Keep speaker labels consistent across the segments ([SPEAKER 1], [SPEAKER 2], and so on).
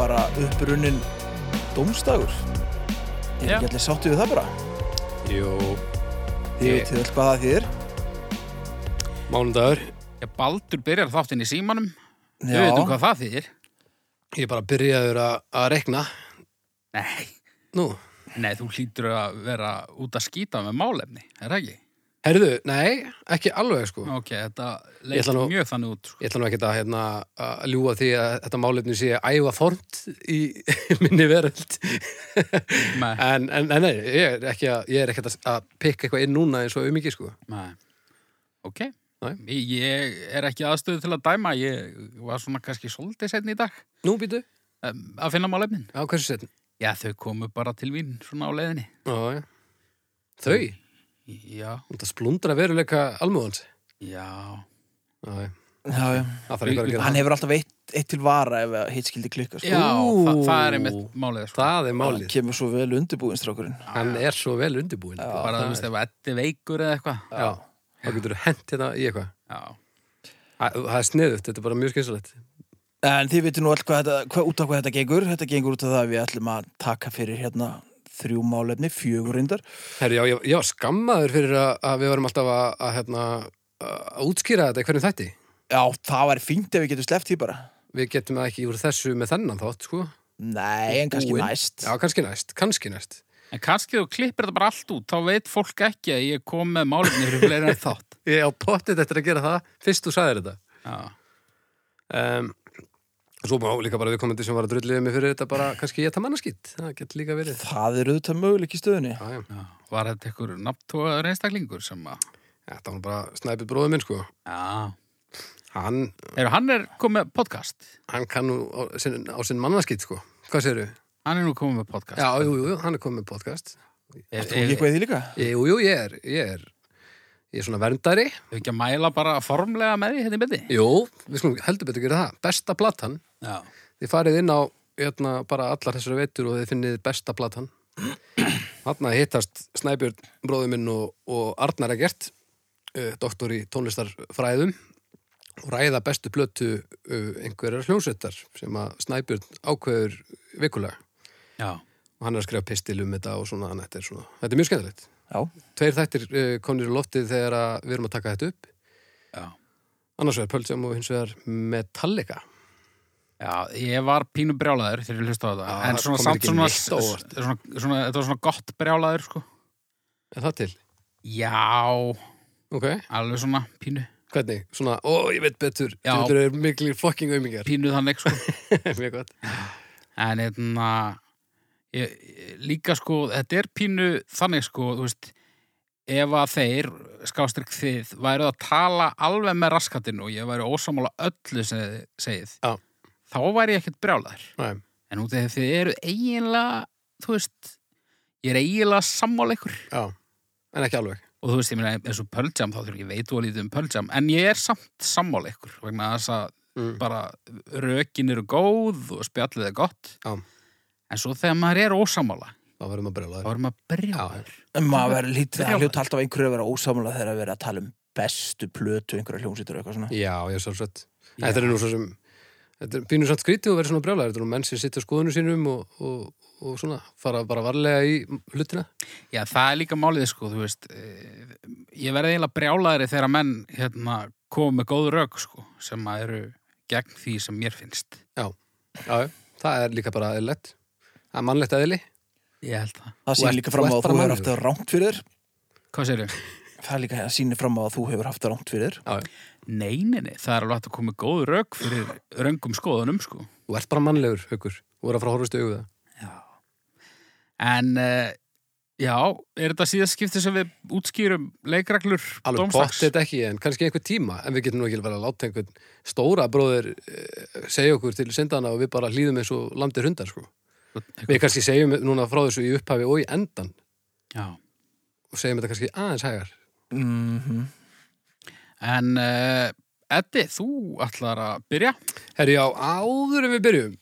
[SPEAKER 1] upprunnin dómstagur er
[SPEAKER 2] Já.
[SPEAKER 1] ekki allir sáttið við það bara
[SPEAKER 3] Jú,
[SPEAKER 1] þið
[SPEAKER 3] Ég-
[SPEAKER 1] veitir vel hvað það þýðir
[SPEAKER 3] mánudagur.
[SPEAKER 2] Ég baldur byrjar þáttinn í símanum. Við veitum
[SPEAKER 1] já,
[SPEAKER 2] hvað það þýðir.
[SPEAKER 3] Ég bara byrjaður að að rekna.
[SPEAKER 2] Nei,
[SPEAKER 3] Nú,
[SPEAKER 2] nei, þú hlýtur að vera út að skýta með málefni, er það ekki?
[SPEAKER 3] herðu, nei, ekki alveg sko.
[SPEAKER 2] Ok, þetta
[SPEAKER 3] Ég
[SPEAKER 2] leit
[SPEAKER 3] ætla nú-
[SPEAKER 2] mjög þannig út. sko.
[SPEAKER 3] Ég ætla nú ekki að, hérna, að ljúa því að þetta málefni sé æfa formt í minni veröld.
[SPEAKER 2] Nei,
[SPEAKER 3] En, en, en nei, ég er ekki að, ég er ekki að, að pikka eitthvað inn núna eins og um sko.
[SPEAKER 2] nei. Ok,
[SPEAKER 3] Nei.
[SPEAKER 2] Ég- ég er ekki aðstöðu til að dæma, ég var svona kannski svolítið setn í dag
[SPEAKER 3] Nú býtu,
[SPEAKER 2] um, að finna málefnin.
[SPEAKER 3] á hversu setn?
[SPEAKER 2] Já, þau komu bara til mín svona á leiðinni.
[SPEAKER 3] Já, já. Þau,
[SPEAKER 2] Já,
[SPEAKER 3] þetta splundra veruleika almúðans.
[SPEAKER 2] já,
[SPEAKER 3] Já, já.
[SPEAKER 1] já, já.
[SPEAKER 3] Það þarf eitthvað að gera
[SPEAKER 1] hann
[SPEAKER 3] það.
[SPEAKER 1] hefur alltaf eitt, eitt til vara ef að hitt skildi klikka sko.
[SPEAKER 2] já, þa
[SPEAKER 3] Ú.
[SPEAKER 2] það er einmitt málið, sko.
[SPEAKER 3] Það er
[SPEAKER 1] hann
[SPEAKER 3] málið.
[SPEAKER 1] kemur svo vel undirbúinn strákurinn
[SPEAKER 3] Hann er svo vel undirbúin. Já,
[SPEAKER 2] bara, þú veist, ef Eddi veikur eða eitthvað.
[SPEAKER 3] Já, þá getur þú hent hérna í eitthvað.
[SPEAKER 2] Já,
[SPEAKER 3] Æ, Það er sniðut, þetta er bara mjög skynsalegt.
[SPEAKER 1] en þið veitir nú all hvað þetta, hvað, út af hvað þetta gengur þetta gengur út af það að við ætlum að taka fyrir hérna þrjú málefni, fjögur reyndar
[SPEAKER 3] Herri, já, ég, ég var skammaður fyrir að, að við varum alltaf að, að, hérna, að útskýra þetta í hverjum þætti.
[SPEAKER 1] já, það var fínt ef við getum sleppt því bara
[SPEAKER 3] Við getum það ekki úr þessu með þennan þátt, sko.
[SPEAKER 1] nei, en kannski
[SPEAKER 3] Búin.
[SPEAKER 1] næst
[SPEAKER 3] Já, kannski næst, kannski næst.
[SPEAKER 2] En kannski þú klippir þetta bara allt út, þá veit fólk ekki að ég kom með málefni fyrir fleiri en þátt.
[SPEAKER 3] Ég á pottið eftir að gera það, fyrst þú sagðir þetta.
[SPEAKER 2] Já,
[SPEAKER 3] Um, svo má líka bara viðkomandi sem var að drulliðið mig fyrir þetta bara kannski ég það mannaskitt. Það getur líka verið.
[SPEAKER 1] það er auðvitað möguleik í stöðunni
[SPEAKER 3] Já, já.
[SPEAKER 2] já. Var þetta ykkur nafntóaður einstaklingur sem að...
[SPEAKER 3] Þetta var nú bara snæpið bróðum minn, sko.
[SPEAKER 2] Já.
[SPEAKER 3] Hann,
[SPEAKER 2] Eru, hann er komið með podcast.
[SPEAKER 3] hann kann nú á sinn, á sinn mannaskitt, sko. Hvað segirðu?
[SPEAKER 2] Hann er nú komið með podcast.
[SPEAKER 3] Já, jú, jú, hann er komið með podcast.
[SPEAKER 1] og
[SPEAKER 2] Er, er,
[SPEAKER 1] ég
[SPEAKER 2] er,
[SPEAKER 1] hvað því líka
[SPEAKER 3] Jú, jú, ég er, ég er, ég er svona verndari.
[SPEAKER 2] er ekki að mæla bara formlega með því hérna í byrði?
[SPEAKER 3] Jú, við skulum heldur betur gera það. Besta platan,
[SPEAKER 2] Já.
[SPEAKER 3] þið farið inn á hérna, bara allar þessari veitur og þið finnið besta platan. Þarna hittast Snæbjörn, bróður minn og, og Arnar Egert, uh, doktor í tónlistarfræðum og ræða bestu plötu uh, einhverjar hljónsettar sem að Snæbjörn ákveður vikulega
[SPEAKER 2] Já.
[SPEAKER 3] og hann er að skrifa pistil um þetta og svona, þetta er, svona, þetta er mjög skemmtilegt.
[SPEAKER 1] já,
[SPEAKER 3] Tveir þættir uh, konir í loftið þegar að við erum að taka þetta upp.
[SPEAKER 2] Já.
[SPEAKER 3] Annars vegar Pölsjám og hins vegar Metallica.
[SPEAKER 2] Já, ég var pínu brjálaður þegar ég hlusta á þetta.
[SPEAKER 3] Já,
[SPEAKER 2] en
[SPEAKER 3] það
[SPEAKER 2] svona
[SPEAKER 3] kom
[SPEAKER 2] samt
[SPEAKER 3] ekki
[SPEAKER 2] svona,
[SPEAKER 3] neitt á óvart.
[SPEAKER 2] svona, svona, þetta var svona gott brjálaður, sko.
[SPEAKER 3] Er það til?
[SPEAKER 2] Já,
[SPEAKER 3] Ok,
[SPEAKER 2] alveg svona pínu,
[SPEAKER 3] hvernig? Svona, ó, ég veit betur.
[SPEAKER 2] Já.
[SPEAKER 3] Þetta eru miklir fucking aumingar.
[SPEAKER 2] pínu þannig, sko.
[SPEAKER 3] Mjög gott.
[SPEAKER 2] en hérna ég, ég- líka sko, þetta er pínu þannig sko, þú veist ef að þeir, skástrík þið væruð að tala alveg með raskatinn og ég væri ósamála öllu sem þið segið
[SPEAKER 3] Já.
[SPEAKER 2] þá væri ég ekkert brjálaður
[SPEAKER 3] Næ,
[SPEAKER 2] en út af því að þið eru eiginlega þú veist, ég er eiginlega sammála ykkur
[SPEAKER 3] já. En ekki alveg.
[SPEAKER 2] og þú veist, ég meina eins og pöljam þá þurfum ég veit og lítið um pöljam en ég er samt sammála ykkur vegna þess að
[SPEAKER 3] Mm.
[SPEAKER 2] bara rökin eru góð og spjallið er gott
[SPEAKER 3] Já.
[SPEAKER 2] en svo þegar maður er ósamála
[SPEAKER 3] Það verðum að brjóla
[SPEAKER 2] þá
[SPEAKER 3] þér.
[SPEAKER 2] erum maður brjáður
[SPEAKER 1] En maður verður lítið, það
[SPEAKER 2] Brjálað.
[SPEAKER 1] hljóta alltaf einhverju að vera ósamlega þegar að vera að tala um bestu plötu einhverja hljómsýtur og eitthvað svona.
[SPEAKER 3] Já, ég er svolítið. Þetta er nú svo sem, þetta er pínu samt skrítið og verður svona brjólaður. Þetta er nú menn sem sitja á skoðunum sínum og, og, og svona, fara bara varlega í hlutina.
[SPEAKER 2] Já, það er líka málið sko, þú veist eh, ég verði eiginlega brjálaðri þegar menn hérna, komu með góð rök sko, sem að eru gegn því sem mér finnst
[SPEAKER 3] Já, já. Það er líka bara eðlilegt. Það er mannlegt eðli.
[SPEAKER 2] Ég held það
[SPEAKER 1] Það
[SPEAKER 3] Þú
[SPEAKER 1] sýnir
[SPEAKER 3] ert-
[SPEAKER 1] líka fram á
[SPEAKER 3] þú
[SPEAKER 1] að
[SPEAKER 3] ert bara
[SPEAKER 1] þú hefur
[SPEAKER 3] mannlegur.
[SPEAKER 1] haft það rámt fyrir þér.
[SPEAKER 2] Hvað sérðu?
[SPEAKER 1] Það er líka að sýnir fram á að þú hefur haft það rámt fyrir þér.
[SPEAKER 3] Já, já.
[SPEAKER 2] Nei, nei, nei, það er alveg hægt að koma með góð rök fyrir röngum skoðunum sko
[SPEAKER 3] Þú ert bara mannlegur, haukur. Þú er að fara að horfast í augu við það.
[SPEAKER 2] Já. En uh, já, er þetta síðast skipti sem við útskýrum leikreglur
[SPEAKER 3] Alveg
[SPEAKER 2] dómstags?
[SPEAKER 3] pottet ekki, en kannski einhver tíma en við getum nú ekki verið að láta einhvern stóra bróðir eh, segja okkur til syndana og við bara hlýðum eins og landir hundar sko.
[SPEAKER 2] Einhver-
[SPEAKER 3] Við kannski segjum núna frá þessu í upphafi og í endan
[SPEAKER 2] Já.
[SPEAKER 3] og segjum þetta kannski aðeins hægar
[SPEAKER 1] Mm
[SPEAKER 3] Mhm.
[SPEAKER 2] En uh, Eddi, þú ætlar að byrja
[SPEAKER 3] Herri, já, áður en við byrjum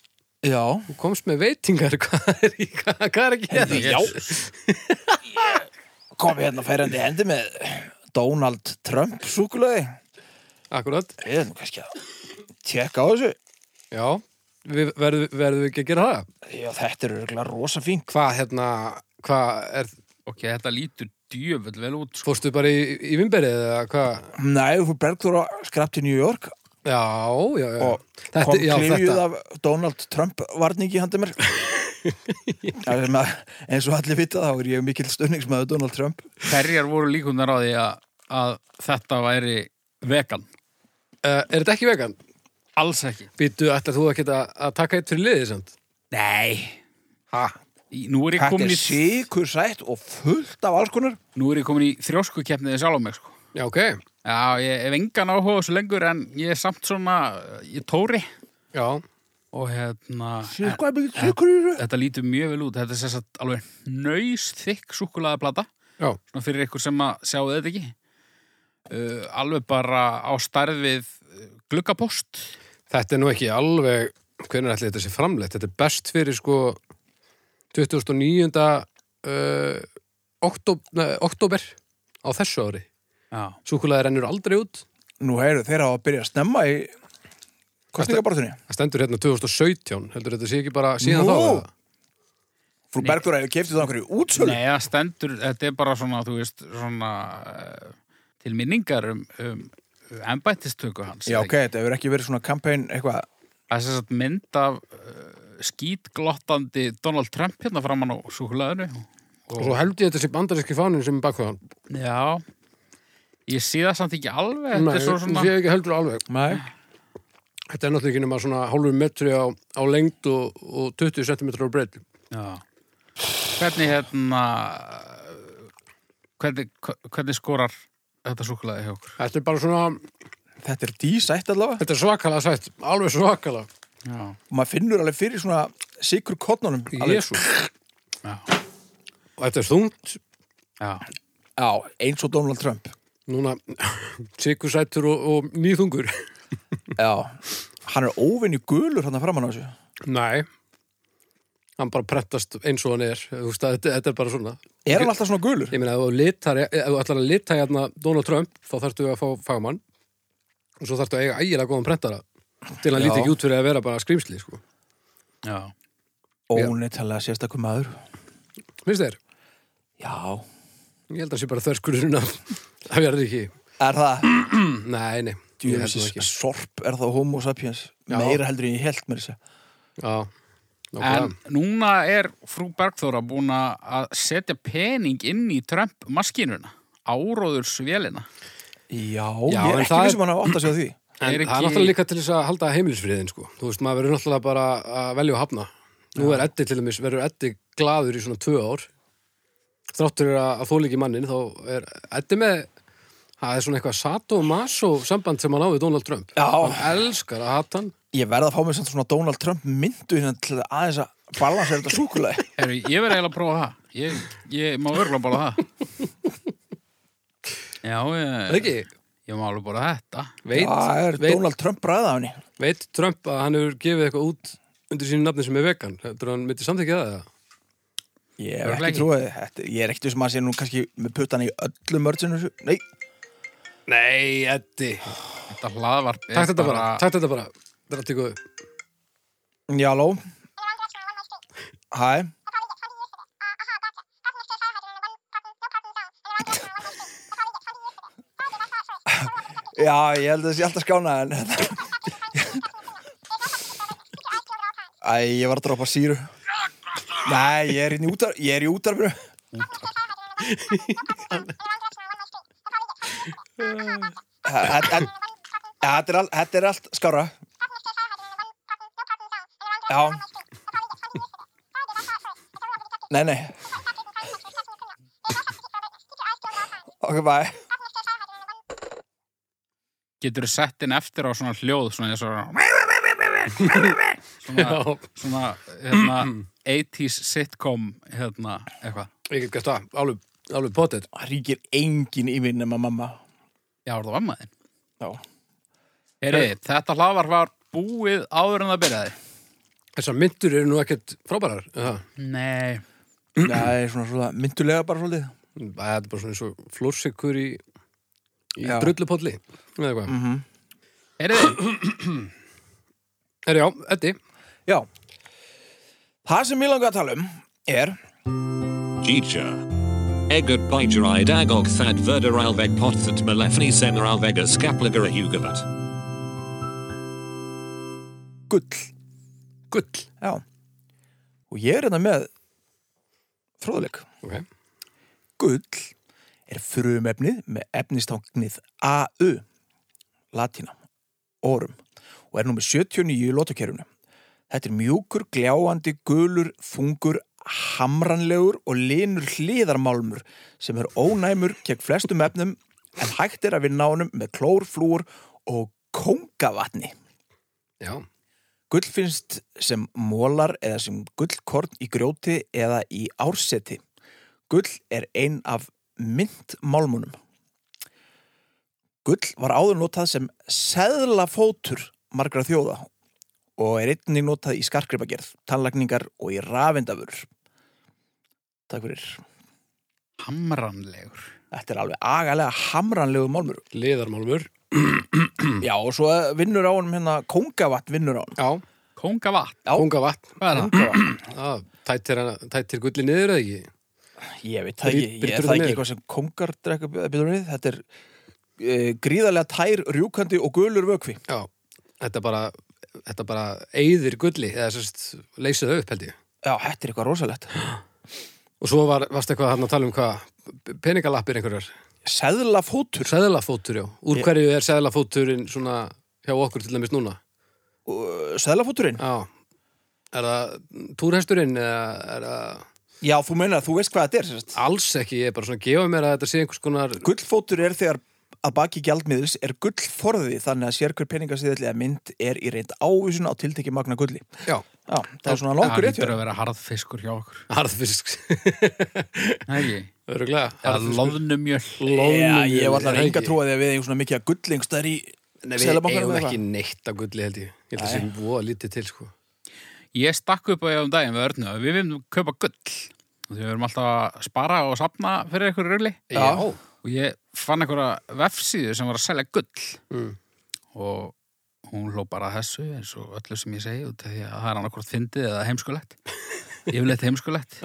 [SPEAKER 1] Já,
[SPEAKER 3] þú komst með veitingar hvað er, í- hvað, hvað er ekki
[SPEAKER 1] Herri, já. kom hérna færandi í hendi með Donald Trump súkulegi.
[SPEAKER 3] Akkurat,
[SPEAKER 1] Ég er nú kannski að tjekka á þessu.
[SPEAKER 3] já við, verðum, verðum við ekki að gera það?
[SPEAKER 1] Já, þetta er örgulega rosa fín
[SPEAKER 3] Hvað, hérna, hvað er,
[SPEAKER 2] Ok, þetta lítur djöfull vel út sko.
[SPEAKER 3] fórstu bara í, í vimberið eða hvað?
[SPEAKER 1] Nei, þú bergður á skrapp til New York
[SPEAKER 3] Já, já, já.
[SPEAKER 1] og
[SPEAKER 3] Þetta-
[SPEAKER 1] kom
[SPEAKER 3] já,
[SPEAKER 1] klifjuð
[SPEAKER 3] þetta.
[SPEAKER 1] af Donald Trump varningi handi mér Það er sem að, eins og allir vita þá er ég mikill stunningsmaður Donald Trump
[SPEAKER 2] Hverjar voru líkunar á því að, að þetta væri vegan?
[SPEAKER 3] Uh, er þetta ekki vegan?
[SPEAKER 2] Alls ekki.
[SPEAKER 3] Býtu, ætlar þú að geta að taka eitt fyrir liðið samt?
[SPEAKER 2] Nei.
[SPEAKER 3] Ha?
[SPEAKER 2] Í- Nú er ég
[SPEAKER 1] Þetta
[SPEAKER 2] komin
[SPEAKER 1] er
[SPEAKER 2] í,
[SPEAKER 1] sikur sætt og fullt af alls konar
[SPEAKER 2] nú er ég komin í þrjóskukeppniði sjálf mig, sko.
[SPEAKER 3] Já, ok.
[SPEAKER 2] Já, ég hef engan áhuga á þessu lengur en ég er samt svona, ég tóri
[SPEAKER 3] Já.
[SPEAKER 2] og hérna, en,
[SPEAKER 1] Sikur er mikill sikur í þessu
[SPEAKER 2] þetta lítur mjög vel út. Þetta er sess að alveg nöys þykk súkulaðaplata,
[SPEAKER 3] Já.
[SPEAKER 2] svona fyrir ykkur sem að sjáu þetta ekki. Uh, alveg bara á starf við uh, gluggapost.
[SPEAKER 3] Þetta er nú ekki alveg, hvernig ætli þetta sé framleitt? Þetta er best fyrir sko 2009. Uh, oktob, nei, oktober á þessu ári.
[SPEAKER 2] Já.
[SPEAKER 3] Súkulaði rennur aldrei út.
[SPEAKER 1] Nú heyrðu, þeir hafa að byrja að snemma í kostningabartunni
[SPEAKER 3] Það stendur hérna 2017, heldur þetta sé ekki bara síðan
[SPEAKER 1] Nú.
[SPEAKER 3] þá? eða?
[SPEAKER 1] Frú Bergþóra hefur keftið það einhverju útsölu
[SPEAKER 2] Nei, það stendur, þetta er bara svona, þú veist, svona eh, til minningar um, um embættistöku hans.
[SPEAKER 1] Já, ok, þetta hefur ekki verið svona kampæn eitthvað
[SPEAKER 2] Það er sem sagt mynd af uh, skítglottandi Donald Trump hérna framann á súkulaðinu.
[SPEAKER 3] Og svo held ég þetta sé bandaríski fánin sem er bakvæðan.
[SPEAKER 2] Já, ég sé það samt ekki alveg,
[SPEAKER 3] Nei,
[SPEAKER 2] þetta er svo
[SPEAKER 3] ég
[SPEAKER 2] svona...
[SPEAKER 3] sé ekki heldur alveg.
[SPEAKER 1] Nei
[SPEAKER 3] Þetta er náttúrulega ekki nema svona hálfur metri á, á lengd og, og 20 cm á breyt.
[SPEAKER 2] Já. Hvernig hérna, hvernig, hvernig skorar þetta súkulaði hjá okkur?
[SPEAKER 3] Þetta er bara svona,
[SPEAKER 1] Þetta er dísætt allavega
[SPEAKER 3] þetta er svakalega sætt, alveg svakalega.
[SPEAKER 2] Já.
[SPEAKER 1] og maður finnur alveg fyrir svona sikur kodnunum
[SPEAKER 3] Jésu.
[SPEAKER 2] Já.
[SPEAKER 3] Þetta er þungt,
[SPEAKER 2] Já.
[SPEAKER 1] Já, eins og Donald Trump
[SPEAKER 3] núna, sikursættur og, og nýþungur.
[SPEAKER 1] Já, hann er óvinni gulur hann að framann á þessu
[SPEAKER 3] Nei. Hann bara prettast eins og hann er, þú veist að þetta, þetta er bara svona.
[SPEAKER 1] Er hann alltaf svona gulur?
[SPEAKER 3] Ég meina, ef þú, litar, ef þú ætlar að lita hérna Donald Trump, þá þarftu að fá fagmann og svo þarftu að eiga ægilega góðan prentara til að hann
[SPEAKER 1] Já.
[SPEAKER 3] líti ekki út fyrir að vera bara skrýmsli, sko.
[SPEAKER 2] Já.
[SPEAKER 1] Óneittalega sérstakum maður
[SPEAKER 3] Finnst þér?
[SPEAKER 1] Já
[SPEAKER 3] Ég held að það sé bara þörskurinn að það verður ekki.
[SPEAKER 1] Er það,
[SPEAKER 3] Nei, nei. ég held nú
[SPEAKER 1] djúfisins, sorp er það homo sapiens
[SPEAKER 3] Já.
[SPEAKER 1] Meira heldur en ég held mér þessu
[SPEAKER 3] Já.
[SPEAKER 2] En
[SPEAKER 3] En...
[SPEAKER 2] núna er frú Bergþóra búin að setja pening inn í Trump maskinuna, áróðursvélina.
[SPEAKER 1] Já,
[SPEAKER 3] Já,
[SPEAKER 1] ég
[SPEAKER 3] en
[SPEAKER 1] er ekki
[SPEAKER 3] það er-
[SPEAKER 1] vissum hann að átta sig á því
[SPEAKER 3] En
[SPEAKER 2] Er
[SPEAKER 3] það er
[SPEAKER 2] ekki-
[SPEAKER 3] náttúrulega líka til þess að halda heimilisfriðin, sko. Þú veist, maður verður náttúrulega bara að velja og hafna. Nú er Eddi til dæmis, verður Eddi glaður í svona tvö ár. Þráttur er að þóla ekki mannin, þá er Eddi með, það er svona eitthvað sadomaso samband sem hann á við Donald Trump.
[SPEAKER 1] Já.
[SPEAKER 3] Hann elskar að hata hann.
[SPEAKER 1] Ég verð að fá mér samt svona Donald Trump myndu hérna til að aðeins að balansera þetta súkulega
[SPEAKER 2] Heru, ég verði eiginlega að prófa það. Ég, ég má örgulega bara það. Já,
[SPEAKER 3] Það
[SPEAKER 2] ég,
[SPEAKER 3] ekki,
[SPEAKER 2] ég má alveg bara þetta.
[SPEAKER 3] veit,
[SPEAKER 1] Það er
[SPEAKER 3] veit,
[SPEAKER 1] Donald Trump bræða hann
[SPEAKER 3] veit Trump að hann hefur gefið eitthvað út undir sínu nafni sem er vegan. Þetta hann myndi samþykja það, eða?
[SPEAKER 1] Ég hef
[SPEAKER 2] Örugglega
[SPEAKER 1] ekki
[SPEAKER 2] ekki.
[SPEAKER 1] trúið þetta Ég er ekkert þessum að sé nú kannski með puttana í öllu mörgsinu Nei,
[SPEAKER 3] Nei, Eddi.
[SPEAKER 2] Þetta hlaðvarp er
[SPEAKER 3] Takk þetta bara, takk þetta bara. Þetta er allt í góðu.
[SPEAKER 1] já, ló Hæ, já, ég held að það sé alltaf skána en Æ, ég var að droppa síru Nei, ég er, hérna í útar, ég er í útarfinu Þetta en- þetta er, all, þetta er allt skára Já Nei, nei Ok, bye
[SPEAKER 2] Getur þú sett inn eftir á svona hljóð, svona eins og... Svona,
[SPEAKER 3] Já.
[SPEAKER 2] svona, hérna, 80s sitcom, hérna, eitthvað.
[SPEAKER 3] Ég get gert það, alveg, alveg potið.
[SPEAKER 1] Það ríkir engin í minn nema mamma
[SPEAKER 2] Já, er það var maður.
[SPEAKER 1] Já
[SPEAKER 2] Heri, þetta hlaðvarp var búið áður en það byrjaði.
[SPEAKER 3] Þessar myndur eru nú ekkert frábærar. er það?
[SPEAKER 2] Nei.
[SPEAKER 1] Nei, svona svona myndulega bara svolítið
[SPEAKER 3] Æ, Þetta er bara svona eins og flórsikkur í, í
[SPEAKER 1] Já.
[SPEAKER 3] drullupolli. Eða hvað.
[SPEAKER 1] mm -hmm.
[SPEAKER 2] Heri,
[SPEAKER 3] Er já, Eddi,
[SPEAKER 1] Já. Það sem ég langa að tala um er
[SPEAKER 4] Teacher. Eget Bajra Idagog Thad Verderalveg Pothat Malefni Semeralvega Skaplagra Hugavat.
[SPEAKER 1] gull.
[SPEAKER 3] Gull.
[SPEAKER 1] Já. Og ég er þetta með fróðuleik.
[SPEAKER 3] Ok.
[SPEAKER 1] Gull er frumefnið með efnistáknið AU, latína, orum, og er númer 79 í lotokerfinu. Þetta er mjúkur, gljáandi, gulur, þungur, hamranlegur og linur hliðarmálmur sem er ónæmur gegn flestum efnum en hægt er að vinna honum með klórflúur og kóngavatni.
[SPEAKER 3] Já.
[SPEAKER 1] Gull finnst sem mólar eða sem gullkorn í grjóti eða í árseti. Gull er ein af myndmálmunum. Gull var áður notað sem seðlafótur margra þjóða og er einnig notað í skarkripagerð, tannlagningar og í rafindavur. Takk fyrir.
[SPEAKER 2] Hamranlegur.
[SPEAKER 1] Þetta er alveg agalega hamranlegu málmur.
[SPEAKER 3] Liðarmálmur.
[SPEAKER 1] Já, og svo vinnur á honum hérna, kóngavatt vinnur á honum.
[SPEAKER 3] Já.
[SPEAKER 2] Kóngavatn.
[SPEAKER 1] Já.
[SPEAKER 3] Konga vatn.
[SPEAKER 2] Hvað er það?
[SPEAKER 1] Kóngavatt.
[SPEAKER 3] Já. Tættir, hana- tættir gulli niður eða ekki?
[SPEAKER 1] Ég veit það ekki,
[SPEAKER 3] Brýt-
[SPEAKER 1] ég er
[SPEAKER 3] brýtur það
[SPEAKER 1] það ekki
[SPEAKER 3] niður?
[SPEAKER 1] eitthvað sem kongar drekka betur við, þetta er e, gríðarlega tær, rjúkandi og gulur vökvi.
[SPEAKER 3] Já. Þetta bara, þetta bara eyðir gulli eða sérst leysið það upp held ég.
[SPEAKER 1] Já, þetta er eitthvað rosalegt.
[SPEAKER 3] Og svo var, varst eitthvað hann að tala um hvað peningalappir einhverjar.
[SPEAKER 1] Seðlafótur,
[SPEAKER 3] Seðlafótur, já. Úr hverju er seðlafóturinn svona hjá okkur til dæmis núna? Sko-
[SPEAKER 1] Ö, seðlafóturinn.
[SPEAKER 3] Já. Er það túrhesturinn eða er það...
[SPEAKER 1] Já, þú meinar, þú veist hvað þetta er. sérst.
[SPEAKER 3] Alls ekki, ég er bara svona að gefa mér að þetta sé einhvers konar...
[SPEAKER 1] Gullfótur er þegar að baki gjaldmiðils er gullforði þannig að sér hver peningasýðallega mynd er í reynd ávísun á tiltekki magna gulli.
[SPEAKER 3] Já.
[SPEAKER 1] Já, það er svona
[SPEAKER 2] Það
[SPEAKER 1] langur rétt.
[SPEAKER 2] lítur að vera harðfiskur hjá okkur.
[SPEAKER 3] Harðfisk.
[SPEAKER 2] Nei, ekki.
[SPEAKER 3] Öruglega.
[SPEAKER 2] Það er loðnumjöl.
[SPEAKER 1] Já, ég var
[SPEAKER 3] er
[SPEAKER 1] allar
[SPEAKER 3] það
[SPEAKER 1] enga
[SPEAKER 3] ekki?
[SPEAKER 1] trúið að við eigum svona mikið að gullingstæðar í
[SPEAKER 3] Nei, við
[SPEAKER 1] seðlabankanum
[SPEAKER 3] eigum
[SPEAKER 1] eða
[SPEAKER 3] ekki
[SPEAKER 1] eitthvað.
[SPEAKER 3] neitt að gulli held ég. Ég held að það sé voða lítið til, sko.
[SPEAKER 2] Ég stakk upp á ég um daginn við örnu að við viljum kaupa gull. Og Því við erum alltaf að spara og sapna fyrir einhverju rögli.
[SPEAKER 1] Já.
[SPEAKER 2] Og ég fann einhverja vefsíðu sem var að selja gull.
[SPEAKER 3] Mm.
[SPEAKER 2] Og hún hló bara að þessu eins og öllu sem ég segi út af því að það er hann okkur fyndið eða heimskulegt. Yfirleitt heimskulegt.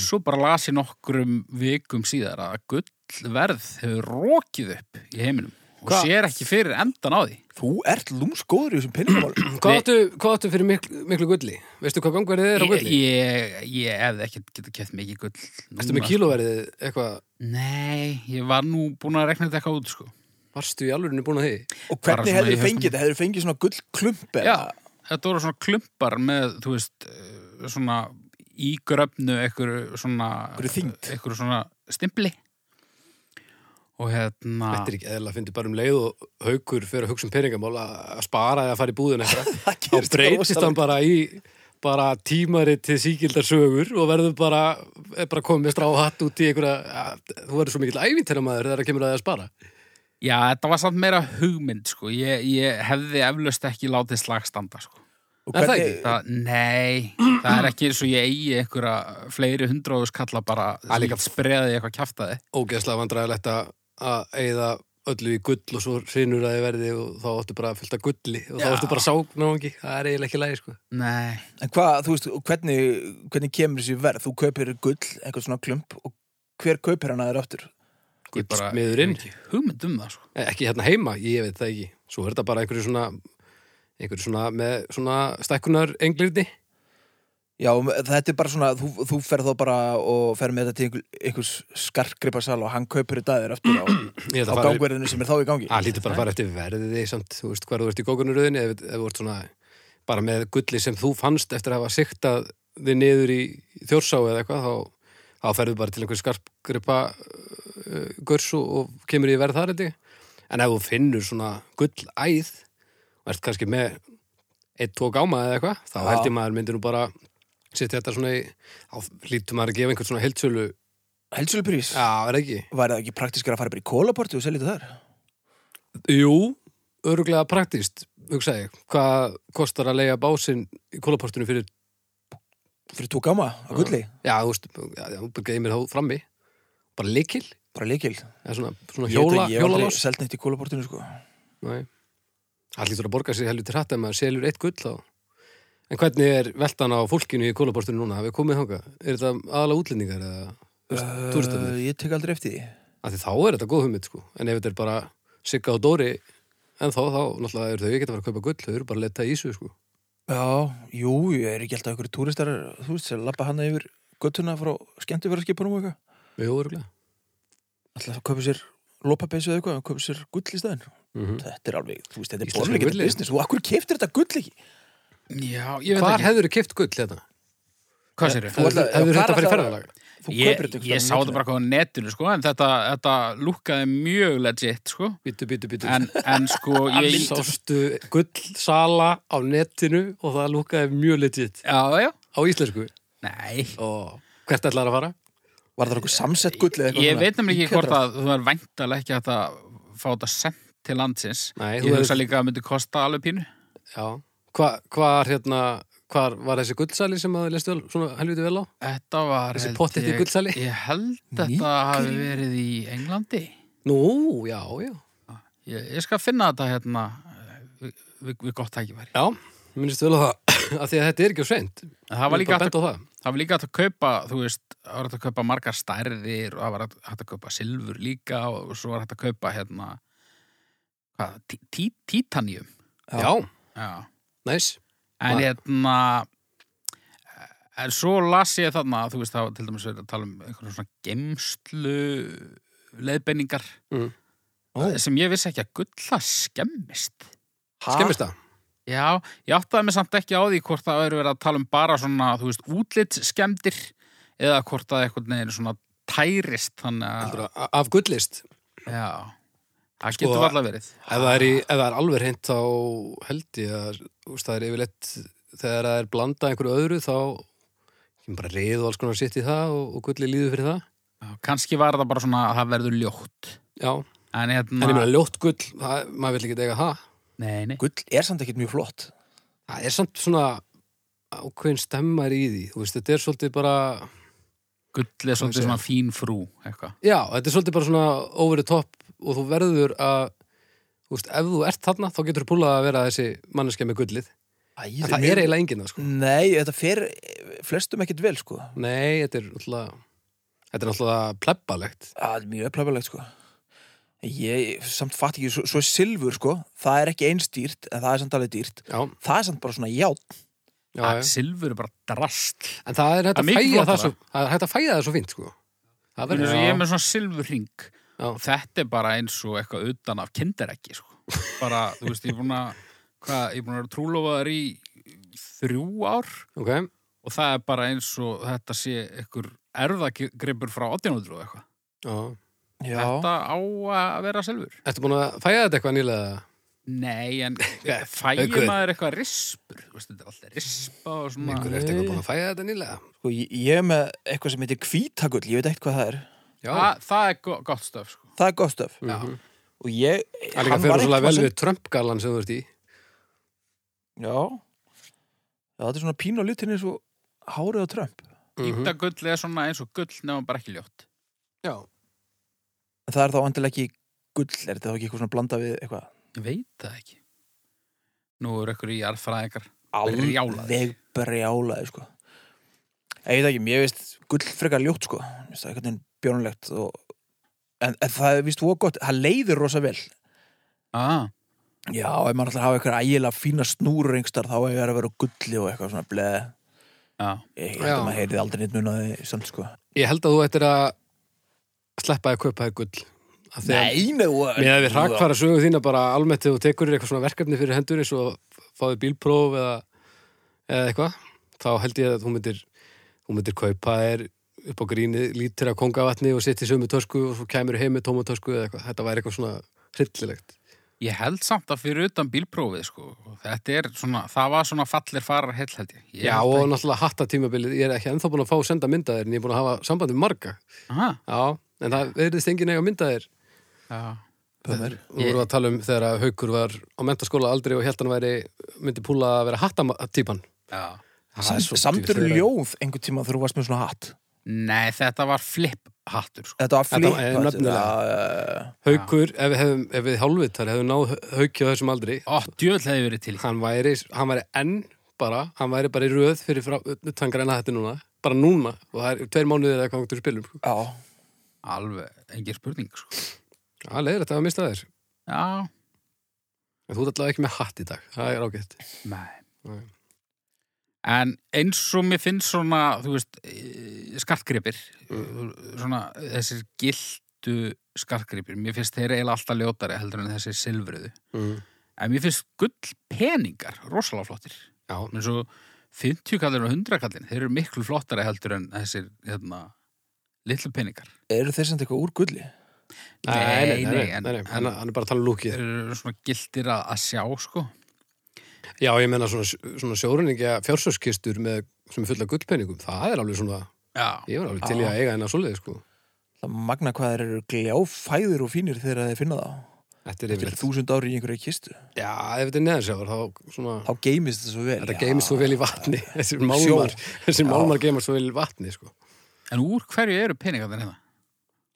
[SPEAKER 2] Svo bara las ég nokkrum vikum síðar að gullverð hefur rókið upp í heiminum. Og
[SPEAKER 3] Hva?
[SPEAKER 2] sér ekki fyrir endan á því.
[SPEAKER 1] Þú ert lúmsgóður í þessum peningamálum.
[SPEAKER 3] Hvað
[SPEAKER 2] Nei.
[SPEAKER 3] áttu, hvað áttu fyrir miklu, miklu gulli? Veistu hvað gangverðið er á
[SPEAKER 2] Ég,
[SPEAKER 3] gulli?
[SPEAKER 2] ég, ég hefði ekki getað keft mikið gull.
[SPEAKER 3] Ertu
[SPEAKER 2] núna,
[SPEAKER 3] með kílóverðið eitthvað?
[SPEAKER 2] sko. Nei, ég var nú búin að rekna þetta eitthvað út, sko.
[SPEAKER 3] Varstu í alvörinu búin að því?
[SPEAKER 1] Og
[SPEAKER 2] Bara
[SPEAKER 1] hvernig
[SPEAKER 2] svona
[SPEAKER 1] hefur
[SPEAKER 2] í
[SPEAKER 1] þið fengið þetta? Hefur þið fengið svona gullklump eða?
[SPEAKER 2] Já, þetta voru svona klumpar með, þú veist, eh, svona í gröfnu einhverju svona...
[SPEAKER 1] Einhverju þyngd.
[SPEAKER 2] einhverju svona stimpli. Og hérna...
[SPEAKER 3] Þetta er ekki eðla að fyndi bara um leið og haukur fyrir að hugsa um peningamál að að spara eða að fara í búðin eitthvað.
[SPEAKER 1] Það
[SPEAKER 3] Þá
[SPEAKER 1] gerist
[SPEAKER 3] breytist
[SPEAKER 1] rosalega.
[SPEAKER 3] hann bara í bara tímarit til síkildar sögur og verður bara, er bara komið með stráhatt út í einhverja, að, þú verður svo mikill ævintæra maður þegar það kemur að það að spara.
[SPEAKER 2] Já, þetta var samt meira hugmynd, sko. Ég, ég hefði eflaust ekki látið slagstanda, sko.
[SPEAKER 1] Og
[SPEAKER 3] Er það
[SPEAKER 1] hvernig,
[SPEAKER 2] Það, nei, það er ekki eins og ég eigi einhverja fleiri hundróðus kalla bara
[SPEAKER 3] Það er líka-
[SPEAKER 2] spreðið eitthvað kjaftaði.
[SPEAKER 3] Ógeðslega vandræðilegt að- að eigða öllu í gull og svo sinur að þið verði og þá áttu bara fullt af gulli og þá
[SPEAKER 2] Já.
[SPEAKER 3] áttu bara sáknáðungi, það er eiginlega ekki lægi sko.
[SPEAKER 2] Nei,
[SPEAKER 1] en hvað, þú veist, og hvernig, hvernig kemur þessi verð? Þú kaupir gull, eitthvað svona klump og hver kaupir hann að þér aftur?
[SPEAKER 2] ég bara
[SPEAKER 3] Gullsmiðurinn.
[SPEAKER 2] ég hef ekki hugmynd um það, sko.
[SPEAKER 3] Eh, ekki hérna heima, ég veit það ekki svo er þetta bara einhverju svona einhverju svona með svona stækkunar englirni,
[SPEAKER 1] Já, um, þetta er bara svona, þú, þú ferð þá bara og ferð með þetta til einhver, einhvers skarkripasal og hann kaupir þetta að þér aftur á,
[SPEAKER 3] Ég
[SPEAKER 1] á
[SPEAKER 3] held að fara-
[SPEAKER 1] gangverðinu sem er þá í gangi.
[SPEAKER 3] það lítur bara að fara eftir verðið samt, þú veist hvar þú ert í gókunuröðinni ef, ef þú ert svona bara með gulli sem þú fannst eftir að hafa siktað þið niður í þjórsá eða eitthvað þá, þá ferðu bara til einhver skarpgripa uh, görsu og kemur í verð þar þetta en ef þú finnur svona gullæð og ert kannski með eitt, tvo gáma eða eitthvað þá
[SPEAKER 1] Já.
[SPEAKER 3] held ég maður myndir nú bara setja þetta svona í, þá lítur maður að gefa einhvern svona heildsölu,
[SPEAKER 1] Helsölu prís,
[SPEAKER 3] já, er það ekki
[SPEAKER 1] væri það ekki praktískar að fara bara í kólaporti og selja þetta þar?
[SPEAKER 3] Jú, öruglega praktíst, hugsaði ég. Hvað kostar að leiga básinn í kólaportinu fyrir,
[SPEAKER 1] Fyrir tó gama að gulli,
[SPEAKER 3] já, þú veist, já, já, þú geymir þá frammi, bara likil,
[SPEAKER 1] bara leikil.
[SPEAKER 3] eða svona, svona
[SPEAKER 1] Ég veit
[SPEAKER 3] hjóla,
[SPEAKER 1] ekki, ég hef aldrei
[SPEAKER 3] hjólalás.
[SPEAKER 1] selt neitt í kólaportinu, sko.
[SPEAKER 3] Nei, það hlýtur að borga sér helviti hratt ef maður selur eitt gull þá En hvernig er veltan á fólkinu í kólabortinu núna? Hafið komið þangað? Er þetta aðalega útlendingar eða túristarnir?
[SPEAKER 1] Uh, ég tek aldrei eftir því.
[SPEAKER 3] Af því þá er þetta góð hugmynd sko. En ef þetta er bara Sigga og Dóri en þá, þá náttúrulega eru þau ekki að fara að kaupa gull, þau eru bara að leta í þessu sko.
[SPEAKER 1] Já, jú, ég er ekki alltaf ykkur túristar, þú veist, sem lappa hana yfir göttuna frá skemmtifæraskipunum og eitthvað.
[SPEAKER 3] Jú, örgulega.
[SPEAKER 1] Alltaf að köpa sér lopapeysu eða eitthvað, köpa sér gull í staðinn.
[SPEAKER 2] Mhm.
[SPEAKER 1] Þetta er alveg, þú veist, þetta er
[SPEAKER 3] Íslenska
[SPEAKER 1] borðleik, þetta
[SPEAKER 3] gullið.
[SPEAKER 1] er business. Og akkur keftir þetta gull ekki?
[SPEAKER 2] Já, ég veit
[SPEAKER 3] Hvar
[SPEAKER 2] ekki.
[SPEAKER 3] hefur þau keift gull hérna? þetta?
[SPEAKER 2] Hvað sér
[SPEAKER 1] Þú
[SPEAKER 2] ég?
[SPEAKER 1] ætlar- já,
[SPEAKER 3] Hefur hefur
[SPEAKER 1] hvar
[SPEAKER 3] þetta farið
[SPEAKER 1] ætlar-
[SPEAKER 3] ferðalag?
[SPEAKER 1] Þú
[SPEAKER 2] Ég,
[SPEAKER 1] kaupir þetta
[SPEAKER 2] ég sá þetta bara hvað á netinu, sko, en þetta, þetta lúkkaði mjög legit, sko.
[SPEAKER 3] Bítu, bítu, bítu.
[SPEAKER 2] En, en sko, ég...
[SPEAKER 3] Sástu gullsala á netinu og það lúkaði mjög legit
[SPEAKER 2] Já, já.
[SPEAKER 3] á íslensku.
[SPEAKER 2] Nei.
[SPEAKER 3] Og hvert ætlar að fara?
[SPEAKER 1] Var það eitthvað samsett gull eða eitthvað?
[SPEAKER 2] Ég
[SPEAKER 1] svona?
[SPEAKER 2] veit nefnilega ekki
[SPEAKER 1] Íkaldra?
[SPEAKER 2] hvort að þú er væntalega ekki hægt að fá þetta sent til landsins.
[SPEAKER 3] Nei, þú
[SPEAKER 2] ég
[SPEAKER 3] hefur-
[SPEAKER 2] hugsa líka að það myndi kosta alveg pínu.
[SPEAKER 3] Já. Hva, hvar, hérna, hvar var þessi gullsali sem að þið lestu vel, svona helviti vel á?
[SPEAKER 2] Þetta var...
[SPEAKER 3] Þessi
[SPEAKER 2] held
[SPEAKER 3] pottet í
[SPEAKER 2] ég-
[SPEAKER 3] gullsali?
[SPEAKER 2] Ég held þetta
[SPEAKER 1] Nígeríu?
[SPEAKER 2] hafi verið í Englandi.
[SPEAKER 3] Nú, já, já.
[SPEAKER 2] Ég, ég skal finna þetta hérna við, við, við gott tækifæri.
[SPEAKER 3] Já, minnist vel á það. Af því að þetta er ekki á sveint.
[SPEAKER 2] En það var líka hægt
[SPEAKER 3] bent
[SPEAKER 2] að,
[SPEAKER 3] á það.
[SPEAKER 2] það var líka hægt að kaupa, þú veist, það var hægt að kaupa margar stærðir og það var hægt- hægt að kaupa silfur líka og svo var hægt að kaupa hérna, hvað, tí, tí, titanium.
[SPEAKER 1] Já.
[SPEAKER 3] Já,
[SPEAKER 2] Já.
[SPEAKER 3] næs.
[SPEAKER 2] En
[SPEAKER 3] Nei.
[SPEAKER 2] hérna, en svo las ég þarna, þú veist, það var til dæmis verið að tala um einhverjum svona gemslu leiðbeiningar
[SPEAKER 3] Mm.
[SPEAKER 1] Ó.
[SPEAKER 2] sem ég vissi ekki að gulla skemmist.
[SPEAKER 1] Ha?
[SPEAKER 3] Skemmist það?
[SPEAKER 2] Já, ég áttaði mig samt ekki á því hvort það eru verið að tala um bara svona, þú veist, útlitt skemmdir eða hvort það eitthvað neginn svona tærist, þannig að,
[SPEAKER 3] Heldurðu að- Af gullist?
[SPEAKER 2] já, það
[SPEAKER 3] Sko,
[SPEAKER 2] getur varla verið.
[SPEAKER 3] Ef það er, í, ef það er alveg hreint þá held ég að úst, það er yfirleitt þegar það er blanda einhverju öðru þá kemur bara reið og alls konar sitt í það og, og gulli líður fyrir það.
[SPEAKER 2] Já, Kannski var það bara svona að það verður ljótt.
[SPEAKER 3] Já,
[SPEAKER 2] En
[SPEAKER 3] en
[SPEAKER 2] hérna,
[SPEAKER 3] ég meina ljótt gull, það, maður vil ekki eiga það.
[SPEAKER 2] nei, nei.
[SPEAKER 1] Gull er samt ekkert mjög flott.
[SPEAKER 3] Það er samt svona ákveðin stemmar í því, þú veist, þetta er svolítið bara,
[SPEAKER 2] gull er svolítið
[SPEAKER 3] segja?
[SPEAKER 2] svona fín frú eitthvað.
[SPEAKER 3] já, þetta er svolítið bara svona over the top og þú verður að, þú veist, ef þú ert þarna þá getur þú púlað að vera þessi manneskja með gullið.
[SPEAKER 1] Æ,
[SPEAKER 3] En það er eiginlega enginn það, sko.
[SPEAKER 1] Nei, þetta fer eh, flestum ekkert vel, sko.
[SPEAKER 3] Nei, þetta er alltaf, þetta er alltaf plebbalegt.
[SPEAKER 1] Það er mjög plöfulegt sko Ég samt fatt ekki, svo, svo er silfur sko Það er ekki eins dýrt, en það er samt alveg dýrt
[SPEAKER 3] Já,
[SPEAKER 1] Það er samt bara svona játn
[SPEAKER 3] já,
[SPEAKER 2] Að
[SPEAKER 3] já.
[SPEAKER 2] Silfur er bara drast.
[SPEAKER 3] En það er hægt
[SPEAKER 2] Það er
[SPEAKER 3] að
[SPEAKER 2] mikið
[SPEAKER 3] fæja
[SPEAKER 2] flottara.
[SPEAKER 3] það svo, það er hægt að fæja það svo fínt, sko. Það
[SPEAKER 2] Ég
[SPEAKER 3] verður
[SPEAKER 2] er með svona silfurring.
[SPEAKER 3] Já.
[SPEAKER 2] Og þetta er bara eins og eitthvað utan af kindereggi, sko. Bara, þú veist, ég er búin að, hvað, ég er búin að vera trúlofaðar í þrjú ár
[SPEAKER 3] Ok,
[SPEAKER 2] og það er bara eins og þetta sé einhver erðagripur frá 1800 og eitthvað.
[SPEAKER 3] já.
[SPEAKER 1] Já,
[SPEAKER 2] Þetta á að vera silfur.
[SPEAKER 3] Ertu búin að fæja þetta eitthvað nýlega?
[SPEAKER 2] Nei, en fæði
[SPEAKER 3] Haukur.
[SPEAKER 2] maður eitthvað rispur, þú veist, þetta er alltaf rispa og svona.
[SPEAKER 3] Einhver ertu eitthvað búin að fæja þetta nýlega?
[SPEAKER 1] sko, ég, ég er með eitthvað sem heitir kvítagull Ég veit ekkert hvað það er
[SPEAKER 3] Já.
[SPEAKER 2] Þa, það er go- gott stöf, sko.
[SPEAKER 1] Það er gott stöf
[SPEAKER 2] Já.
[SPEAKER 1] Og ég,
[SPEAKER 3] Mhm. Það er líka fyrir svolítið vel við Trump-galan sem þú ert í.
[SPEAKER 1] Já Já, þetta er svona pínu á litinni svo Hárið á Trump
[SPEAKER 3] Mhm.
[SPEAKER 2] Ítagull er svona eins og gull nefnum bara ekki ljótt.
[SPEAKER 3] Já.
[SPEAKER 1] En það er þá andilega ekki gull Er þetta þá ekki eitthvað svona blanda við eitthvað
[SPEAKER 2] Ég veit það ekki. Nú eru ykkur í jarðfræðingar.
[SPEAKER 1] Alveg brjálaði sko Ég veit ekki, mér veist gull frekar ljótt sko Mér finnst það eitthvað bjónulegt og... en, en það er vist og gott, það leiðir rosa vel
[SPEAKER 2] Ah,
[SPEAKER 1] Já, ef maður ætlar að hafa eitthvað ægilega fína snúrur yngstar þá hefur það að vera á gulli og eitthvað svona bleð
[SPEAKER 2] já.
[SPEAKER 1] Ég held að
[SPEAKER 3] Já.
[SPEAKER 1] maður heyrið aldrei neitt munaði samt sko
[SPEAKER 3] Ég held að þú ættir að sleppa að kaupa þér gull. Af því að-
[SPEAKER 1] nei
[SPEAKER 3] Með að við rakfara sögu þína bara almennt þegar þú tekur þér eitthvað svona verkefni fyrir hendur eins og að fáðu bílpróf eða, eða eitthvað, þá held ég að þú myndir, þú myndir kaupa þér upp á gríni lítir af kongavatni og setja í sömu tösku og svo kæmur heim með tóma tösku eða eitthvað. Þetta væri eitthvað svona hryllilegt.
[SPEAKER 2] Ég held samt að fyrir utan bílprófið, sko. og Þetta er svona, það var svona fallir farar heill held ég. ég
[SPEAKER 3] Já, og náttúrulega hatta tímabilið. Ég er ekki ennþá búin að fá að senda myndaðir en ég er búin að hafa sambandi með marga.
[SPEAKER 2] Aha,
[SPEAKER 3] Já, en það verðist enginn eiga myndaðir.
[SPEAKER 2] já.
[SPEAKER 1] Pömer
[SPEAKER 3] Þú voru að tala um þegar að Haukur var á mentaskóla aldrei og held hann væri, myndi púla að vera hattatípan.
[SPEAKER 2] já.
[SPEAKER 3] Það er svo djúpt
[SPEAKER 1] Samt eru
[SPEAKER 3] þegar-
[SPEAKER 1] ljóð einhvern tíma þegar þú varst með svona hatt
[SPEAKER 2] Nei, þetta var flip-hattur, sko.
[SPEAKER 1] Þetta var
[SPEAKER 3] Þetta
[SPEAKER 1] flip
[SPEAKER 3] var- eh,
[SPEAKER 1] nefnilega
[SPEAKER 3] Haukur, ef við, hefum, ef við hálfvitar hefum náð Hauki á þessum aldri,
[SPEAKER 2] Ó, djöðl hefði verið til. í.
[SPEAKER 3] hann væri, hann væri enn bara, hann væri bara í röð fyrir frá, utan græna þetta núna, bara núna og það er tveir mánuðir eða hvað þú spilum sko.
[SPEAKER 1] Já,
[SPEAKER 2] Alveg, engin spurning, sko.
[SPEAKER 3] Það leður þetta að mista þér
[SPEAKER 2] Já,
[SPEAKER 3] En þú ert allavega ekki með hatt í dag, það er ágætt
[SPEAKER 2] nei.
[SPEAKER 3] Nei.
[SPEAKER 2] En eins og mér finnst svona, þú veist, eh, skartgripir, eh, svona þessir gildu skartgripir, mér finnst þeir eiginlega alltaf ljótari heldur en þessir silfriðu.
[SPEAKER 3] mm.
[SPEAKER 2] En mér finnst gull peningar rosalega flottir.
[SPEAKER 3] Já,
[SPEAKER 2] eins og 50 kallir og 100 kallir þeir eru miklu flottari heldur en þessir hérna, litlu peningar
[SPEAKER 1] eru þeir sem eitthvað úr gulli?
[SPEAKER 2] Nei, nei, en-
[SPEAKER 3] nei, nei. Hann, hann er bara að tala um lúkið
[SPEAKER 2] þeir eru svona gildir að, að sjá sko
[SPEAKER 3] Já, ég meina svona, svona sjóruningja fjársöskistur með, sem er fulla gullpenningum það er alveg svona,
[SPEAKER 2] já,
[SPEAKER 3] ég var alveg til í að eiga hennar svoleiði sko.
[SPEAKER 1] Það magna hvað þeir eru gljáfæður og fínir þegar þeir finna það.
[SPEAKER 3] Þetta er
[SPEAKER 1] Þetta er
[SPEAKER 3] yfirleitt
[SPEAKER 1] þúsund ári í einhverja kistu.
[SPEAKER 3] Já, ef þetta er neðansjáður þá svona,
[SPEAKER 1] Þá geymist þetta svo vel.
[SPEAKER 3] þetta
[SPEAKER 1] Já.
[SPEAKER 3] geymist svo vel í vatni þessir málmar, þessir málmar geymast svo vel í vatni sko.
[SPEAKER 2] en úr hverju eru peningarnir hérna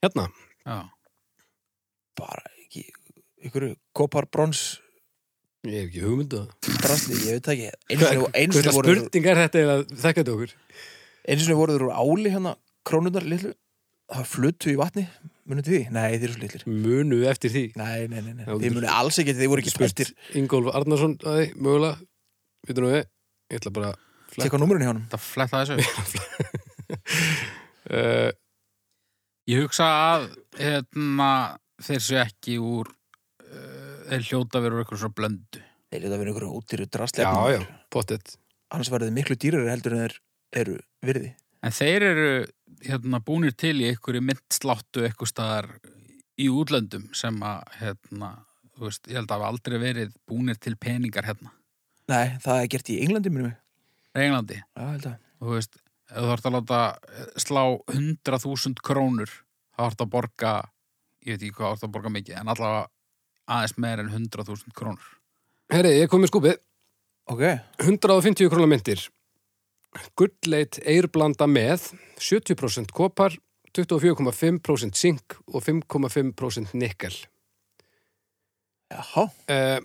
[SPEAKER 3] Hérna,
[SPEAKER 2] já,
[SPEAKER 1] Bara ekki, einhverju kopar, brons,
[SPEAKER 3] ég hef ekki hugmyndu
[SPEAKER 1] drasli, ég veit það ekki. Einu sinni- Einu
[SPEAKER 3] Hvers
[SPEAKER 1] sinni
[SPEAKER 3] að
[SPEAKER 1] voru þeir-
[SPEAKER 3] spurning er þetta eða þekkja þetta okkur
[SPEAKER 1] einu sinni voru þeir úr áli hérna, krónunar litlu, það flutu í vatni, munið því? Nei, þeir eru svo litlir.
[SPEAKER 3] munu eftir því
[SPEAKER 1] Nei, nei, nei, nei.
[SPEAKER 3] Já, þú
[SPEAKER 1] Þið
[SPEAKER 3] getur-
[SPEAKER 1] munið alls ekki, þið voru ekki spurtir.
[SPEAKER 3] Ingólf Arnarsson, aði, mögulega Við nú við, ég ætla bara Fletta.
[SPEAKER 1] Tekka númurinn hjá honum.
[SPEAKER 2] það fletta þessu upp.
[SPEAKER 3] uh,
[SPEAKER 2] ég hugsa að hérna, þeir séu ekki úr uh, þeir hljóta verið eitthvað svona blöndu
[SPEAKER 1] Þeir eru að vera einhverju ódýru drasli.
[SPEAKER 3] Já, já, pottet
[SPEAKER 1] Annars verður þið miklu dýrari heldur en þeir eru virði.
[SPEAKER 2] en þeir eru hérna, búnir til í einhverju myndsláttu eitthvað staðar í útlöndum sem að hérna, þú veist, ég held að hafa aldrei verið búnir til peningar hérna
[SPEAKER 1] Nei, það er gert í Englandi minnum mig.
[SPEAKER 2] Englandi,
[SPEAKER 1] Já, held að.
[SPEAKER 2] þú veist ef þú þarft að láta eh, slá 100.000 krónur þá þarft að borga ég veit ekki hvað þarft að borga mikið en allavega aðeins meir en 100.000 krónur
[SPEAKER 3] Herri, ég kom í skúpið
[SPEAKER 1] Ok,
[SPEAKER 3] 150 krónar myndir Gullleit eirblanda með 70% kopar 24,5% sink og 5,5% nikkel
[SPEAKER 1] já,
[SPEAKER 3] uh,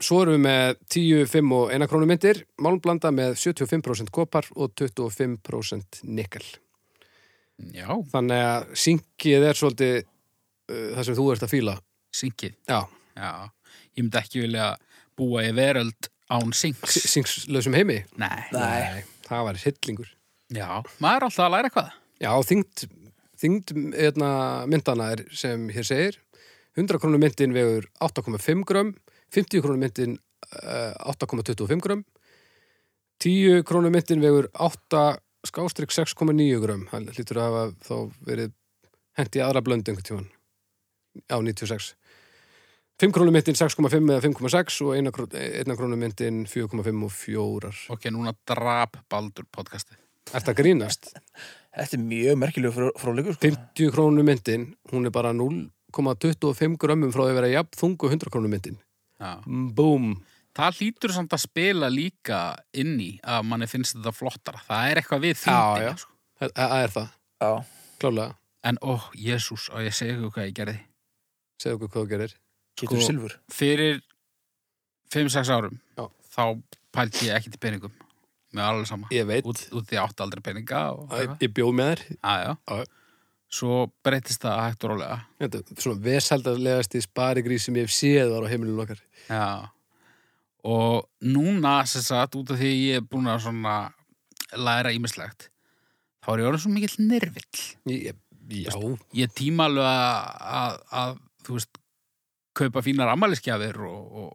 [SPEAKER 3] Svo erum við með 10, 5 og 1 krónu myndir Málmblanda með 75% kopar og 25% nikkel
[SPEAKER 2] já,
[SPEAKER 3] Þannig að sinkið er svolítið uh, það sem þú ert að fíla
[SPEAKER 2] syngið
[SPEAKER 3] Já,
[SPEAKER 2] já, ég myndi ekki vilja búa í veröld án syngs
[SPEAKER 3] sinkslausum heimi
[SPEAKER 2] nei,
[SPEAKER 1] Nei.
[SPEAKER 3] það var hillingur
[SPEAKER 2] já, maður er alltaf að læra eitthvað
[SPEAKER 3] Já, þyngd, þyngd eitna, myndana er sem hér segir 100 krónu myndin vegur 8,5 grömm 50 krónu myndin uh, 8,25 grömm 10 krónu myndin vegur 8 skástrík 6,9 grömm hann lítur að hafa þá verið hent í aðra blönd einhvern tíman á 96 5 krónu myndin 6,5 eða 5,6 og 1 krónu, 1 krónu myndin 4,5 og 4
[SPEAKER 2] ok, núna drap Baldur podcastið
[SPEAKER 3] Ert að grínast?
[SPEAKER 1] þetta er mjög merkilegu fró, fróðleikur. Sko.
[SPEAKER 3] 50 krónu myndin, hún er bara 0,25 grömmum frá því að vera jafn þungu 100 krónu myndin.
[SPEAKER 2] já.
[SPEAKER 3] Búm.
[SPEAKER 2] það hlýtur samt að spila líka inn í að manni finnst þetta flottara það er eitthvað við
[SPEAKER 3] Já, já.
[SPEAKER 2] þýndina sko.
[SPEAKER 3] Það það er það,
[SPEAKER 1] Já,
[SPEAKER 3] klálega.
[SPEAKER 2] en ó, jésús, og ég segi ykkur hvað ég gerði
[SPEAKER 3] Segðu okkur hvað þú gerir.
[SPEAKER 1] getur
[SPEAKER 2] Sko-
[SPEAKER 1] silfur.
[SPEAKER 2] fyrir 5-6 árum
[SPEAKER 3] Já.
[SPEAKER 2] þá pælti ég ekki til peningum með alveg sama
[SPEAKER 3] Ég veit.
[SPEAKER 2] út, út því átt aldrei peninga og,
[SPEAKER 3] Æ, Ég bjó með þær.
[SPEAKER 2] að,
[SPEAKER 3] Já.
[SPEAKER 2] svo breytist það hægt og rólega
[SPEAKER 3] Þetta er svona vesaldarlegasti sparigrís sem ég hef séð var á heimilinu okkar.
[SPEAKER 2] já. og núna sem sagt út af því ég er búin að svona læra ímislegt þá er ég orðin svo mikill nirvill
[SPEAKER 3] Ég, já.
[SPEAKER 2] ég tíma alveg að, að, að þú veist kaupa fínar ammæliskjafir og, og,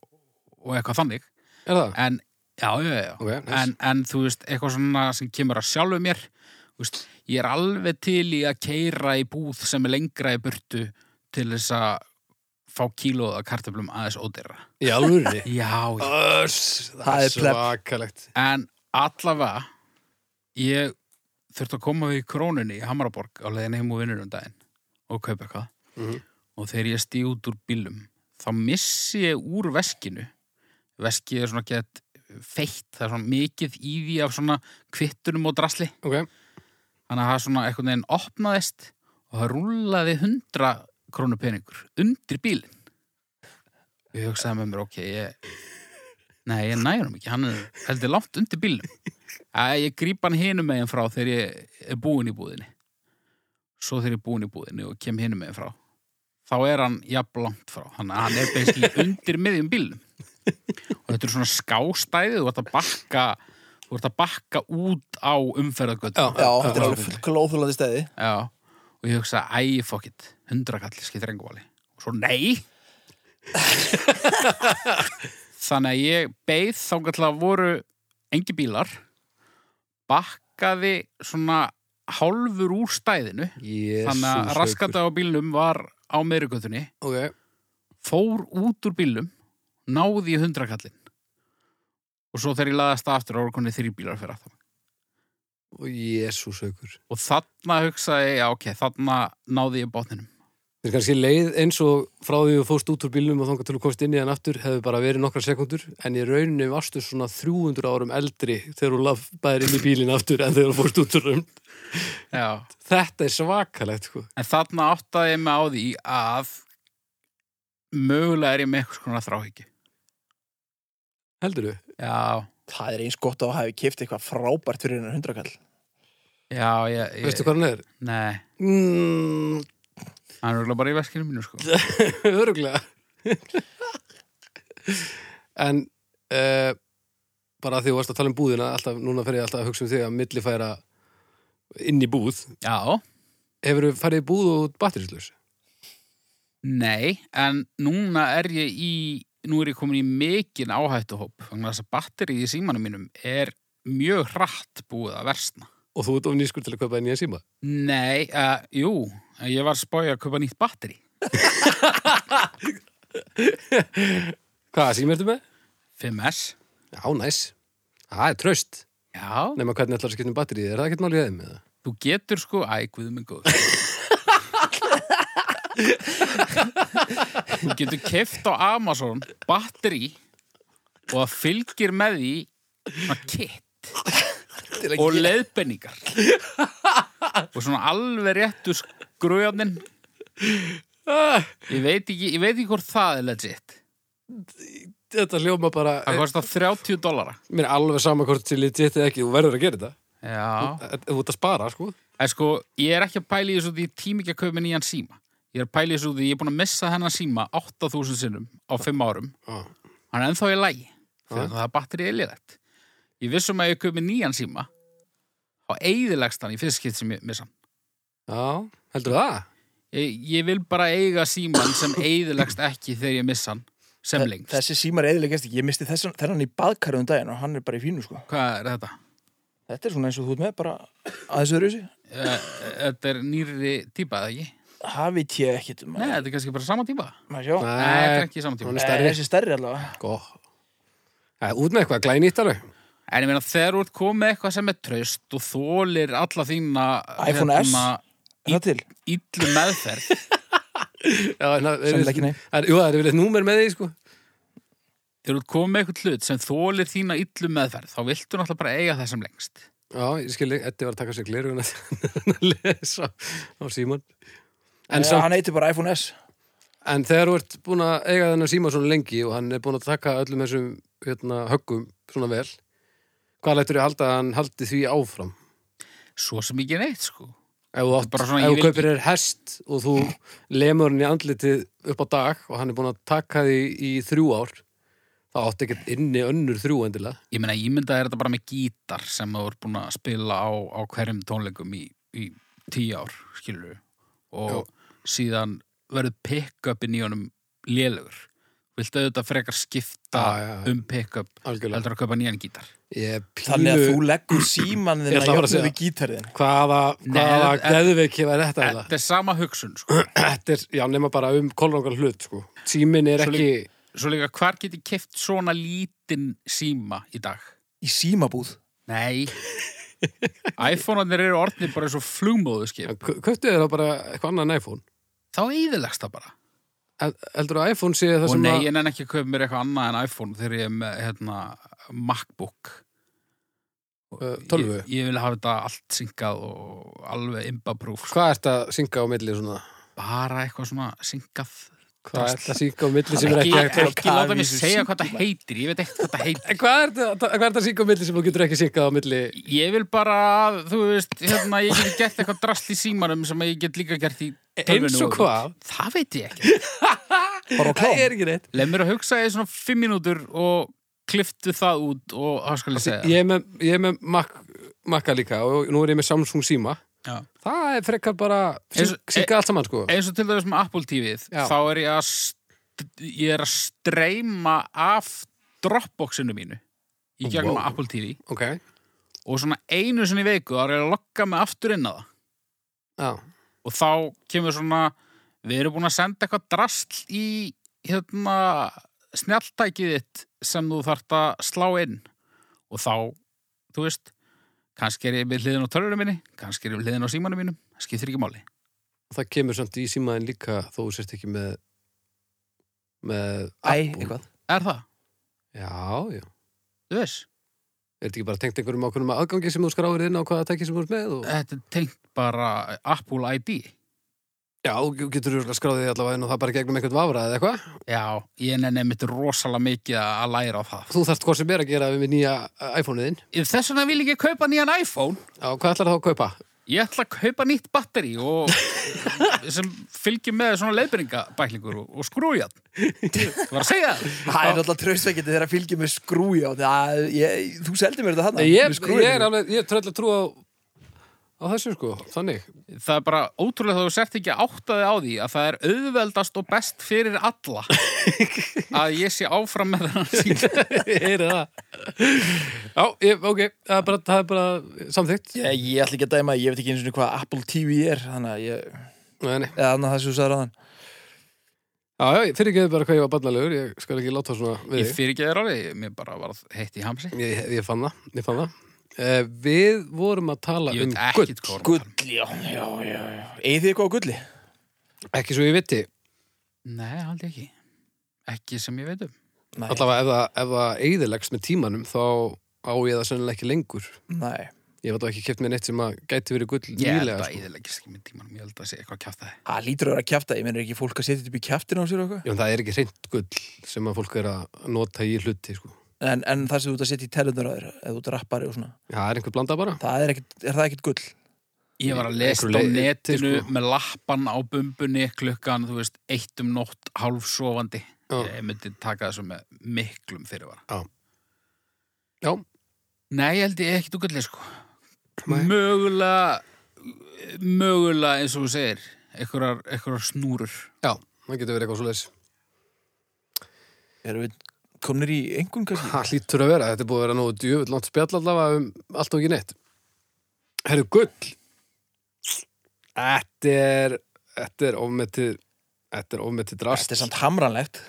[SPEAKER 2] og eitthvað þannig
[SPEAKER 3] Er það?
[SPEAKER 2] en já, já, já, já.
[SPEAKER 3] Ok, nice.
[SPEAKER 2] en, en þú veist, eitthvað svona sem kemur að sjálfu mér þú veist, ég er alveg til í að keira í búð sem er lengra í burtu til þess að fá kílóða kartöflum aðeins ódýra
[SPEAKER 3] Í alvörinni.
[SPEAKER 2] já, já.
[SPEAKER 3] Öss,
[SPEAKER 1] Það
[SPEAKER 3] það
[SPEAKER 1] er
[SPEAKER 3] er
[SPEAKER 1] pleb.
[SPEAKER 3] svakalegt.
[SPEAKER 2] en allavega ég þurfti að koma við í krónunni í Hamaraborg á leiðin heim og vinnur um daginn og kaupa eitthvað
[SPEAKER 3] Mhm.
[SPEAKER 2] og þegar ég stíð út úr bílum þá missi ég úr veskinu veskið er svona gett feitt, það er svona mikið í því af svona kvittunum og drasli
[SPEAKER 3] Ok,
[SPEAKER 2] þannig að það svona einhvern veginn opnaðist og það rúlaði 100 krónu peningur undir bílinn ég hugsaði með mér, ok, ég Nei, ég næra hann ekki, hann er heldur langt undir bílnum. Æ, ég gríp hann hinum megin frá þegar ég er búinn í búðinni. Svo þegar ég er búinn í búðinni og kem hinum megin frá. Þá er hann jafn langt frá, þannig að hann er basically undir miðjum bílnum. Og þetta er svona skástæði, þú ert að bakka, þú ert að bakka út á umferðagötu.
[SPEAKER 1] Já, þetta er alveg glóðfólandi stæði
[SPEAKER 2] Já, og ég hugsa, æ, fuck it, hundrakall, skiptir engu vali. Og svo, nei! Þannig að ég beið þangað til að voru engi bílar, bakkaði svona hálfur úr stæðinu,
[SPEAKER 3] Jesús
[SPEAKER 2] þannig að
[SPEAKER 3] haukur.
[SPEAKER 2] raskata á bílnum var á meirugötunni,
[SPEAKER 3] Ok,
[SPEAKER 2] fór út úr bílnum, náði í hundrakallin. Og svo þegar ég laðast aftur ára konni þrý bílar fyrir aftan.
[SPEAKER 3] og Jésús aukur
[SPEAKER 2] Og þarna hugsaði, ég, já, ok, þarna náði ég bátninum.
[SPEAKER 3] Þetta er kannski leið eins og frá því þú fórst út úr bílnum og þangað til þú komst inn í hann aftur hefur bara verið nokkra sekundur en í rauninni varstu svona 300 árum eldri þegar þú lafbaðir inn í bílinn aftur en þegar þú fórst út úr um
[SPEAKER 2] Já.
[SPEAKER 3] Þetta er svakalegt sko
[SPEAKER 2] En þarna áttaði ég mig á því að mögulega er ég með eitthvað svona þráhyggju.
[SPEAKER 3] Heldur þú?
[SPEAKER 2] Já,
[SPEAKER 1] Það er eins gott að það hafi kipt eitthvað frábært fyrir hennar hundrakall
[SPEAKER 2] já, ég... ég
[SPEAKER 3] Veistu hvað hann er?
[SPEAKER 2] Nei,
[SPEAKER 3] Mm,
[SPEAKER 2] hann er örugglega bara í veskinu mínu, sko.
[SPEAKER 3] Öruglega En uh, bara því þú varst að tala um búðina alltaf, núna fer ég alltaf að hugsa um þig að millifæra inn í búð
[SPEAKER 2] Já,
[SPEAKER 3] Hefur þú farið í búð og batterislaus?
[SPEAKER 2] nei, en núna er ég í... Nú er ég komin í mikinn áhættuhóp. Þannig að þess að batterið í símanum mínum er mjög hratt búið að versna.
[SPEAKER 3] Og þú ert of nýskur til að kaupa nýja síma
[SPEAKER 2] Nei, uh, jú, ég var spóið að kaupa nýtt batteri.
[SPEAKER 3] Hvað síma ertu með?
[SPEAKER 2] 5S.
[SPEAKER 3] Já, næs Það er traust
[SPEAKER 2] Já,
[SPEAKER 3] Nefna hvernig ætlar að skipta um batterið, er það ekkert mál í þeim? eða?
[SPEAKER 2] þú getur sko... Æ, guðum en góð. Þú getur keft á Amazon batteri og það fylgir með því svona kit og leiðbenningar og svona alveg réttu skröðnin ég veit ekki, ég veit ekki hvort það er legit
[SPEAKER 3] Þetta hljóma bara
[SPEAKER 2] það kostar 30 dollara
[SPEAKER 3] Mér er alveg sama hvort til ég getið ekki, þú verður að gera þetta
[SPEAKER 2] já,
[SPEAKER 3] Þú- Þú ert að spara, sko
[SPEAKER 2] en sko, ég er ekki að pæla í þessu því ég tími ekki að kaupa mér nýjan síma ég er að pæla í þessu því ég er búin að missa hennan síma 8000 sinnum á 5 árum
[SPEAKER 3] Já.
[SPEAKER 2] hann er ennþá í lægi þegar það er batterið eilíðætt ég vissum að ég köp með nýjan síma á eigðilegst hann í fyrst skipt sem ég missa hann
[SPEAKER 3] Já, heldur það?
[SPEAKER 2] ég, ég vil bara eiga síman sem eigðilegst ekki þegar ég missa hann
[SPEAKER 3] um
[SPEAKER 2] sem lengst
[SPEAKER 1] Þessi símar eðilegast ekki, ég misti þessan, þennan í baðkarðum daginn og hann er bara í fínu sko
[SPEAKER 2] hvað er þetta?
[SPEAKER 1] Þetta er svona eins og þú ert með bara aðeins öðru þessi
[SPEAKER 2] Eh, þetta er nýrri típa eða ekki?
[SPEAKER 1] Það veit ég ekkit um
[SPEAKER 2] Nei, þetta er kannski bara sama típa
[SPEAKER 1] maður sjá
[SPEAKER 2] Nei, þetta er ekki sama típa
[SPEAKER 3] hún
[SPEAKER 1] Nei,
[SPEAKER 3] stærri.
[SPEAKER 1] Þessi stærri allavega
[SPEAKER 3] Góð. Það er út með eitthvað glænýtt alveg.
[SPEAKER 2] En ég meina þegar þú ert komið eitthvað sem er traust og þólir alla þína hérna,
[SPEAKER 1] iPhone S? Er það til?
[SPEAKER 2] illu meðferð
[SPEAKER 3] Já, en það
[SPEAKER 1] Sennilega ekki, nei.
[SPEAKER 3] Það er, jú, það er yfirleitt númer með því, sko.
[SPEAKER 2] þegar þú ert komið eitthvað hlut sem þólir þína illu meðferð þá viltu náttúrulega bara eiga það sem lengst
[SPEAKER 3] Já, ég skil, Eddi var að taka sér gleruguna að lesa á síman. En,
[SPEAKER 1] Nei,
[SPEAKER 3] samt,
[SPEAKER 1] Hann heitir bara iPhone S
[SPEAKER 3] en þegar þú ert búin að eiga þennan síma svona lengi og hann er búin að taka öllum þessum hérna, höggum svona vel, hvað lættur ég halda að hann haldi því áfram?
[SPEAKER 2] svo sem ekki neitt sko
[SPEAKER 3] Ef þú, átt,
[SPEAKER 2] Bara svona,
[SPEAKER 3] ef
[SPEAKER 2] ég
[SPEAKER 3] þú
[SPEAKER 2] vil
[SPEAKER 3] kaupir þér hest og þú lemur hann í andlitið upp á dag og hann er búin að taka því í þrjú ár, þá átti ekkert inni önnur þrjú endilega.
[SPEAKER 2] Ég meina, ég mynda er þetta bara með gítar sem þú ert búin að spila á, á hverjum tónleikum í, í tíu ár, skilur og síðan verður pick-upin í honum lélugur Viltu auðvitað frekar skipta
[SPEAKER 3] Já, já, já.
[SPEAKER 2] um pick-up
[SPEAKER 3] Algjörlega.
[SPEAKER 2] heldur að kaupa nýjan gítar
[SPEAKER 3] Ég er pínu...
[SPEAKER 1] Þannig að þú leggur síman
[SPEAKER 3] Ég
[SPEAKER 1] þinn
[SPEAKER 3] ætla
[SPEAKER 1] að
[SPEAKER 3] bara að
[SPEAKER 1] jöfnu
[SPEAKER 3] segja.
[SPEAKER 1] við gítarðin
[SPEAKER 3] Hvaða, hvaða
[SPEAKER 2] en-
[SPEAKER 3] geðveiki var þetta eða?
[SPEAKER 2] Þetta er sama hugsun, sko
[SPEAKER 3] Þetta er, já, nema bara um kolrangar hlut, sko. Tíminn er
[SPEAKER 2] Svo
[SPEAKER 3] ekki...
[SPEAKER 2] Svo líka, hvar get ég keft svona lítinn síma í dag?
[SPEAKER 1] Í símabúð
[SPEAKER 2] Nei iPhone-anir eru orðnir bara eins og flugmóðuskip
[SPEAKER 3] Köptu þér þá bara eitthvað annað en iPhone?
[SPEAKER 2] Þá eðilegst það bara
[SPEAKER 3] Hel- Heldur að iPhone sé það
[SPEAKER 2] og
[SPEAKER 3] sem
[SPEAKER 2] nei,
[SPEAKER 3] að...
[SPEAKER 2] ég nenni ekki að kaupa mér eitthvað annað en iPhone þegar ég er með hérna, MacBook
[SPEAKER 3] Uh, tölvu?
[SPEAKER 2] Ég, ég vil hafa þetta allt syngað og alveg imbaproof sko.
[SPEAKER 3] Hvað ert að synga á milli svona?
[SPEAKER 2] bara eitthvað svona syngað
[SPEAKER 3] Hvað er þetta sík á milli sem er
[SPEAKER 2] Ekki,
[SPEAKER 3] ekki hægt að- um
[SPEAKER 2] ekki láta mig
[SPEAKER 1] Kavísu
[SPEAKER 2] segja hvað það
[SPEAKER 1] síkima.
[SPEAKER 2] heitir, ég veit ekkert hvað það heitir.
[SPEAKER 3] En Hvað er þetta- hvað er þetta sík á milli sem þú getur ekki síkað á milli?
[SPEAKER 2] Ég vil bara, þú veist, hérna, ég get gert eitthvað drast í símanum sem ég get líka gert í tölvunni.
[SPEAKER 3] E, Eins og hvað?
[SPEAKER 2] Það veit ég ekki.
[SPEAKER 1] Bara á klám.
[SPEAKER 3] Það er ekki neitt.
[SPEAKER 2] Leð mér að hugsa í svona fimm mínútur og kliftu það út og það skal ég segja.
[SPEAKER 3] Ég er með, ég er með Mac, Maca líka og nú er ég með Samsung síma.
[SPEAKER 2] Já.
[SPEAKER 3] Það er frekar bara
[SPEAKER 2] Eins og-
[SPEAKER 3] síka allt saman sko.
[SPEAKER 2] Eins og til dæmis með Apple TV-ið,
[SPEAKER 3] Já.
[SPEAKER 2] þá er ég að, st- ég er að streyma af Dropboxinu mínu í gegnum
[SPEAKER 3] Wow.
[SPEAKER 2] Apple TV
[SPEAKER 3] Ok,
[SPEAKER 2] og svona einu sinni í viku þá er ég að lokka mig aftur inn að það.
[SPEAKER 3] já.
[SPEAKER 2] og þá kemur svona við erum búin að senda eitthvað drasl í hérna snjalltækið þitt sem þú þarft að slá inn og þá, þú veist kannski er ég með hliðin á törrunum minni kannski er ég með hliðin á símanum mínum, það skiptir ekki máli
[SPEAKER 3] Það kemur samt í símaðin líka þó þú sért ekki með með
[SPEAKER 1] Æ,
[SPEAKER 3] Apple.
[SPEAKER 1] eitthvað.
[SPEAKER 2] er það,
[SPEAKER 3] Já, já.
[SPEAKER 2] þú veist
[SPEAKER 3] Er þetta ekki bara tengt einhverjum ákveðnum aðgangi sem þú skráir inn á hvaða tæki sem þú ert með? Og...
[SPEAKER 2] þetta er tengt bara Apple ID
[SPEAKER 3] Já, þú getur örugglega skráð þig allavega inn og það bara gegnum einhvern vafra eða eitthvað.
[SPEAKER 2] já, ég nenni mitt rosalega mikið að læra á það
[SPEAKER 3] Þú þarft hvað sem er að gera við nýja uh, iPhone-ið þinn.
[SPEAKER 2] þess vegna vil ég ekki kaupa nýjan iPhone
[SPEAKER 3] Já, hvað ætlar þá að kaupa?
[SPEAKER 2] Ég ætla að kaupa nýtt batteri og sem fylgjum með svona leiðbyrningabæklingur og, og skrújan. Ég var að segja það.
[SPEAKER 1] Það er alltaf tröstvekjandi þegar að fylgja með skrúi á það, ég, þú seldi mér þetta hann
[SPEAKER 3] Nei, ég, ég er alveg, ég tröll að trúa á, á þessu sko, þannig.
[SPEAKER 2] Það er bara ótrúlega þá þú sért ekki að átta þig á því að það er auðveldast og best fyrir alla að ég sé áfram með þennan sín.
[SPEAKER 3] Ég heyri það. Já, ég, ok, það er bara, það er bara samþygt.
[SPEAKER 1] Ég, ég ætla ekki að dæma, ég veit ekki eins og hvað Apple TV er, þannig að ég,
[SPEAKER 3] Nei, nei.
[SPEAKER 1] eða annað það sem þú sagði ráðan.
[SPEAKER 3] Já, já, fyrir ekki bara hvað ég var barnalegur, ég skal ekki láta svona við
[SPEAKER 2] Ég
[SPEAKER 3] þig.
[SPEAKER 2] fyrir ekki þér alveg, mér bara var heitt í hamsi.
[SPEAKER 3] Ég, ég fann það, ég fann það. Uh, við vorum að tala
[SPEAKER 2] Ég
[SPEAKER 3] um
[SPEAKER 2] veit ekkert hvað vorum
[SPEAKER 3] gull,
[SPEAKER 2] að tala um.
[SPEAKER 1] Gull, já, já, já, já. Eða þið eitthvað á gulli?
[SPEAKER 2] sko.
[SPEAKER 3] ekki svo ég viti,
[SPEAKER 2] Nei, haldið ekki. Ekki sem ég veit um.
[SPEAKER 1] Nei,
[SPEAKER 3] allavega ef það, ef það eigðilegst með tímanum, þá á ég það sennilega ekki lengur.
[SPEAKER 1] nei.
[SPEAKER 3] Ég var þá ekki keft með neitt sem að gæti verið gull
[SPEAKER 2] Ég held
[SPEAKER 3] nýlega,
[SPEAKER 2] að
[SPEAKER 3] sko.
[SPEAKER 2] íðilegist ekki með tímanum, ég held að sé eitthvað kjátt það.
[SPEAKER 1] Það lítur að vera að kjafta, ég menur ekki fólk að setja þetta upp í kjaftin á sér og eitthvað.
[SPEAKER 3] Já, en það er ekki hreint gull sem að fólk er að nota í hluti, sko.
[SPEAKER 1] En, en það sem þú ert að setja í tellunar á þér, eða þú ert rappari og svona,
[SPEAKER 3] Já, það er einhver blanda bara.
[SPEAKER 1] það er, ekkit, er það ekkit gull?
[SPEAKER 2] Ég var að lesa á
[SPEAKER 3] Einhverju leyti,
[SPEAKER 2] netinu
[SPEAKER 3] sko.
[SPEAKER 2] með lappan á bumbunni klukkan, þú veist, eitt um nótt hálfsofandi.
[SPEAKER 3] Já.
[SPEAKER 2] Ég myndi taka þessu með miklum fyrirvara.
[SPEAKER 3] Já,
[SPEAKER 2] Nei, ég held ég ekki dugallega, sko.
[SPEAKER 3] Nei.
[SPEAKER 2] Mögulega, mögulega eins og þú segir, einhverjar, einhverjar snúrur.
[SPEAKER 3] já, það getur verið eitthvað svo leis.
[SPEAKER 1] Erum við komnir í engun kannski?
[SPEAKER 3] Það hlýtur að vera, þetta er búið að vera nógu djöfull langt spjall allavega um allt og ekki neitt. Herru, gull. Þetta er, þetta er ofmetið, þetta er ofmetið drast.
[SPEAKER 1] Þetta er samt hamranlegt.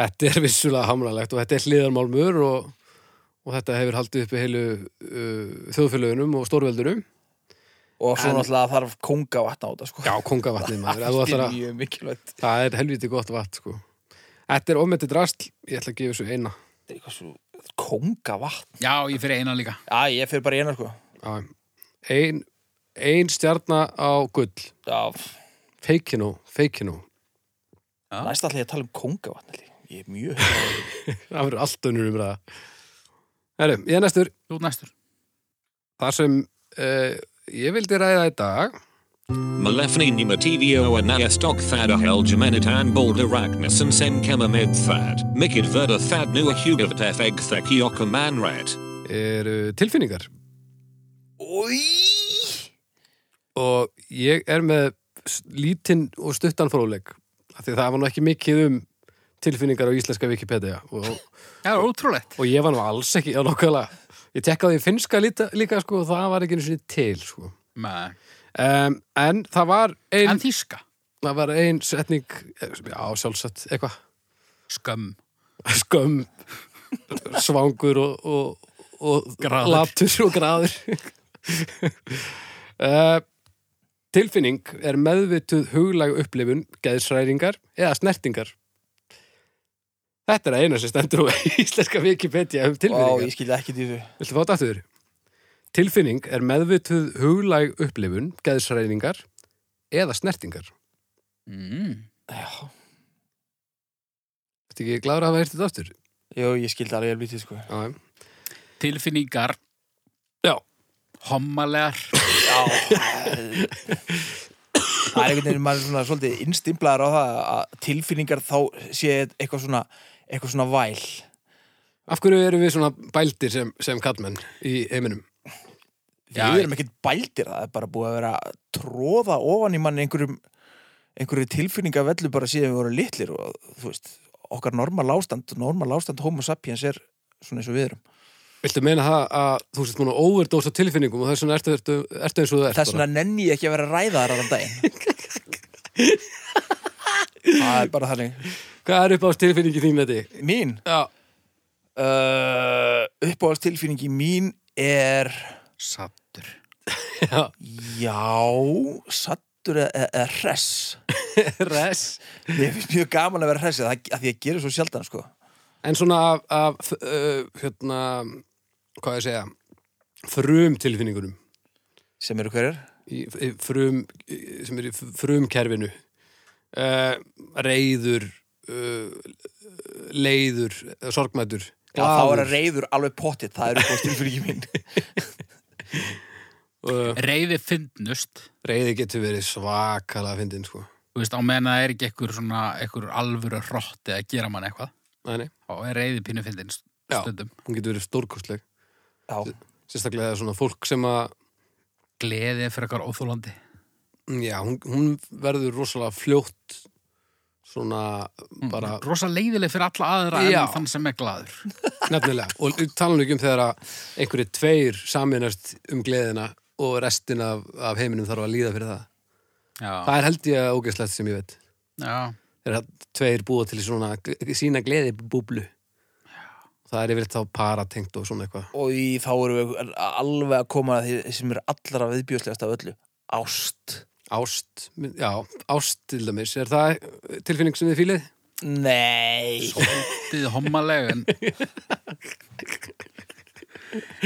[SPEAKER 3] Þetta er vissulega hamralegt og þetta er hliðarmálmur og, og þetta hefur haldið uppi heilu uh, þjóðfélögunum og stórveldunum.
[SPEAKER 1] Og svo
[SPEAKER 3] En-
[SPEAKER 1] náttúrulega þarf konga vatna á þetta, sko.
[SPEAKER 3] Já, kongavatnið maður, ef þú
[SPEAKER 1] það
[SPEAKER 3] ætlar
[SPEAKER 1] er
[SPEAKER 3] að...
[SPEAKER 1] mjög mikilvægt.
[SPEAKER 3] Það er helviti gott vatn, sko. Þetta er ofmetið drastl, ég ætla að gefa þessu eina.
[SPEAKER 1] Þetta er eitthvað svo... Konga vatn?
[SPEAKER 2] Já, ég fyrir eina líka.
[SPEAKER 1] Já, ég fyrir bara í eina, sko.
[SPEAKER 3] Já, Ein, ein stjarna á gull.
[SPEAKER 1] Já,
[SPEAKER 3] Feikinu, feikinu.
[SPEAKER 2] Já.
[SPEAKER 1] næst ætla ég að tala um konga vatn, ég er mjög... heillaður.
[SPEAKER 3] Það verður allt önnur um það. Herru, ég er næstur.
[SPEAKER 2] Þú ert næstur.
[SPEAKER 3] Það sem uh, ég vildi ræða í dag.
[SPEAKER 4] Malefni Nimativio Anayastok Thada Helgemenitan Baldarachnason Sem Kemamed Thad Mikid Verda Thad Nua Hugavat Feg Thekioka Manrat
[SPEAKER 3] eru tilfinningar.
[SPEAKER 1] Oj!
[SPEAKER 3] Og ég er með s- lítinn og stuttan fróðleik. Af Því það var nú ekki mikið um tilfinningar á íslenska Wikipedia. Og,
[SPEAKER 2] Já, ótrúlegt.
[SPEAKER 3] og ég var nú alls ekki að nokkala. Ég tekkaði í finnska líta, líka, sko, og það var ekki einu sinni til, sko.
[SPEAKER 2] Nei.
[SPEAKER 3] Um, en það var ein,
[SPEAKER 2] En þýska.
[SPEAKER 3] það var ein setning, eh, já sjálfsagt, eitthvað,
[SPEAKER 2] Skömm.
[SPEAKER 3] skömm, svangur og, og, og
[SPEAKER 2] Graður.
[SPEAKER 3] latur og graður. uh, tilfinning er meðvituð huglæg upplifun, geðsræringar eða snertingar. Þetta er að eina sem stendur á íslenska Wikipedia um
[SPEAKER 1] Ó,
[SPEAKER 3] tilfinningar.
[SPEAKER 1] ég skilja ekki því.
[SPEAKER 3] Viltu fá þetta aftur? Tilfinning er meðvituð huglæg upplifun, geðsræningar eða snertingar.
[SPEAKER 2] Mm.
[SPEAKER 1] Já.
[SPEAKER 3] Þetta ekki glæður að hafa heyrt þetta aftur?
[SPEAKER 1] Jó, ég skildi alveg helvítið, sko.
[SPEAKER 3] Já, já.
[SPEAKER 2] Tilfinningar,
[SPEAKER 3] Já,
[SPEAKER 2] hommalegar,
[SPEAKER 1] Það er einhvern veginn, maður er svona svolítið innstimplaður á það að tilfinningar þá sé eitthvað svona, eitthvað svona væl.
[SPEAKER 3] Af hverju erum við svona bældir sem, sem kallmenn í heiminum?
[SPEAKER 2] Já,
[SPEAKER 1] við erum ekkert bældir, það er bara búið að vera að tróða ofan í mann einhverjum, einhverju tilfinningavellu bara síðan við vorum litlir og þú veist, okkar normal ástand, normal ástand homo sapiens er svona eins og við erum.
[SPEAKER 3] Viltu meina það að þú sért múin að overdósa tilfinningum og þess vegna ertu, ertu, ertu eins og þú ert?
[SPEAKER 1] Þess vegna nenni ég ekki að vera ræðaðar allan daginn. það er bara þannig.
[SPEAKER 3] bara? Hvað er upp á tilfinningi þín með þig?
[SPEAKER 1] Mín,
[SPEAKER 3] Já.
[SPEAKER 1] uh, uppáhaldtilfinningi mín er...
[SPEAKER 2] sattur.
[SPEAKER 3] Já.
[SPEAKER 1] Já, sattur eða, eða- eða hress
[SPEAKER 3] Res.
[SPEAKER 1] Ég finnst mjög gaman að vera hress að, að því að gera svo sjaldan sko
[SPEAKER 3] En svona af, af uh, hérna, hvað ég segja, frum tilfinningunum,
[SPEAKER 1] sem eru hverjar
[SPEAKER 3] í, í frum, í- sem er í frumkerfinu, uh, reyður, uh, leiður, eh, sorgmætur,
[SPEAKER 1] Já, þá er að reyður alveg pottitt, það eru búið stilfyrir ekki mín
[SPEAKER 3] Uh,
[SPEAKER 2] Reyði fyndnust,
[SPEAKER 3] reyði getur verið svakalega fyndin, sko.
[SPEAKER 2] þú veist, á meðan það er ekki ekkur svona, ekkur alvöru hrott eða gera mann eitthvað.
[SPEAKER 3] Nei, nei.
[SPEAKER 2] Þá er reyði pínu fyndin
[SPEAKER 3] Já.
[SPEAKER 2] stundum.
[SPEAKER 3] Hún getur verið stórkostleg.
[SPEAKER 1] Já,
[SPEAKER 3] Sérstaklega svona fólk sem að,
[SPEAKER 2] Gleði fyrir eitthvað óþólandi.
[SPEAKER 3] já, hún, hún verður rosalega fljótt svona bara
[SPEAKER 2] Rosa leiðileg fyrir alla aðra
[SPEAKER 3] Já.
[SPEAKER 2] en þann sem er glaður.
[SPEAKER 3] nefnilega. Og tala nú ekki um þegar að einhverju tveir saminast um gleðina og restin af, af heiminum þarf að líða fyrir það.
[SPEAKER 2] Já.
[SPEAKER 3] Það er held ég ógeðslegt sem ég veit.
[SPEAKER 2] Já.
[SPEAKER 3] Þegar að tveir búa til svona gl- sína gleði búblu. Það er yfir þá paratengt og svona eitthvað.
[SPEAKER 1] og í, þá eru við alveg að koma að því sem eru allra viðbjörslegast af öllu Ást
[SPEAKER 3] Ást, já, ást til dæmis. Er það tilfinning sem þið fílið?
[SPEAKER 1] Nei
[SPEAKER 2] Þið hommaleg en...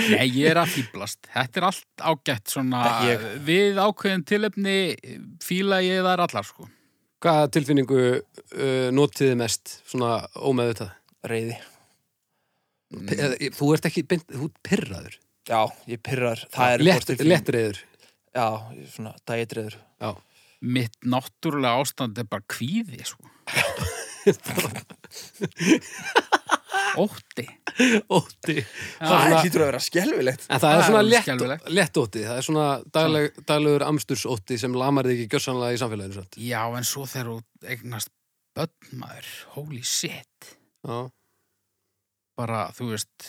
[SPEAKER 2] Nei, ég er að fýblast. Þetta er allt ágætt svona...
[SPEAKER 1] Ég-
[SPEAKER 2] Við ákveðin tilefni fíla ég þar allar, sko.
[SPEAKER 3] Hvaða tilfinningu uh, notiði mest svona ómeðvitað?
[SPEAKER 1] Reyði
[SPEAKER 3] Mm. Eða, þú ert ekki, beint- þú ert pirraður.
[SPEAKER 1] Já, ég pyrrar, það eru
[SPEAKER 3] Lett,
[SPEAKER 1] tilfinning-
[SPEAKER 3] Lettriður.
[SPEAKER 1] Já, ég- svona dætreyður
[SPEAKER 3] Já.
[SPEAKER 2] Mitt náttúrulega ástand er bara kvíði, sko. Ótti.
[SPEAKER 3] Ótti. Það
[SPEAKER 1] Það
[SPEAKER 3] er svona,
[SPEAKER 1] hlýtur að vera skelfilegt
[SPEAKER 3] en það er
[SPEAKER 2] Það er
[SPEAKER 3] svona
[SPEAKER 2] alveg
[SPEAKER 3] lett,
[SPEAKER 2] skelfilegt.
[SPEAKER 3] lett ótti. Það er svona dagleg, daglegur amstursótti sem lamar þig ekki gjörsanlega í samfélaginu. Satt.
[SPEAKER 2] Já, en svo þegar þú eignast börnmaður, holy shit.
[SPEAKER 3] Já.
[SPEAKER 2] Bara, þú veist,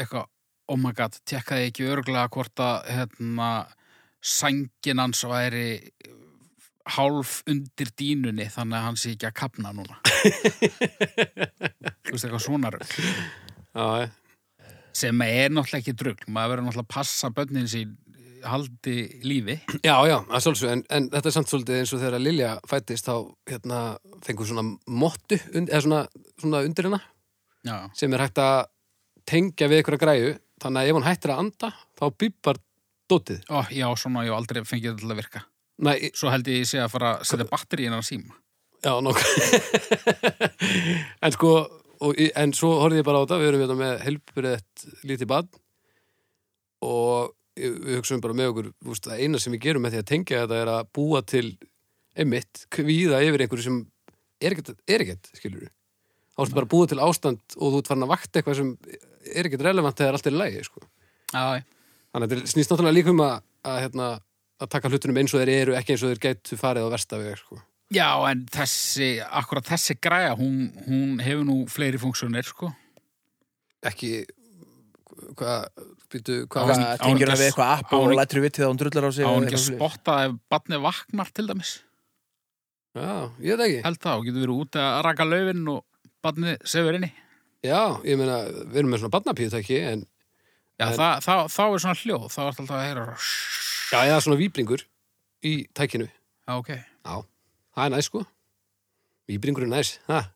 [SPEAKER 2] eitthvað, oh my god, tekkaði ekki örglega hvort að, hérna, sængin hans væri eh, hálf undir dínunni þannig að hann sé ekki að kapna núna. þú veist, eitthvað svona rugg.
[SPEAKER 3] Já, já.
[SPEAKER 2] sem er náttúrulega ekki drugg maður verður náttúrulega að passa bönnin sín haldi lífi
[SPEAKER 3] já, já, að sjálfsög. En, en þetta er samt svolítið eins og þegar Lilja fættist þá hérna, fengur svona mottu, und, eða svona, svona undir hennar.
[SPEAKER 2] já,
[SPEAKER 3] sem er hægt að tengja við einhverja græju þannig að ef hún hættir að anda þá býpar dótið
[SPEAKER 2] Ó, já svona ég hef aldrei fengið þetta til að virka
[SPEAKER 3] Nei, í-
[SPEAKER 2] svo held ég sé að fara að setja batteri innan síma
[SPEAKER 3] já, nokk En sko og, í- en svo horfði ég bara á þetta við erum hérna með helbriðett lítið bad og ég- við hugsaum bara með okkur þú veist, það eina sem við gerum með því að tengja þetta er að búa til einmitt, kvíða yfir einhverju sem er ekkert, er ekkert skilur við þá ertu bara að búa til ástand og þú ert farin að vakta eitthvað sem er ekkert relevant þegar allt er í lagi sko.
[SPEAKER 2] já,
[SPEAKER 3] Þannig að þetta snýst náttúrulega líka um að, að, hérna, að taka hlutunum eins og þeir eru, ekki eins og þeir gætu farið á versta veg, sko.
[SPEAKER 2] já en þessi akkurat þessi græja, hún, hún hefur nú fleiri funksjónir sko
[SPEAKER 3] Ekki, hvað, býtu, hvað,
[SPEAKER 1] Það
[SPEAKER 2] Á- á-
[SPEAKER 1] tengir
[SPEAKER 2] á-
[SPEAKER 1] það við eitthvað app og
[SPEAKER 2] á-
[SPEAKER 1] lætur við til það hún drullar á sig
[SPEAKER 2] á
[SPEAKER 1] og
[SPEAKER 2] hún ekki
[SPEAKER 1] eitthvað
[SPEAKER 2] að
[SPEAKER 1] svoleiðis.
[SPEAKER 2] spotta ef barnið vaknar til dæmis
[SPEAKER 3] já, ég veit ekki.
[SPEAKER 2] held það og getur verið út að raka laufin og barnið sefur inni
[SPEAKER 3] Já, ég meina, við erum með svona barnapíutæki, en,
[SPEAKER 2] já,
[SPEAKER 3] En-
[SPEAKER 2] það, það, þá er svona hljóð þá er alltaf að heyra
[SPEAKER 3] já, eða svona víbringur í tækinu.
[SPEAKER 2] já, ok
[SPEAKER 3] Já, það er næs, sko. Víbringur er næs, ha.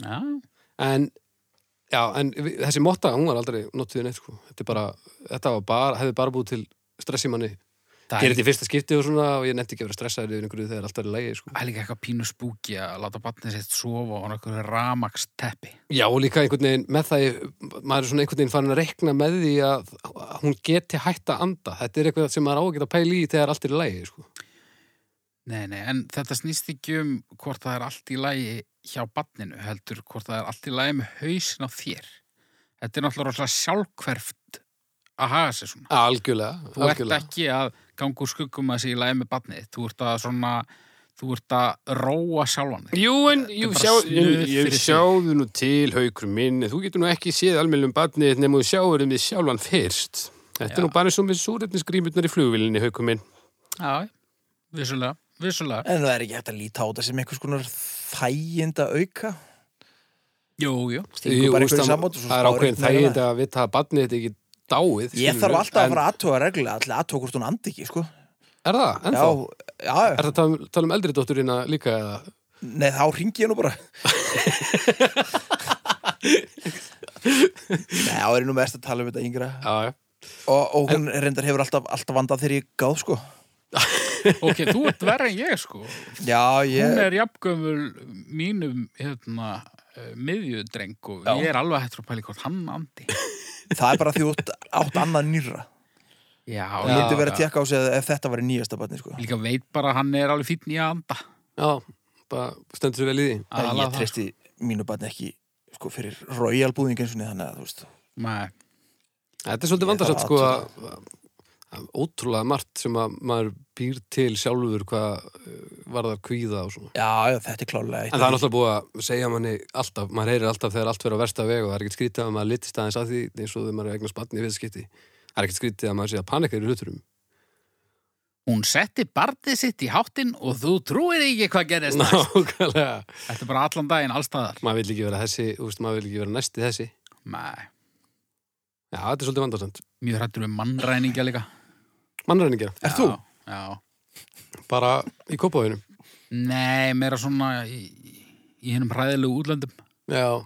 [SPEAKER 2] já,
[SPEAKER 3] En, já, en við- þessi motta, hún var aldrei notuðin eitt, sko. Þetta er bara, þetta var bara, hefði bara búið til stress í manni
[SPEAKER 2] Það
[SPEAKER 3] Gerði
[SPEAKER 2] er,
[SPEAKER 3] þetta í fyrsta skipti og svona og ég nefndi ekki að vera stressaður yfir einhverju þegar allt er í lægi, sko.
[SPEAKER 2] það er líka eitthvað pínu spúki að láta batnið sitt sofa á einhverju ramaks teppi.
[SPEAKER 3] Já, og líka einhvern veginn með það, í- maður er svona einhvern veginn farin að rekna með því að hún geti hætt að anda. Þetta er eitthvað sem maður á að geta pæli í þegar allt er í lægi, sko.
[SPEAKER 2] Nei, nei, en þetta snýst ekki um hvort það er allt í lagi hjá batninu, heldur hvort það er allt í lagi með hausin á þér. Þetta er náttúrulega rosalega sjálfkverft að haga sér svona.
[SPEAKER 3] Algjörlega,
[SPEAKER 2] Þú ert
[SPEAKER 3] algjörlega.
[SPEAKER 2] ekki að ganga úr skuggum að sé í lagi með batnið. Þú ert að svona, þú ert að róa sjálfan þig.
[SPEAKER 3] Jú, en jú,
[SPEAKER 2] bara
[SPEAKER 3] sjá,
[SPEAKER 2] snuð
[SPEAKER 3] jú, jú,
[SPEAKER 2] fyrir sig.
[SPEAKER 3] sjáðu nú til haukur minn, þú getur nú ekki séð almennum barnið nema þú sjáður um því sjálfan fyrst. Þetta er nú bara eins og með súrefnisgrímurnar í flugvilinni, haukur minn.
[SPEAKER 2] Já, vissulega, vissulega.
[SPEAKER 1] En það er ekki hægt að líta á þetta sem einhvers konar þæginda auka
[SPEAKER 2] Jú, jú.
[SPEAKER 1] Stingur bara einhverju
[SPEAKER 3] það
[SPEAKER 1] samband og svo
[SPEAKER 3] það er
[SPEAKER 1] spáir
[SPEAKER 3] ákveðin
[SPEAKER 1] einhvern veginn
[SPEAKER 3] þægind að vita að barnið þetta ekki dáið.
[SPEAKER 1] Ég
[SPEAKER 3] skilurðu,
[SPEAKER 1] þarf alltaf að
[SPEAKER 3] en-
[SPEAKER 1] fara aðtóa reglulega allir aðtóa hvort hún andi ekki, sko
[SPEAKER 3] Er það? En
[SPEAKER 1] Já,
[SPEAKER 3] þá?
[SPEAKER 1] já,
[SPEAKER 3] Er það að tala um- tala um eldri dótturina líka eða?
[SPEAKER 1] nei, þá ringi ég nú bara Nei, þá er ég nú mest að tala um þetta yngra
[SPEAKER 3] Já, já.
[SPEAKER 1] og, og hún reyndar hefur alltaf, alltaf vandað þegar ég gáð, sko
[SPEAKER 2] Ok, þú ert verið en ég, sko.
[SPEAKER 1] Já,
[SPEAKER 2] Hún
[SPEAKER 1] ég,
[SPEAKER 2] er jafngömmul mínum, hérna, eh, miðjudreng og
[SPEAKER 1] Já.
[SPEAKER 2] ég er alveg hættur að pæli hvort hann andi.
[SPEAKER 1] það er bara því út átt annað nýra
[SPEAKER 2] Já,
[SPEAKER 1] og
[SPEAKER 2] ég
[SPEAKER 1] ég myndi vera
[SPEAKER 2] já.
[SPEAKER 1] að tekka á sig ef þetta var í nýjasta barni, sko
[SPEAKER 2] líka veit bara að hann er alveg fínn í að anda.
[SPEAKER 3] Já, bara stendur svo vel í því.
[SPEAKER 1] Nei,
[SPEAKER 2] Aðalega
[SPEAKER 1] ég
[SPEAKER 2] það.
[SPEAKER 1] treysti mínu barni ekki sko, fyrir royalbúðing eins og niður þannig að þú veist
[SPEAKER 2] Nei,
[SPEAKER 3] Þetta er svolítið
[SPEAKER 1] Ég þarf
[SPEAKER 3] vandarsamt
[SPEAKER 1] að
[SPEAKER 3] sko að að ótrúlega margt sem að maður býr til sjálfur hvað eh, varðar kvíða og svona.
[SPEAKER 1] já, já, þetta er klálega
[SPEAKER 3] En það er alltaf búið að segja manni alltaf, maður heyrir alltaf þegar allt verður á versta veg og það er ekkert skrítið að maður litist aðeins að því eins og þegar maður er eignar spann í viðskipti. Það er ekkert skrítið að maður sé að panika í hluturum.
[SPEAKER 2] hún setti barnið sitt í háttinn og þú trúir ekki hvað gerist. næst.
[SPEAKER 3] Nákvæmlega.
[SPEAKER 2] Þetta er bara allan daginn allstaðar.
[SPEAKER 3] Maður vil ekki vera þessi, þú veist, maður vil ekki vera næsti þessi.
[SPEAKER 2] Nei,
[SPEAKER 3] Já, þetta er svolítið vandarsamt.
[SPEAKER 2] mjög hrættur við mannræningja líka.
[SPEAKER 3] Mannræningar,
[SPEAKER 1] Er þú?
[SPEAKER 2] Já, já.
[SPEAKER 3] bara í kópavínu.
[SPEAKER 2] Nei, meira svona í, í hennum hræðilegu útlöndum.
[SPEAKER 3] Já.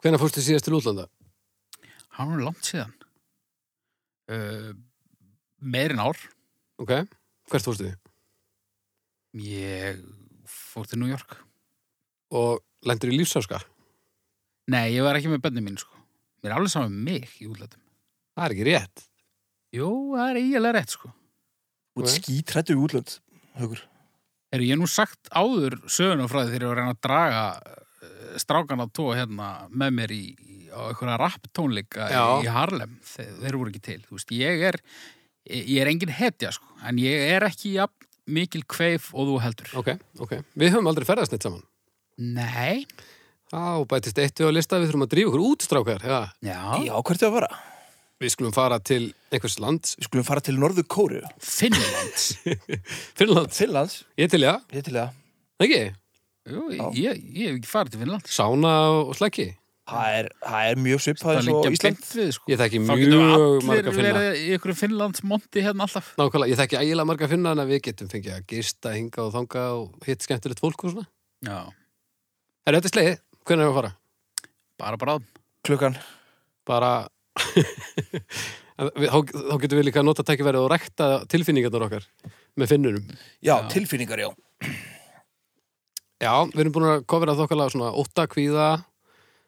[SPEAKER 3] Hvenær fórstu síðast til útlanda?
[SPEAKER 2] Hann er langt síðan. Uh, meirin ár.
[SPEAKER 3] Ok, hvert fórstu þið?
[SPEAKER 2] Ég fór til New York.
[SPEAKER 3] Og lendur í lífsáska?
[SPEAKER 2] Nei, ég var ekki með bönni mín, sko. Mér er alveg saman með mig í útlöndum.
[SPEAKER 3] Það er ekki rétt.
[SPEAKER 2] Jú, það er eiginlega rétt, sko.
[SPEAKER 1] út skítrættu í útlönd Haukur.
[SPEAKER 2] Eru ég hef nú sagt áður söguna frá því þegar ég var að reyna að draga eh, strákan að tóa hérna með mér í, í- á einhverja rapptónleika
[SPEAKER 3] Já.
[SPEAKER 2] í Harlem, þeir, þeir voru ekki til þú veist, ég er, ég er engin hetja sko, en ég er ekki jafn, mikil kveif og þú heldur
[SPEAKER 3] Ok, ok. Við höfum aldrei ferðast neitt saman.
[SPEAKER 2] Nei,
[SPEAKER 3] Þá bætist eitt við á lista, við þurfum að drífa okkur út, strákar. Já.
[SPEAKER 2] já,
[SPEAKER 1] já, hvert er að fara?
[SPEAKER 3] Við skulum fara til einhvers land,
[SPEAKER 1] Við skulum fara til Norðu Kóru
[SPEAKER 2] Finnlands
[SPEAKER 3] Finnland.
[SPEAKER 1] Finnlands,
[SPEAKER 3] Ég til, já.
[SPEAKER 1] ég til það
[SPEAKER 3] Ekki?
[SPEAKER 2] Jú, ég,
[SPEAKER 1] Já.
[SPEAKER 2] ég, ég hef ekki farið til Finnlands
[SPEAKER 3] Sána og slæki.
[SPEAKER 1] Það er, það er mjög svipað
[SPEAKER 2] Það
[SPEAKER 1] eins og
[SPEAKER 2] liggja
[SPEAKER 1] Ísland
[SPEAKER 2] beint við sko
[SPEAKER 3] Ég þekki
[SPEAKER 2] Þá getum við
[SPEAKER 3] mjög marga
[SPEAKER 2] allir
[SPEAKER 3] finna.
[SPEAKER 2] verið í ykkur Finnlands monti hérna alltaf
[SPEAKER 3] Nákvæmlega, ég þekki ægilega marga finna en að við getum fengið að gista, hinga og þanga og hitt skemmtilegt fólk og svona.
[SPEAKER 2] Já,
[SPEAKER 3] Er þetta slegið? Hvernig erum við að fara?
[SPEAKER 2] bara bráðum
[SPEAKER 1] klukkan
[SPEAKER 3] Bara... En við- þá, þá getum við líka að nota tækifærið og rekta tilfinningarnar okkar með finnunum.
[SPEAKER 1] Já, tilfinningar, já
[SPEAKER 3] Já, við erum búin að kofra þokkala svona ótta, kvíða,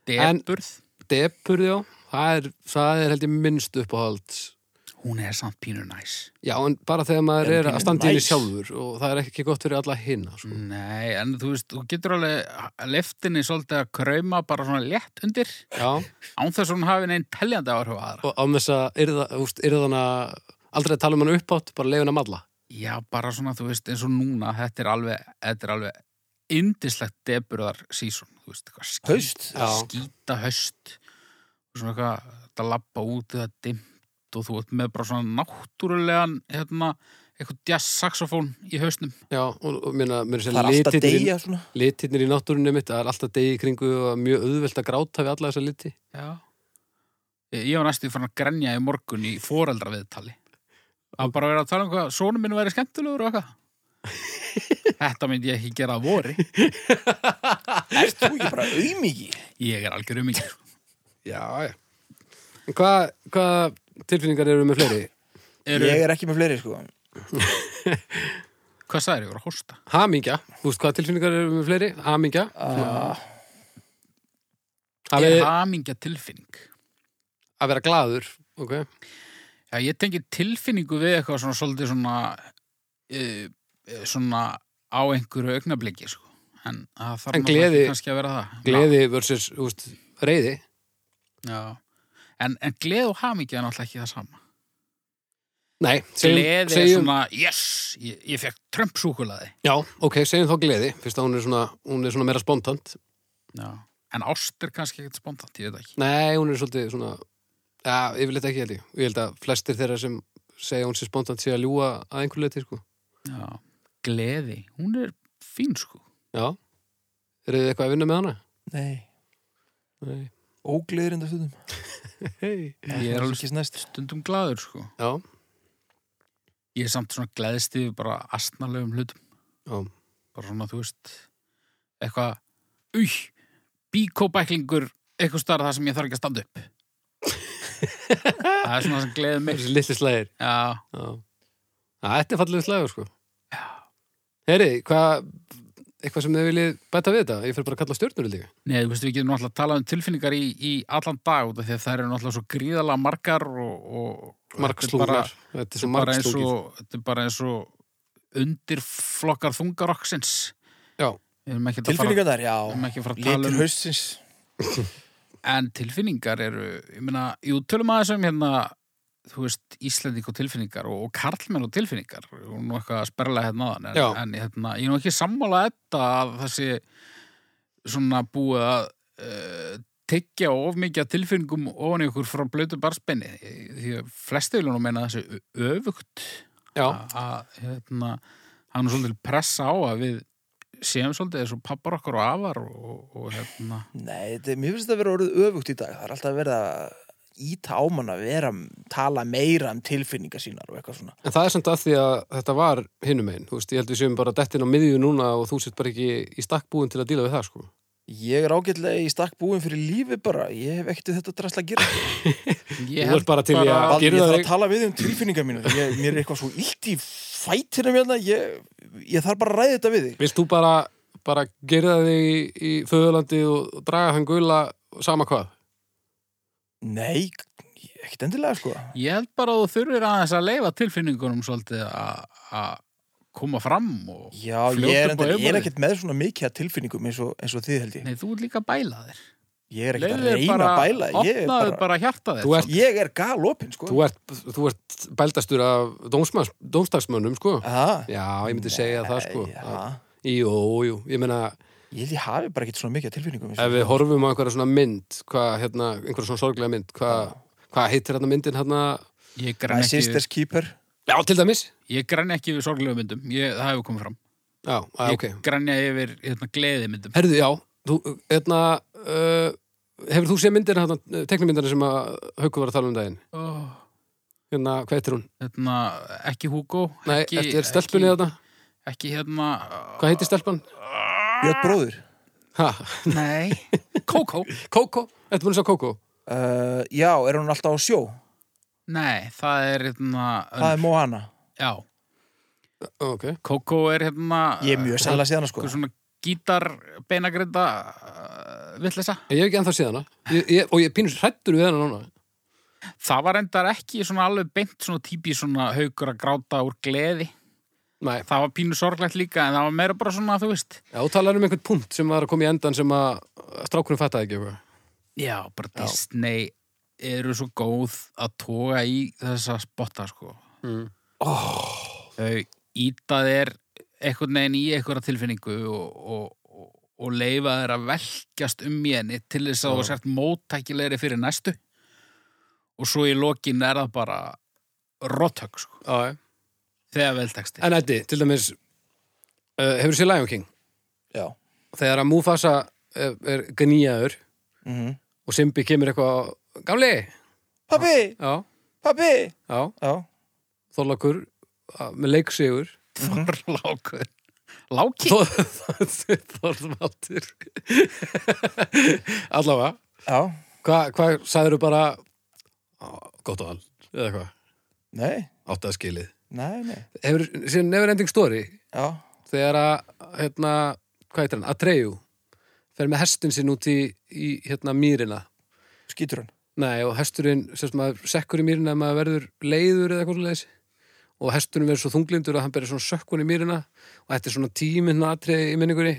[SPEAKER 3] En-
[SPEAKER 2] Deburð,
[SPEAKER 3] depurð, já. Það er, það er held ég minnst uppáhald.
[SPEAKER 2] hún er samt pínur næs
[SPEAKER 3] Já, en bara þegar maður
[SPEAKER 1] Er
[SPEAKER 3] er að
[SPEAKER 1] pínu
[SPEAKER 3] standa í henni
[SPEAKER 1] næs. Mm.
[SPEAKER 3] sjálfur og það er ekki gott fyrir alla hinna, sko.
[SPEAKER 2] Nei, en þú veist, þú getur alveg leftinni svolítið að krauma bara svona létt undir
[SPEAKER 3] Já,
[SPEAKER 2] án þess að hún hafi neinn teljandi áhrif á aðra.
[SPEAKER 3] og án þess að yrða, úst, yrðana, aldrei að tala um hana uppátt, bara leiðuna malla.
[SPEAKER 2] Já, bara svona, þú veist, eins og núna, þetta er alveg, þetta er alveg indislegt deburðar sísón, þú veist, eitthvað skýt,
[SPEAKER 1] Haust?
[SPEAKER 3] Já.
[SPEAKER 2] skýta höst, svona eitthvað, þetta labba út eða dimmt og þú ert með bara svona náttúrulegan, hérna, eitthvað jazzsaxofón í hausnum.
[SPEAKER 3] Já, og, og minna, mér
[SPEAKER 1] Það er
[SPEAKER 3] er
[SPEAKER 1] alltaf
[SPEAKER 3] sér
[SPEAKER 1] degja svona
[SPEAKER 3] litirnir í náttúrunni mitt, það er alltaf degi í kringu og mjög auðvelt að gráta við alla þessa liti.
[SPEAKER 2] Já. Ég ég var næstu fann að grenja í morgun í foreldraviðtali. Það var bara að vera að tala um hvað sonum minn væri skemmtilegur og eitthvað. Þetta myndi ég ekki gera að vori.
[SPEAKER 1] Erst þú ekki bara auðmiki?
[SPEAKER 2] Ég er algjör um
[SPEAKER 3] Já, já. En hvað hva tilfinningar eru með fleiri?
[SPEAKER 2] eru,
[SPEAKER 1] Ég er ekki með fleiri, sko.
[SPEAKER 2] hvað sagðir, ég voru að hósta
[SPEAKER 3] Hamingja, þú veist hvað tilfinningar eru með fleiri? Hamingja
[SPEAKER 1] Uh,
[SPEAKER 3] Að,
[SPEAKER 2] er
[SPEAKER 3] við,
[SPEAKER 2] hamingja tilfinning
[SPEAKER 3] að vera glaður ok
[SPEAKER 2] Já, ég tengi tilfinningu við eitthvað svona svolítið svona uh, svona á einhverju augnabliki, sko. En það þarf
[SPEAKER 3] En
[SPEAKER 2] náttúrulega
[SPEAKER 3] gleði-
[SPEAKER 2] ekki kannski að vera það.
[SPEAKER 3] Gleði versus, þú veist, reyði
[SPEAKER 2] Já. Já. En, en gleði og hamingja er náttúrulega ekki það sama.
[SPEAKER 3] Nei, segjum,
[SPEAKER 2] Gleði er
[SPEAKER 3] segjum
[SPEAKER 2] svona, yes, ég, ég fekk trömpsúkulaði.
[SPEAKER 3] Já, ok, segjum þá gleði fyrst að hún er svona, hún er svona meira spontant
[SPEAKER 2] Já. En ást er kannski ekkert spontant, ég veit ekki.
[SPEAKER 3] Nei, hún er svolítið svona Já, ég vil þetta ekki held ég Ég held að flestir þeirra sem segja að hún sé spontant sé að ljúga að einhverju leiti, sko
[SPEAKER 2] Já. Gleði, hún er fín, sko.
[SPEAKER 3] Já, eru þið eitthvað að vinna með hana?
[SPEAKER 1] nei,
[SPEAKER 3] Nei,
[SPEAKER 1] ógleðir enda stundum.
[SPEAKER 3] hei
[SPEAKER 2] Ég er alveg
[SPEAKER 1] ekki snæst.
[SPEAKER 2] stundum glaður, sko.
[SPEAKER 3] Já,
[SPEAKER 2] Ég er samt svona gleðist yfir bara astnalegum hlutum.
[SPEAKER 3] já,
[SPEAKER 2] bara svona, þú veist eitthvað, uy bíkóbæklingur, eitthvað starf það sem ég þarf ekki að standa upp það er svona það sem gleður mig
[SPEAKER 3] þessi litli slægir
[SPEAKER 2] já,
[SPEAKER 3] Já. Já, þetta er fallið slægur sko. Heri, hvað eitthvað sem þið viljið bæta við þetta? Ég fer bara að kalla stjörnur í líka.
[SPEAKER 2] neðu, þú veist, við getum náttúrulega að tala um tilfinningar í, í allan dag út af því að það eru náttúrulega svo gríðalega margar og, og þetta
[SPEAKER 3] Markslúnar.
[SPEAKER 2] er bara,
[SPEAKER 3] Þetta er
[SPEAKER 2] þetta
[SPEAKER 3] svo
[SPEAKER 2] er bara eins
[SPEAKER 3] markslúkið.
[SPEAKER 2] og þetta er bara eins og undirflokkar þungarokksins
[SPEAKER 3] Já.
[SPEAKER 2] við erum ekki að fara
[SPEAKER 1] Tilfinningar þar,
[SPEAKER 2] við erum
[SPEAKER 1] já.
[SPEAKER 2] ekki að fara að tala
[SPEAKER 1] Lítur
[SPEAKER 2] um
[SPEAKER 1] haustsins.
[SPEAKER 2] En tilfinningar eru, ég meina, jú, tölum aðeins um hérna, þú veist, Íslending og tilfinningar og, og karlmenn og tilfinningar og nú eitthvað að sperla hérna aðan en,
[SPEAKER 3] Já.
[SPEAKER 2] en hérna, ég er nú ekki sammála þetta að þessi svona búið að uh, tekja of mikið af tilfinningum ofan í okkur frá blötu barspenni því að flesti vilja nú meina þessi öfugt
[SPEAKER 3] Já,
[SPEAKER 2] að að, hérna, hann er svolítið pressa á að við séum svolítið þessu pappar okkar og afar og, og, og hérna
[SPEAKER 1] Nei, þetta, mér finnst þetta að vera orðið öfugt í dag. Það er alltaf verið að íta á mann að vera, tala meira um tilfinningar sínar og eitthvað svona.
[SPEAKER 3] en það er samt að því að þetta var hinum einn. Þú veist, ég held við séum bara dettin á miðju núna og þú sett bara ekki í stakkbúin til að díla við það sko.
[SPEAKER 1] Ég er ágætlega í stakk búin fyrir lífi bara. Ég hef ekkert við þetta drasla að gera.
[SPEAKER 2] Ég
[SPEAKER 3] Þú
[SPEAKER 2] held
[SPEAKER 3] ert bara til í að-
[SPEAKER 2] bara-
[SPEAKER 1] Baldur, ég
[SPEAKER 3] Gerðu
[SPEAKER 1] þarf
[SPEAKER 3] það
[SPEAKER 1] að
[SPEAKER 3] þig-
[SPEAKER 1] tala við um tilfinningar mínu ég, Mér er eitthvað svo illt í fætinum hérna ég, ég þarf bara að ræða þetta við þig
[SPEAKER 3] Vilt þú bara, bara gera þig í, í föðurlandi og og draga hann gula sama hvað?
[SPEAKER 1] Nei, ég- ekkert endilega sko
[SPEAKER 2] Ég held bara að þú þurfir aðeins að leifa tilfinningunum svolítið að að koma fram og
[SPEAKER 1] Já,
[SPEAKER 2] Fljótur
[SPEAKER 1] ég er, endilega, ég
[SPEAKER 2] upp á
[SPEAKER 1] er
[SPEAKER 2] yfirborðið.
[SPEAKER 1] ekkert með svona mikið að tilfinningum eins og, eins og þið held ég
[SPEAKER 2] Nei, þú ert líka að bæla þér
[SPEAKER 1] Ég er ekkert að
[SPEAKER 2] Leyfðu þér
[SPEAKER 1] reyna
[SPEAKER 2] bara,
[SPEAKER 1] að bæla Ég er
[SPEAKER 2] opnaðu
[SPEAKER 1] bara,
[SPEAKER 2] bara hjarta þér
[SPEAKER 3] Þú ert-
[SPEAKER 1] ég er galopin sko
[SPEAKER 3] Þú ert, þú ert bæltastur af dómsmanns- dómstagsmönnum sko.
[SPEAKER 1] Aha.
[SPEAKER 3] Já, ég myndi segja það sko.
[SPEAKER 1] Nei,
[SPEAKER 3] Að-
[SPEAKER 1] já.
[SPEAKER 3] Jú, jú, ég meina
[SPEAKER 1] Ég held ég hafi bara ekkert svona mikið að tilfinningum eins
[SPEAKER 3] ef
[SPEAKER 1] og-
[SPEAKER 3] við horfum á einhverja svona mynd hvað, hérna, einhverja svona sorglega mynd hvað, hvað heitir hérna myndin hérna
[SPEAKER 2] Ég
[SPEAKER 1] My
[SPEAKER 2] græn ekki,
[SPEAKER 1] sister's keeper
[SPEAKER 3] Já, til dæmis
[SPEAKER 2] ég græn ekki yfir sorglegu myndum ég, Það hefur komið fram
[SPEAKER 3] Já, að,
[SPEAKER 2] Ég
[SPEAKER 3] Ah, ok
[SPEAKER 2] grænja yfir hérna, gleði myndum
[SPEAKER 3] Herðu, já, þú, hérna uh, hefur þú séð myndir hérna, teknimyndina sem að Haukur var að tala um daginn
[SPEAKER 2] oh,
[SPEAKER 3] hérna, hvað heitir hún?
[SPEAKER 2] hérna, Ekki Hugo
[SPEAKER 3] Nei,
[SPEAKER 2] ekki,
[SPEAKER 3] eftir stelpunni
[SPEAKER 2] ekki,
[SPEAKER 3] þarna
[SPEAKER 2] ekki hérna
[SPEAKER 3] Hvað heitir stelpan?
[SPEAKER 1] Björn bróður
[SPEAKER 3] Ha,
[SPEAKER 2] Nei, Coco
[SPEAKER 3] Kókó, ertu búin að sá Kókó?
[SPEAKER 1] uh, Já, er hún alltaf á sjó
[SPEAKER 2] Nei, það er hérna,
[SPEAKER 1] Það er Moana
[SPEAKER 2] Já,
[SPEAKER 3] Ok,
[SPEAKER 2] Coco er hérna
[SPEAKER 1] Ég er mjög sannlega síðan sko
[SPEAKER 2] eitthvað svona gítar beinagrinda uh, villisa.
[SPEAKER 3] ég hef ekki ennþá séð hana ég, ég, og ég pínur hrættur við hana núna
[SPEAKER 2] Það var endar ekki svona alveg beint svona típi svona haukur að gráta úr gleði.
[SPEAKER 3] Nei,
[SPEAKER 2] Það var pínu sorglegt líka en það var meira bara svona, þú veist.
[SPEAKER 3] já, þú talar um einhvern punkt sem var að koma í endan sem að strákunum fattaði ekki eitthvað
[SPEAKER 2] Já, bara Disney eru svo góð að toga í þessa spotta, sko.
[SPEAKER 3] mm.
[SPEAKER 2] Þau íta þér Eh, einhvern veginn í einhverja tilfinningu og, og, og, og leifa þér að velkjast um í henni til þess að
[SPEAKER 3] Já.
[SPEAKER 2] þú sért móttækilegri fyrir næstu. Og svo í lokin er það bara rotthögg, sko.
[SPEAKER 3] Já, já
[SPEAKER 2] Þegar veltekst
[SPEAKER 3] En Eddi, til dæmis uh, hefur séð Lion King
[SPEAKER 1] Já
[SPEAKER 3] þegar að Mufasa er, er gníjaður
[SPEAKER 1] mm
[SPEAKER 3] og Simbi kemur eitthvað gamli,
[SPEAKER 1] Pappi,
[SPEAKER 3] já,
[SPEAKER 1] pappi
[SPEAKER 3] já,
[SPEAKER 1] Já,
[SPEAKER 3] þorlakur uh, með leiksigur Mhm.
[SPEAKER 2] Þorlákur Láki?
[SPEAKER 3] Þor- Þorvaldur allavega
[SPEAKER 1] já
[SPEAKER 3] hvað hva sagðirðu bara "Á, gott og all, eða hvað
[SPEAKER 1] Nei,
[SPEAKER 3] átti að skilið.
[SPEAKER 1] nei, nei.
[SPEAKER 3] Hefur, síðan Never Ending Story,
[SPEAKER 1] Já,
[SPEAKER 3] þegar að, hérna, hvað heitir hann, Atreyu, fer með hestin sinn út í, í hérna, mýrina.
[SPEAKER 1] skýtur hann.
[SPEAKER 3] Nei, og hesturinn, sem maður sekkur í mýrina ef maður verður leiður eða eitthvað leðis. Og hesturinn verður svo þunglindur að hann berið svona sökkun í mýrina og þetta er svona tíminn atriði í minningunni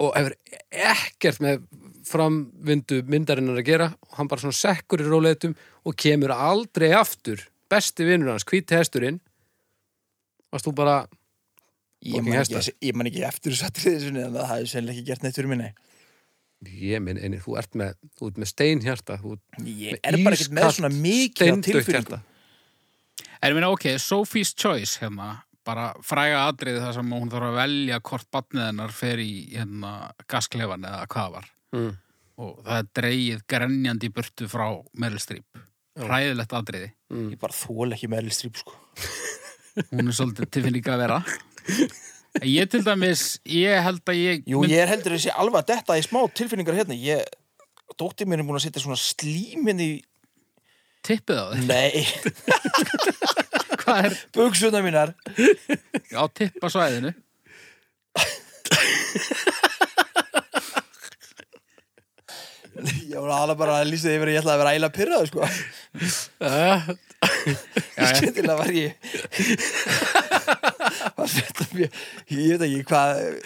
[SPEAKER 3] og hefur ekkert með framvindu myndarinnar að gera og hann bara svona sekkur í róleitum og kemur aldrei aftur besti vinnur hans, hvíti hesturinn varst þú bara
[SPEAKER 1] Ég
[SPEAKER 3] Fucking
[SPEAKER 1] man, ekki,
[SPEAKER 3] hestar.
[SPEAKER 1] ég man ekki eftir þessu atriði sinni en það hefði sennilega ekki gert neitt fyrir minni.
[SPEAKER 3] ég minn einir, þú ert með, þú ert með steinhjarta þú ert
[SPEAKER 1] Ég er bara ekkert með
[SPEAKER 3] ískalt,
[SPEAKER 1] svona mikið af
[SPEAKER 3] steindautt
[SPEAKER 1] tilfinningu.
[SPEAKER 3] hjarta.
[SPEAKER 2] En ég meina, ok, Sophie's Choice hérna, bara fræga atriði þar sem hún þarf að velja hvort batnið hennar fer í hérna gasklefan eða hvað var.
[SPEAKER 3] mm.
[SPEAKER 2] Og það er dreigið grenjandi í burtu frá Meryl Streep. Ræðilegt atriði.
[SPEAKER 1] Ég bara þól ekki með elstrýp, sko.
[SPEAKER 2] Hún er svolítið tilfinninga að vera. En Ég til dæmis, ég held að ég...
[SPEAKER 1] Jú, ég er heldur þessi alveg að detta í smá tilfinningar hérna. Ég, dóttir mér er búin að setja svona slíminn í...
[SPEAKER 2] Tippið á þig.
[SPEAKER 1] Nei,
[SPEAKER 2] Hvað er
[SPEAKER 1] buksuna mínar.
[SPEAKER 2] á tippasvæðinu?
[SPEAKER 1] Ég var alveg bara að lýsa því yfir að ég ætlaði að vera ægilega pyrraðu, sko.
[SPEAKER 3] uh,
[SPEAKER 2] Já,
[SPEAKER 1] Skyndilega var ég... var þetta mér... Ég veit ekki hvað... Er,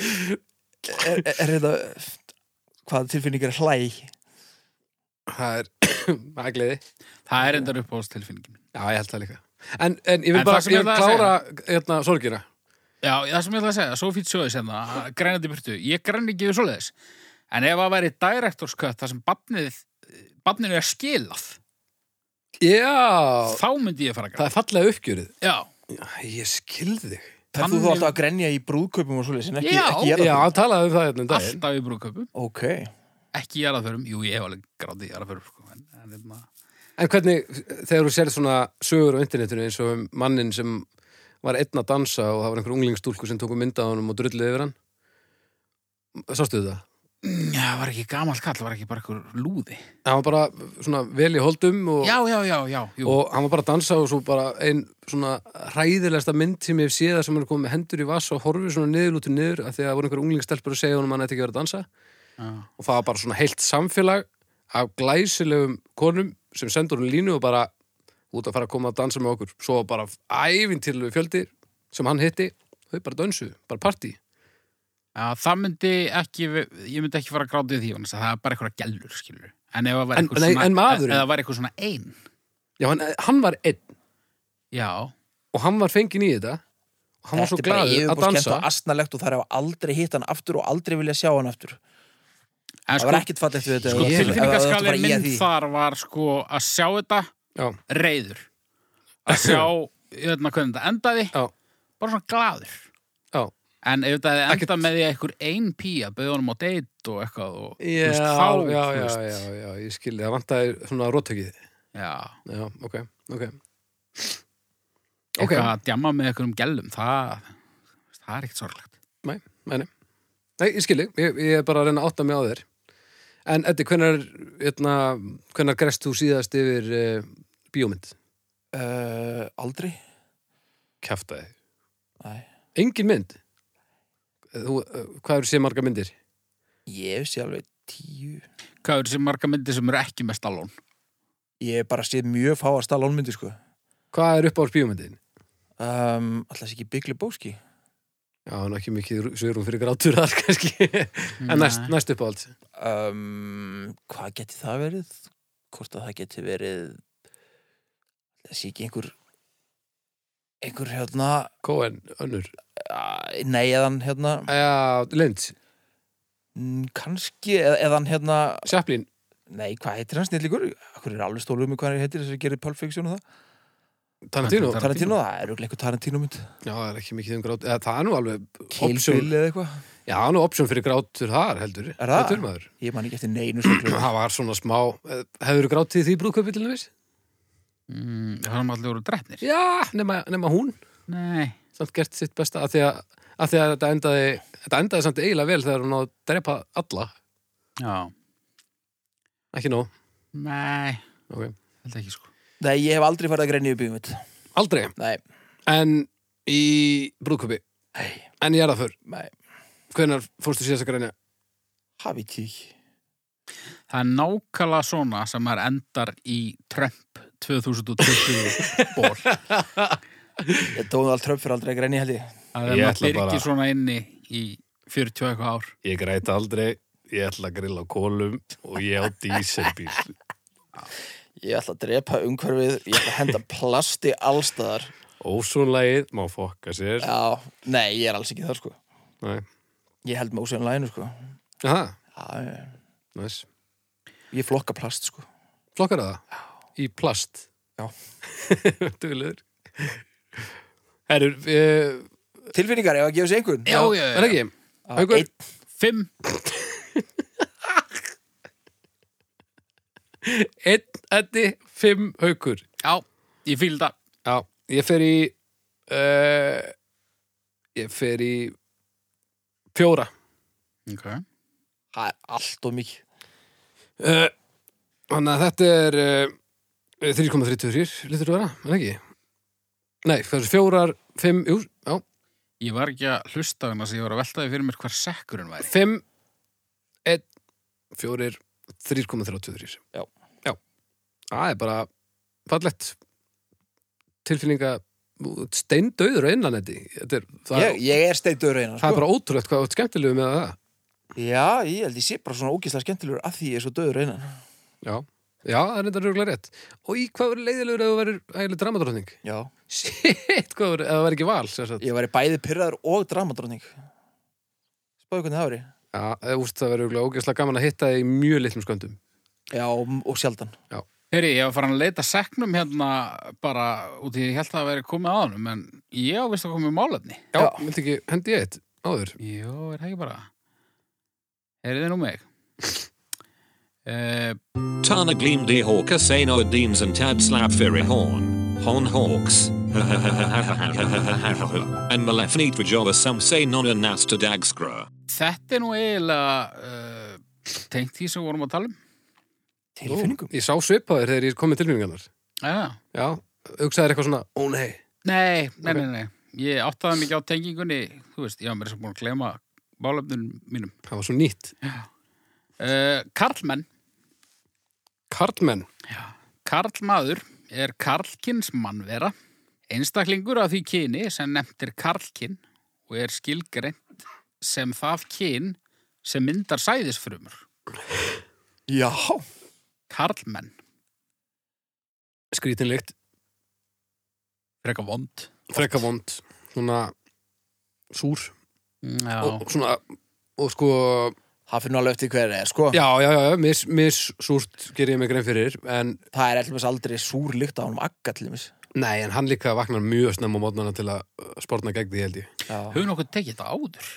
[SPEAKER 1] er, er þetta... Hvað tilfinningar er hlæg?
[SPEAKER 3] það er það er gleði
[SPEAKER 2] það er endar uppáðstilfinningin.
[SPEAKER 3] Já, ég held það líka. En, en ég vil
[SPEAKER 2] En
[SPEAKER 3] bara
[SPEAKER 2] það sem
[SPEAKER 3] ég
[SPEAKER 2] ég
[SPEAKER 3] vil
[SPEAKER 2] ætlaði að
[SPEAKER 3] klára hérna, sorgina.
[SPEAKER 2] Já, það sem ég ætla að segja, Sophie Choice hérna, grænandi burtu, ég græni ekki við svoleiðis. En ef að væri director's cut þar sem barnið, barninu er skilað,
[SPEAKER 3] Já,
[SPEAKER 2] þá myndi ég fara að
[SPEAKER 3] það
[SPEAKER 2] græna.
[SPEAKER 3] er fallega uppgjörið.
[SPEAKER 2] Já,
[SPEAKER 3] Já, ég skilði þig.
[SPEAKER 1] Það þú
[SPEAKER 2] Þannig-
[SPEAKER 1] þá alltaf að grenja í brúðkaupum og svoleiðis, en ekki,
[SPEAKER 2] Já,
[SPEAKER 1] ekki
[SPEAKER 3] Já,
[SPEAKER 1] jarðarförum?
[SPEAKER 3] hann talaði um það hérna um daginn.
[SPEAKER 2] alltaf í brúðköpum,
[SPEAKER 1] Ok.
[SPEAKER 2] ekki í jarðaförum, jú, ég hef alveg gráði í jarðaförum, sko, en, en hérna,
[SPEAKER 3] En hvernig, þegar þú sér svona sögur á internetinu eins og um mannin sem var einn að dansa og það var einhver unglingstúlku sem tóku mynda á honum og drullið yfir hann. Sástu það?
[SPEAKER 2] já, það var ekki gamalt kall, það var ekki bara einhver lúði.
[SPEAKER 3] Hann var bara svona vel í holdum og,
[SPEAKER 2] Já, já, já, já, jú,
[SPEAKER 3] og hann var bara að dansa og svo bara ein svona hræðilegsta mynd sem ég hef séð þar sem hann er komið með hendur í vass og horfir svona niðurlútu niður af því að það voru einhver unglingstelpur að segja honum að hann ætti ekki verið að dansa.
[SPEAKER 2] já,
[SPEAKER 3] og það var bara svona heilt samfélag af glæsilegum konum sem sendur hún línu og bara út að fara að koma að dansa með okkur svo var bara ævintýrlegu fjöldi sem hann hitti, þau bara dansuðu, bara partí
[SPEAKER 2] já, það myndi ekki, ég myndi ekki fara að gráði því, vegna þess að það er bara einhverja gælur, skilur. En ef það var
[SPEAKER 3] En-
[SPEAKER 2] eitthvað
[SPEAKER 3] nei,
[SPEAKER 2] svona,
[SPEAKER 3] en maðurinn?
[SPEAKER 2] eða var eitthvað svona ein,
[SPEAKER 3] já, hann, hann var einn
[SPEAKER 2] já,
[SPEAKER 3] og hann var fenginn í þetta og hann var svo
[SPEAKER 1] Þetta er bara
[SPEAKER 3] glaður að
[SPEAKER 1] yfirborðskennt
[SPEAKER 3] dansa
[SPEAKER 1] og asnalegt og það er aldrei hitt hann aftur og aldrei vilja sjá hann aftur
[SPEAKER 2] en
[SPEAKER 1] það var ekkert fallegt við þetta
[SPEAKER 2] sko,
[SPEAKER 1] ef það- ef það- ef það bara
[SPEAKER 2] tilfinningaskalin
[SPEAKER 1] í
[SPEAKER 2] minn
[SPEAKER 1] því.
[SPEAKER 2] þar var sko að sjá þetta
[SPEAKER 3] já,
[SPEAKER 2] reyður að sjá hérna, hvernig þetta endaði
[SPEAKER 3] já,
[SPEAKER 2] bara svona glaður
[SPEAKER 3] já
[SPEAKER 2] en ef þetta hefði
[SPEAKER 3] Ekkert-
[SPEAKER 2] endað með því að einhver ein pía bauði honum á deitt og eitthvað og, þú
[SPEAKER 3] Já,
[SPEAKER 2] veist, þá,
[SPEAKER 3] já,
[SPEAKER 2] þú
[SPEAKER 3] já,
[SPEAKER 2] veist,
[SPEAKER 3] já, já, ég skildi, það vantaði svona róttökið.
[SPEAKER 2] já,
[SPEAKER 3] Já, ok, ok. Ok,
[SPEAKER 2] eitthvað að djamma með einhverjum gælum það, það er ekkert sorglegt
[SPEAKER 3] Nei, nei, nei. Nei, ég skilji, ég, ég er bara að reyna að átta mig á þér. En Eddi, hvenar, hérna, hvenar grest þú síðast yfir uh, bíómynd?
[SPEAKER 1] uh, aldrei
[SPEAKER 3] Kæftaði.
[SPEAKER 1] Nei.
[SPEAKER 3] Engin mynd? Þú, uh, hvað eru séð marga myndir?
[SPEAKER 1] ég sé alveg tíu
[SPEAKER 2] hvað eru þessi marga myndi sem eru ekki með stallón
[SPEAKER 1] ég hef bara séð mjög fáast að lónmyndi sko
[SPEAKER 3] Hvað er upp á bíómyndin?
[SPEAKER 1] um, alltaf sé ekki byggli bóski
[SPEAKER 3] Já, hann er ekki mikið rú- svigrúm fyrir grátur þar, kannski. en næst, næst upp á allt.
[SPEAKER 1] um, hvað geti það verið hvort að það geti verið það sé ekki einhver einhver hérna
[SPEAKER 3] Cohen, önnur.
[SPEAKER 1] uh, nei eða hann hérna
[SPEAKER 3] Já, Lind,
[SPEAKER 1] mm, kannski eða, eða hann hérna
[SPEAKER 3] Chaplin.
[SPEAKER 1] Nei, hvað heitir hann snillíkur? Akkur er alveg stólu um mig hvað hann heitir þess að gera Pulp Fiction og það?
[SPEAKER 3] Tarantino.
[SPEAKER 2] Tarantino.
[SPEAKER 1] Tarantino, það er auðvitað eitthvað Tarantino mynd
[SPEAKER 3] Já, það er ekki mikið um grát. eða Það er nú alveg
[SPEAKER 1] Kill
[SPEAKER 3] option.
[SPEAKER 1] Bill eða eitthvað
[SPEAKER 3] Já, það er nú option fyrir grátur þar, heldur.
[SPEAKER 1] Er það?
[SPEAKER 3] Heldur maður.
[SPEAKER 1] Ég man ekki eftir neinu svo glöð
[SPEAKER 3] það var svona smá hefur þú grátið því brúðkaupið til næmis?
[SPEAKER 2] mm, það er allir voru drefnir
[SPEAKER 3] Já, nema, nema hún
[SPEAKER 2] nei,
[SPEAKER 3] samt gert sitt besta að því að, að, því að þetta, endaði, þetta endaði samt eiginlega vel þegar hún á að drepa alla
[SPEAKER 2] já,
[SPEAKER 3] ekki nóg
[SPEAKER 2] nei
[SPEAKER 3] okay.
[SPEAKER 2] held ekki sko
[SPEAKER 1] Nei, ég hef aldrei farið að grenja upp í mitt
[SPEAKER 3] Aldrei.
[SPEAKER 1] Nei,
[SPEAKER 3] En í brúðköpi.
[SPEAKER 1] nei,
[SPEAKER 3] En ég er það fyrr.
[SPEAKER 1] nei,
[SPEAKER 3] Hvenær fórstu síðast að grænja?
[SPEAKER 1] hafi ekki
[SPEAKER 2] Það er nákvæmlega svona sem maður endar í Trump 2020 ból.
[SPEAKER 1] Ég dóðu allt tröf fyrir aldrei að grænni held ég
[SPEAKER 2] Það er
[SPEAKER 3] Ég
[SPEAKER 2] maður
[SPEAKER 3] ætla
[SPEAKER 2] byrgi
[SPEAKER 3] bara-
[SPEAKER 2] svona inni í 40 og eitthvað ár.
[SPEAKER 3] Ég græta aldrei. Ég ætla að grilla á kolum og ég á díselbíl.
[SPEAKER 1] Ég ætla að drepa umhverfið, ég ætla að henda plasti allstaðar
[SPEAKER 3] Ósónlægið má fokka sér.
[SPEAKER 1] Já, nei, ég er alls ekki það sko
[SPEAKER 3] Nei.
[SPEAKER 1] Ég held með ósveðan læginu sko
[SPEAKER 3] Aha,
[SPEAKER 1] Já, ég-
[SPEAKER 3] næs.
[SPEAKER 1] ég flokka plast sko
[SPEAKER 3] Flokkar það? Í plast?
[SPEAKER 1] Já.
[SPEAKER 3] Duðlegur. Herru, eh,
[SPEAKER 1] Tilfinningar, ef að gefa sig einhvern
[SPEAKER 2] Já, já, já.
[SPEAKER 3] er ekki? Haukur?
[SPEAKER 1] einn.
[SPEAKER 2] Fimm.
[SPEAKER 3] Einn, eddi, fimm haukur.
[SPEAKER 2] Já, ég fíl það.
[SPEAKER 3] Já, ég fer í, eh, ég fer í fjóra.
[SPEAKER 2] Okay.
[SPEAKER 1] Það er allt og mikið
[SPEAKER 3] Eh, Þannig að þetta er eh, 3,33 litur vera, er ekki? Nei, hvað er þessu fjórar, fimm, jú, já,
[SPEAKER 2] Ég var ekki að hlusta þannig að ég var að veltaði fyrir mér hver sekkurinn væri.
[SPEAKER 3] fimm, einn, fjórir, 3,33.
[SPEAKER 1] Já.
[SPEAKER 3] Já, það er bara fallett tilfinninga steindauður á innlanetti. Þetta er, það,
[SPEAKER 1] Ég, ég er steitur reyna
[SPEAKER 3] það
[SPEAKER 1] sko.
[SPEAKER 3] er bara ótrúlegt hvað þú ert skemmtilegu með það.
[SPEAKER 1] Já, ég held ég sé bara svona ógislega skemmtilegur að því ég er svo döður reyna
[SPEAKER 3] Já, já, það er þetta röglega rétt. Og í hvað verður leiðilegur ef þú verður ægileg dramadrótning?
[SPEAKER 1] Já,
[SPEAKER 3] Shit, hvað verður, ef það verður ekki val, sem sagt.
[SPEAKER 1] ég væri bæði pyrraður og dramadróning Spáðu hvernig það veri
[SPEAKER 3] Já, eða, úst, það verður örugglega ógeðslega gaman að hitta þig í mjög litlum sköndum.
[SPEAKER 1] Já, og sjaldan
[SPEAKER 2] Heyri, ég var farin að leita seknum hérna bara út í ég held að það væri komið að honum, en ég á vist að komið málefni.
[SPEAKER 3] Já,
[SPEAKER 1] Já.
[SPEAKER 3] myndi ekki hendi ég eitt áður.
[SPEAKER 2] Jó, er það ekki bara. Heyrið þið nú mig? Uh,
[SPEAKER 4] Tana Gleam De Hawker Sano Deems and Tad Slap Firi Horn. Horn Hawks. and Malefnit Rajova Some Say Nona Nasta Dagsgra.
[SPEAKER 2] þetta er nú eiginlega uh, tengt því sem við vorum að tala um.
[SPEAKER 1] Tilfinningum
[SPEAKER 3] Ég sá svipaður þegar ég kom með tilfinningarnar.
[SPEAKER 2] Ja.
[SPEAKER 3] Já, hugsaður eitthvað svona, ó nei.
[SPEAKER 2] Nei, nei, nei, nei. Ég áttaði mikið á tengingunni, þú veist, ég var mér sem búin að glema málefnunum mínum.
[SPEAKER 3] Það var svo nýtt.
[SPEAKER 2] Uh, Karlmenn
[SPEAKER 3] Karlmenn.
[SPEAKER 2] Karlmaður er karlkins mannvera, einstaklingur af því kyni sem nefnt er karlkin og er skilgreint sem það kyn sem myndar sæðisfrumur,
[SPEAKER 1] Já,
[SPEAKER 2] karlmenn,
[SPEAKER 3] Skrítinlegt.
[SPEAKER 2] freka vond.
[SPEAKER 3] Frekka vond. Svona súr.
[SPEAKER 2] Já,
[SPEAKER 3] Og svona, og sko,
[SPEAKER 1] það finnur alveg eftir hver er sko
[SPEAKER 3] já, já, já, já, mis, mis súrt ger ég mig grein fyrir. En,
[SPEAKER 1] Það er allmest aldrei súr líkt á honum agga til þeimis
[SPEAKER 3] nei, en hann líka vaknar mjög snemma á mótnana til að uh, sporna gegn því, held ég.
[SPEAKER 1] Já.
[SPEAKER 2] höfum nokkuð tekið þetta áður.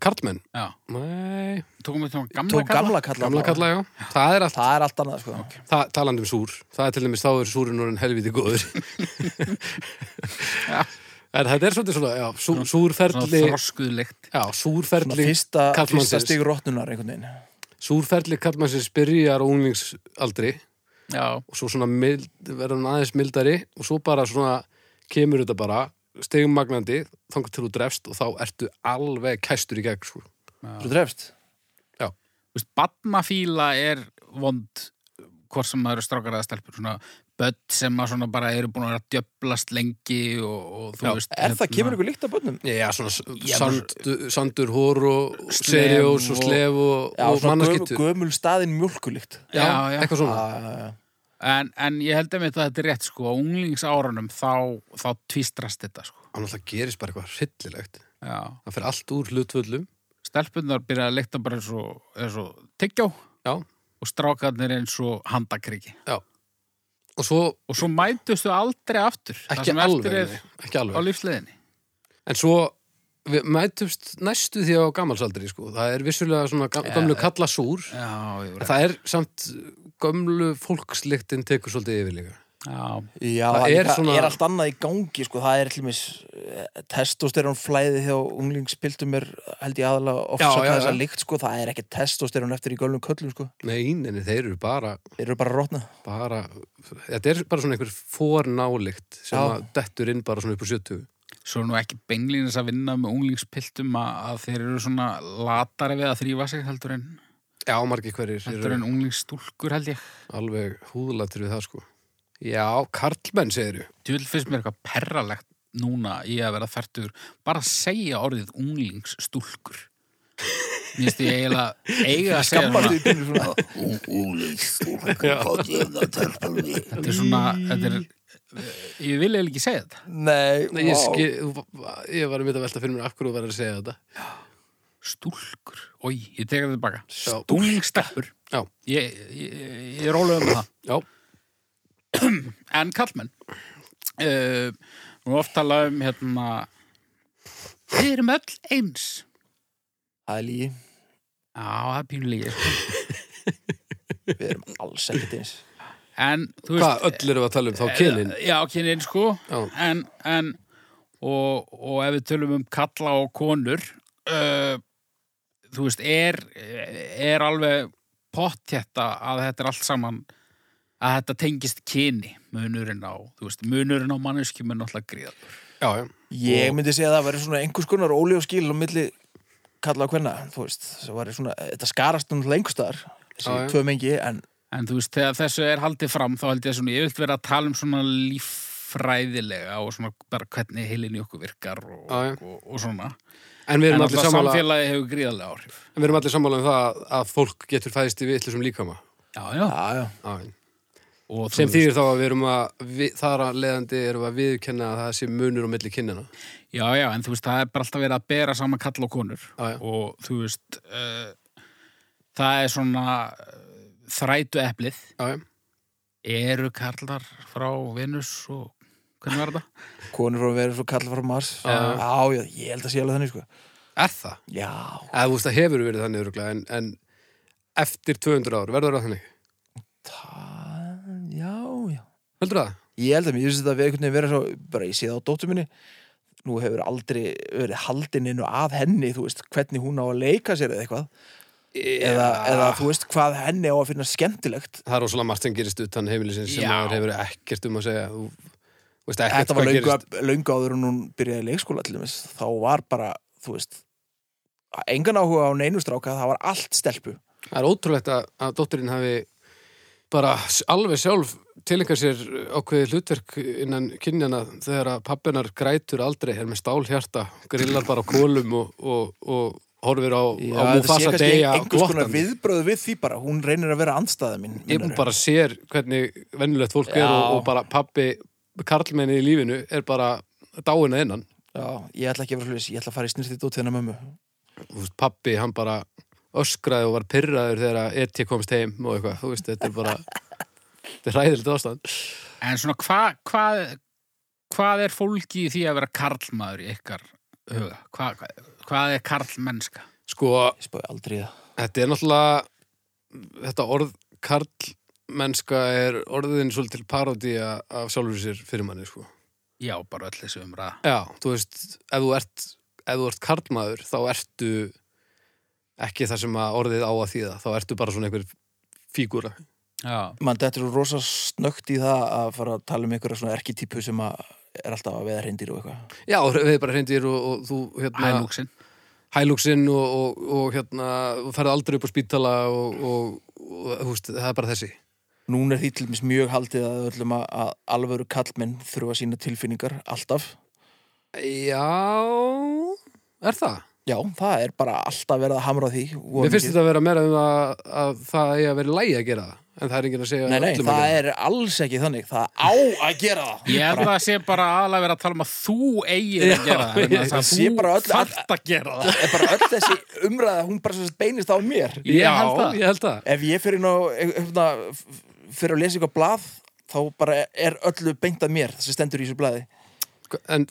[SPEAKER 3] Karlmenn.
[SPEAKER 2] Já,
[SPEAKER 3] Nei,
[SPEAKER 2] tókum við þetta gamla
[SPEAKER 1] Tók
[SPEAKER 2] kalla.
[SPEAKER 1] gamla kalla
[SPEAKER 3] gamla
[SPEAKER 1] þá.
[SPEAKER 3] kalla, já. Það er allt
[SPEAKER 1] Það er allt annað sko
[SPEAKER 3] Þa, talandi um súr, það er til dæmis þá er súrin orðin helviti góður en þetta er svolítið svona já, sú, súrferli
[SPEAKER 2] Svona þroskuðlegt.
[SPEAKER 3] já,
[SPEAKER 1] Svona
[SPEAKER 3] súrferli,
[SPEAKER 1] fyrsta,
[SPEAKER 3] karlmannsins.
[SPEAKER 1] fyrsta stig rótnunar einhvern veginn
[SPEAKER 3] súrferli kallmannsins byrjar á unglingsaldri
[SPEAKER 2] Já,
[SPEAKER 3] og svo svona mild, verður hann aðeins mildari og svo bara svona kemur þetta bara stegmagnandi, þangar til þú drefst og þá ertu alveg kæstur í gegn sko.
[SPEAKER 1] Þú drefst
[SPEAKER 2] þú veist, badnafíla er vond hvort sem það eru strákar eða stelpur svona börn sem að svona bara eru búin að vera að djöblast lengi og, og þú
[SPEAKER 3] Já,
[SPEAKER 2] veist hérna.
[SPEAKER 1] Er
[SPEAKER 3] Hérna.
[SPEAKER 1] það kemur ykkur líkt af bönnum?
[SPEAKER 3] Já, svona s-
[SPEAKER 2] Já,
[SPEAKER 3] sand, sandur hór og
[SPEAKER 2] Slem
[SPEAKER 3] serjós og
[SPEAKER 2] og-
[SPEAKER 3] slef og,
[SPEAKER 1] Já, svona
[SPEAKER 3] og
[SPEAKER 1] gömul,
[SPEAKER 3] mannaskittu
[SPEAKER 1] gömul staðin mjölkulíkt
[SPEAKER 3] Já,
[SPEAKER 2] Já, já.
[SPEAKER 3] eitthvað svona
[SPEAKER 2] en, en ég held að að þetta er rétt sko á unglingsárunum þá, þá tvistrast þetta sko
[SPEAKER 3] hann alltaf gerist bara eitthvað hryllilegt
[SPEAKER 2] Já.
[SPEAKER 3] það fer allt úr hlutvöllum
[SPEAKER 2] stelpurnar byrja að leikta bara eins og, eins og tyggjá
[SPEAKER 3] já,
[SPEAKER 2] og strákarnir eins og handakriki
[SPEAKER 3] já og svo,
[SPEAKER 2] og svo mætust þau aldrei aftur það
[SPEAKER 3] ekki
[SPEAKER 2] sem
[SPEAKER 3] alveg,
[SPEAKER 2] eftir er
[SPEAKER 3] nei, ekki
[SPEAKER 2] á
[SPEAKER 3] alveg
[SPEAKER 2] lífsleðinni
[SPEAKER 3] en svo við mætumst næstu því á gamalsaldri sko. það er vissulega svona gam, gamlu kalla súr
[SPEAKER 2] Já, ég
[SPEAKER 3] það er samt uh, gömlu fólkslyktin tekur svolítið yfir líka
[SPEAKER 2] Já,
[SPEAKER 1] Já,
[SPEAKER 3] Það
[SPEAKER 1] það
[SPEAKER 3] er
[SPEAKER 1] er, líka,
[SPEAKER 3] svona-
[SPEAKER 1] er allt annað í gangi sko. það er allumis testosterón flæði hjá unglingspiltum er held ég aðalega
[SPEAKER 3] Já, já,
[SPEAKER 1] ofsaka þessa
[SPEAKER 3] já.
[SPEAKER 1] líkt sko. það er ekki testosterón eftir í gölnum köllum sko.
[SPEAKER 3] Nei, neini, þeir eru bara,
[SPEAKER 1] þeir eru bara að rótna
[SPEAKER 3] bara þetta er bara svona einhver fornálikt sem
[SPEAKER 1] Já.
[SPEAKER 3] að dettur inn bara svona upp úr 70
[SPEAKER 2] svo er nú ekki beinlínis að vinna með unglingspiltum að, að þeir eru svona latari við að þrýfa sig heldur en,
[SPEAKER 3] Já, margir hverjir
[SPEAKER 2] heldur
[SPEAKER 3] eru
[SPEAKER 2] en unglingsstúlkur held ég.
[SPEAKER 3] alveg húðlatur við það sko Já, karlmenn segir þú
[SPEAKER 2] Þú vil finnst mér eitthvað perralegt núna í að vera færtur bara að segja orðið unglingsstúlkur. Mér finnst ég eiginlega eiga að segja
[SPEAKER 1] skammast
[SPEAKER 2] svona,
[SPEAKER 1] því pínu svona
[SPEAKER 2] þetta er svona, þetta er, eh, ég vil eiginlega ekki segja þetta.
[SPEAKER 1] Nei,
[SPEAKER 3] Nei, ég,
[SPEAKER 1] vá.
[SPEAKER 3] skil, þú- ég var einmitt að velta fyrir mér af hverju þú verður að segja þetta
[SPEAKER 2] Stúlkur, oi, ég teka þetta tilbaka.
[SPEAKER 3] Stúlka.
[SPEAKER 2] Unglingssteppur,
[SPEAKER 3] Já,
[SPEAKER 2] ég, ég, ég er rólega um það.
[SPEAKER 3] já,
[SPEAKER 2] en kallmenn uh, nú oft tala um hérna við erum öll eins
[SPEAKER 1] það er lígi,
[SPEAKER 2] já, það er pínulegi
[SPEAKER 1] við erum alls ekkert eins
[SPEAKER 2] en þú veist
[SPEAKER 3] hvað öll eru að tala um þá kynin
[SPEAKER 2] já, kynin sko
[SPEAKER 3] Já.
[SPEAKER 2] en, en og, og ef við tölum um kalla og konur uh, þú veist, er er alveg pott þetta að þetta er allt saman að þetta tengist kyni munurinn á, þú veist, munurinn á manneskjum er náttúrulega gríðar
[SPEAKER 3] Já, já,
[SPEAKER 1] Ég myndi segja að það væri svona einhvers konar óljó skil á milli kalla á hvenna þú veist, það væri svona, þetta skarast um lengstaðar, þessi
[SPEAKER 3] Já, já.
[SPEAKER 1] tvö mengi en
[SPEAKER 2] En þú veist, þegar þessu er haldið fram þá held ég svona, ég vilt vera að tala um svona líffræðilega og svona bara hvernig heilin í okkur virkar og,
[SPEAKER 3] Já, já.
[SPEAKER 2] og, og, svona.
[SPEAKER 3] en við
[SPEAKER 2] En
[SPEAKER 3] erum allir
[SPEAKER 2] alltaf
[SPEAKER 3] sammála
[SPEAKER 2] samfélagi hefur gríðarlega áhrif.
[SPEAKER 3] en við erum allir sammála um það að fólk getur fæðist í vitlusum líkama
[SPEAKER 2] Já, já.
[SPEAKER 1] já, já,
[SPEAKER 3] Já, já.
[SPEAKER 2] Og þú
[SPEAKER 3] sem
[SPEAKER 2] veist-
[SPEAKER 3] þýðir þá að við erum að við, þar að leiðandi erum við að viðkenna að það sé munur á milli kynjana
[SPEAKER 2] Já, já, en þú veist, það er bara alltaf verið að bera saman kall og konur.
[SPEAKER 3] Já, já.
[SPEAKER 2] Og þú veist, uh, það er svona uh, þrætu eplið.
[SPEAKER 3] já, já.
[SPEAKER 2] Eru karlar frá Venus og hvernig var þetta?
[SPEAKER 1] konur frá að vera svo kalla frá Mars já, já, ég held að sé alveg þannig sko
[SPEAKER 3] er það?
[SPEAKER 1] Já,
[SPEAKER 3] Eða, þú veist, það hefur verið þannig öruglega en, en eftir 200 ár verður það þannig
[SPEAKER 1] það, já, já
[SPEAKER 3] heldur það?
[SPEAKER 1] Ég held að mér, ég finnst þetta að við einhvern veginn vera svo bara ég sé það á dóttur minni nú hefur aldrei verið haldin inn og að henni, þú veist, hvernig hún á að leika sér eða eitthvað, eða, eða þú veist, hvað henni á að finna skemmtilegt
[SPEAKER 3] það er ósala margt sem gerist utan heimilisins sem
[SPEAKER 2] Já.
[SPEAKER 3] maður hefur ekkert um að segja þú þú veist ekkert
[SPEAKER 1] Þetta var
[SPEAKER 3] hvað
[SPEAKER 1] löngu,
[SPEAKER 3] gerist
[SPEAKER 1] löngu áður en hún byrjaði í leikskóla til þess, þá var bara, þú veist engan áhuga á neinu stráka, það var allt stelpu
[SPEAKER 3] það er ótrúlegt að, að dótturinn hafi bara s- alveg sjálf tilengar sér ákveðið hlutverk innan kynjana þegar að pappinar grætur aldrei er með stálhjarta grillar bara á kólum og, og, og horfir á, á
[SPEAKER 1] þetta sé
[SPEAKER 3] Mufasa
[SPEAKER 1] kannski
[SPEAKER 3] deyja
[SPEAKER 1] einhvers konar
[SPEAKER 3] glottandi.
[SPEAKER 1] viðbröðu við því bara, hún reynir að vera andstæða mín
[SPEAKER 3] Ég
[SPEAKER 1] meinarðu.
[SPEAKER 3] bara sér hvernig vennilegt fólk
[SPEAKER 1] Já.
[SPEAKER 3] er og, og bara pappi karlmenni í lífinu er bara dáin að innan
[SPEAKER 1] Já, ég ætla ekki að vera hlutis, ég ætla að fara í snirtið út þennan mömmu
[SPEAKER 3] þú veist, pappi, hann bara öskraði og var pyrraður þegar ET komst heim og eitthvað, þú veist, þetta er bara þetta er ræðilegt ástand
[SPEAKER 2] En svona hvað hva, hvað er fólki í því að vera karlmaður í ykkar huga? Hva, hva, hvað er karlmennska?
[SPEAKER 3] sko,
[SPEAKER 1] Ég spáði aldrei í það
[SPEAKER 3] þetta er náttúrulega þetta orð karl mennska er orðin svolítil parodía af sjálfur sér fyrir manni, sko
[SPEAKER 2] Já, bara öll þessu umræða.
[SPEAKER 3] já, þú veist, ef þú ert ef þú ert karlmaður, þá ertu ekki það sem að orðið á að þýða, þá ertu bara svona einhver fígúra
[SPEAKER 2] Já.
[SPEAKER 1] Man dettur er rosa snöggt í það að fara að tala um einhverja svona erkitypu sem að er alltaf að veða reyndir og eitthvað
[SPEAKER 3] já, og við bara hreindir og, og þú hérna,
[SPEAKER 2] Hælúksinn.
[SPEAKER 3] hælúksinn og, og, og hérna og ferði aldrei upp á spítala og, og, og húst, það er bara þessi
[SPEAKER 1] Núna er því til dæmis mjög haldið að við öllum að, að alvöru kallmenn þurfa sína tilfinningar alltaf.
[SPEAKER 3] Já Er það?
[SPEAKER 1] Já, það er bara alltaf verið að hamra á því.
[SPEAKER 3] Mér finnst þetta að vera meira um að, að það eigi að vera lægi að gera það en það er enginn að segja
[SPEAKER 1] Nei, nei,
[SPEAKER 3] öllum að
[SPEAKER 1] það
[SPEAKER 3] gera
[SPEAKER 1] er alls ekki þannig. Það á að gera það.
[SPEAKER 2] Ég held að það sé bara aðlega verið að tala um að þú eigir að gera það. vegna þess
[SPEAKER 1] ég sé bara
[SPEAKER 2] að
[SPEAKER 1] öll-
[SPEAKER 2] Þú þarft að gera það.
[SPEAKER 1] Það er bara öll þessi umræða, hún bara sem sagt beinist á mér.
[SPEAKER 3] Já,
[SPEAKER 2] Ég held það.
[SPEAKER 3] ég held það
[SPEAKER 1] Ef ég fyrir, ná, hefna, fyrir að lesa eitthvað blað, þá bara er öllu beint að mér sem stendur í þessu blaði.
[SPEAKER 3] Hva- En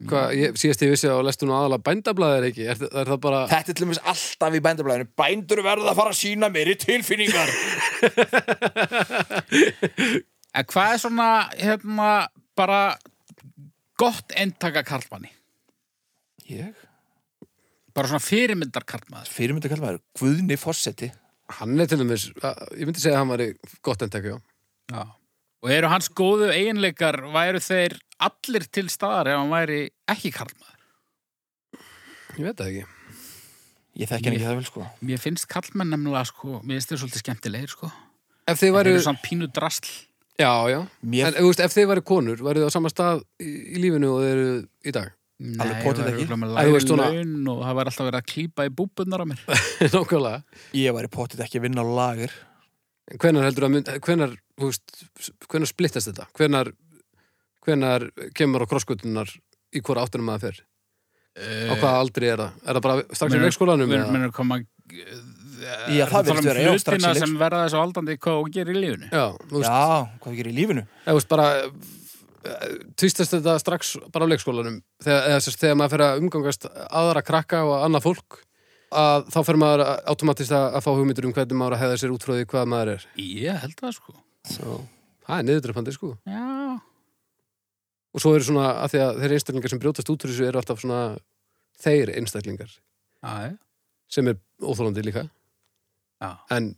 [SPEAKER 3] hvað, ég, síðast ég vissi að lestu nú aðalega bændablaðir ekki er, þa- er það bara,
[SPEAKER 1] Þetta er til dæmis alltaf í bændablaðinu. Bændur verða að fara að sína meiri tilfinningar.
[SPEAKER 2] En hvað er svona, hérna, bara gott endtaka karlmanni?
[SPEAKER 1] Ég?
[SPEAKER 2] Bara svona fyrirmyndar karlmaður.
[SPEAKER 1] Fyrirmynda kallmaður, Guðni Fossetti.
[SPEAKER 3] Hann er til dæmis, að- ég myndi segja að hann var gott endtækja, já.
[SPEAKER 2] Já. Og eru hans góðu eiginleikar, væru þeir allir til staðar ef hann væri ekki karlmaður?
[SPEAKER 3] Ég veit það ekki.
[SPEAKER 1] Ég þekki hann ekki það vel, sko.
[SPEAKER 2] Mér finnst karlmenn nefnilega, sko, mér finnst þeir svolítið skemmtilegir, sko.
[SPEAKER 3] Ef þið
[SPEAKER 2] Þeir
[SPEAKER 3] væru,
[SPEAKER 2] eru svona pínu drasl.
[SPEAKER 3] já, já.
[SPEAKER 1] Mér-
[SPEAKER 3] En, þú veist, ef þið væru konur, væru þið á sama stað í, í lífinu og þið eru í dag?
[SPEAKER 1] Alveg potið ekki.
[SPEAKER 2] Nei,
[SPEAKER 3] Að
[SPEAKER 2] það
[SPEAKER 3] þú
[SPEAKER 2] er
[SPEAKER 3] veist svona-
[SPEAKER 2] laun og það væri alltaf verið að klípa í búbunar á mér.
[SPEAKER 3] Nákvæmlega.
[SPEAKER 1] Ég væri pottið ekki að vinna á lager.
[SPEAKER 3] Hvenar heldur að mynd, hvenar, þú veist, hvenar splittast þetta? Hvenar, hvenar kemur á krosskutunar í hvora áttunum maður fer? Á hvaða aldri er það? Er það bara strax í
[SPEAKER 2] Eh, Meinar-
[SPEAKER 3] leikskólanum?
[SPEAKER 2] meinar-
[SPEAKER 3] eða?
[SPEAKER 2] meinar koma Eh,
[SPEAKER 1] Já, það
[SPEAKER 2] tala
[SPEAKER 1] virðist vera, já,
[SPEAKER 2] um
[SPEAKER 1] strax í
[SPEAKER 2] hlutina
[SPEAKER 1] leik-
[SPEAKER 2] sem verða þessu aldandi hvað hún gerir í lífinu
[SPEAKER 3] Já, þú veist,
[SPEAKER 1] Já, hvað gerir í lífinu?
[SPEAKER 3] eða þú veist bara eh, tvistast þetta strax bara á leikskólanum þegar, eða, sérst, þegar maður fer að umgangast aðra krakka og annað fólk að þá fer maður að- automatist að, að fá hugmyndur um hvernig maður á að hefða sér út frá því hvað maður er
[SPEAKER 2] ég held það sko
[SPEAKER 3] Svo. það er niðurdrepandi sko
[SPEAKER 2] já,
[SPEAKER 3] og svo eru svona að því að þeir einstaklingar sem brjótast út úr þessu eru alltaf svona þeir einstaklingar
[SPEAKER 2] já,
[SPEAKER 3] sem er óþólandi líka
[SPEAKER 2] já.
[SPEAKER 3] en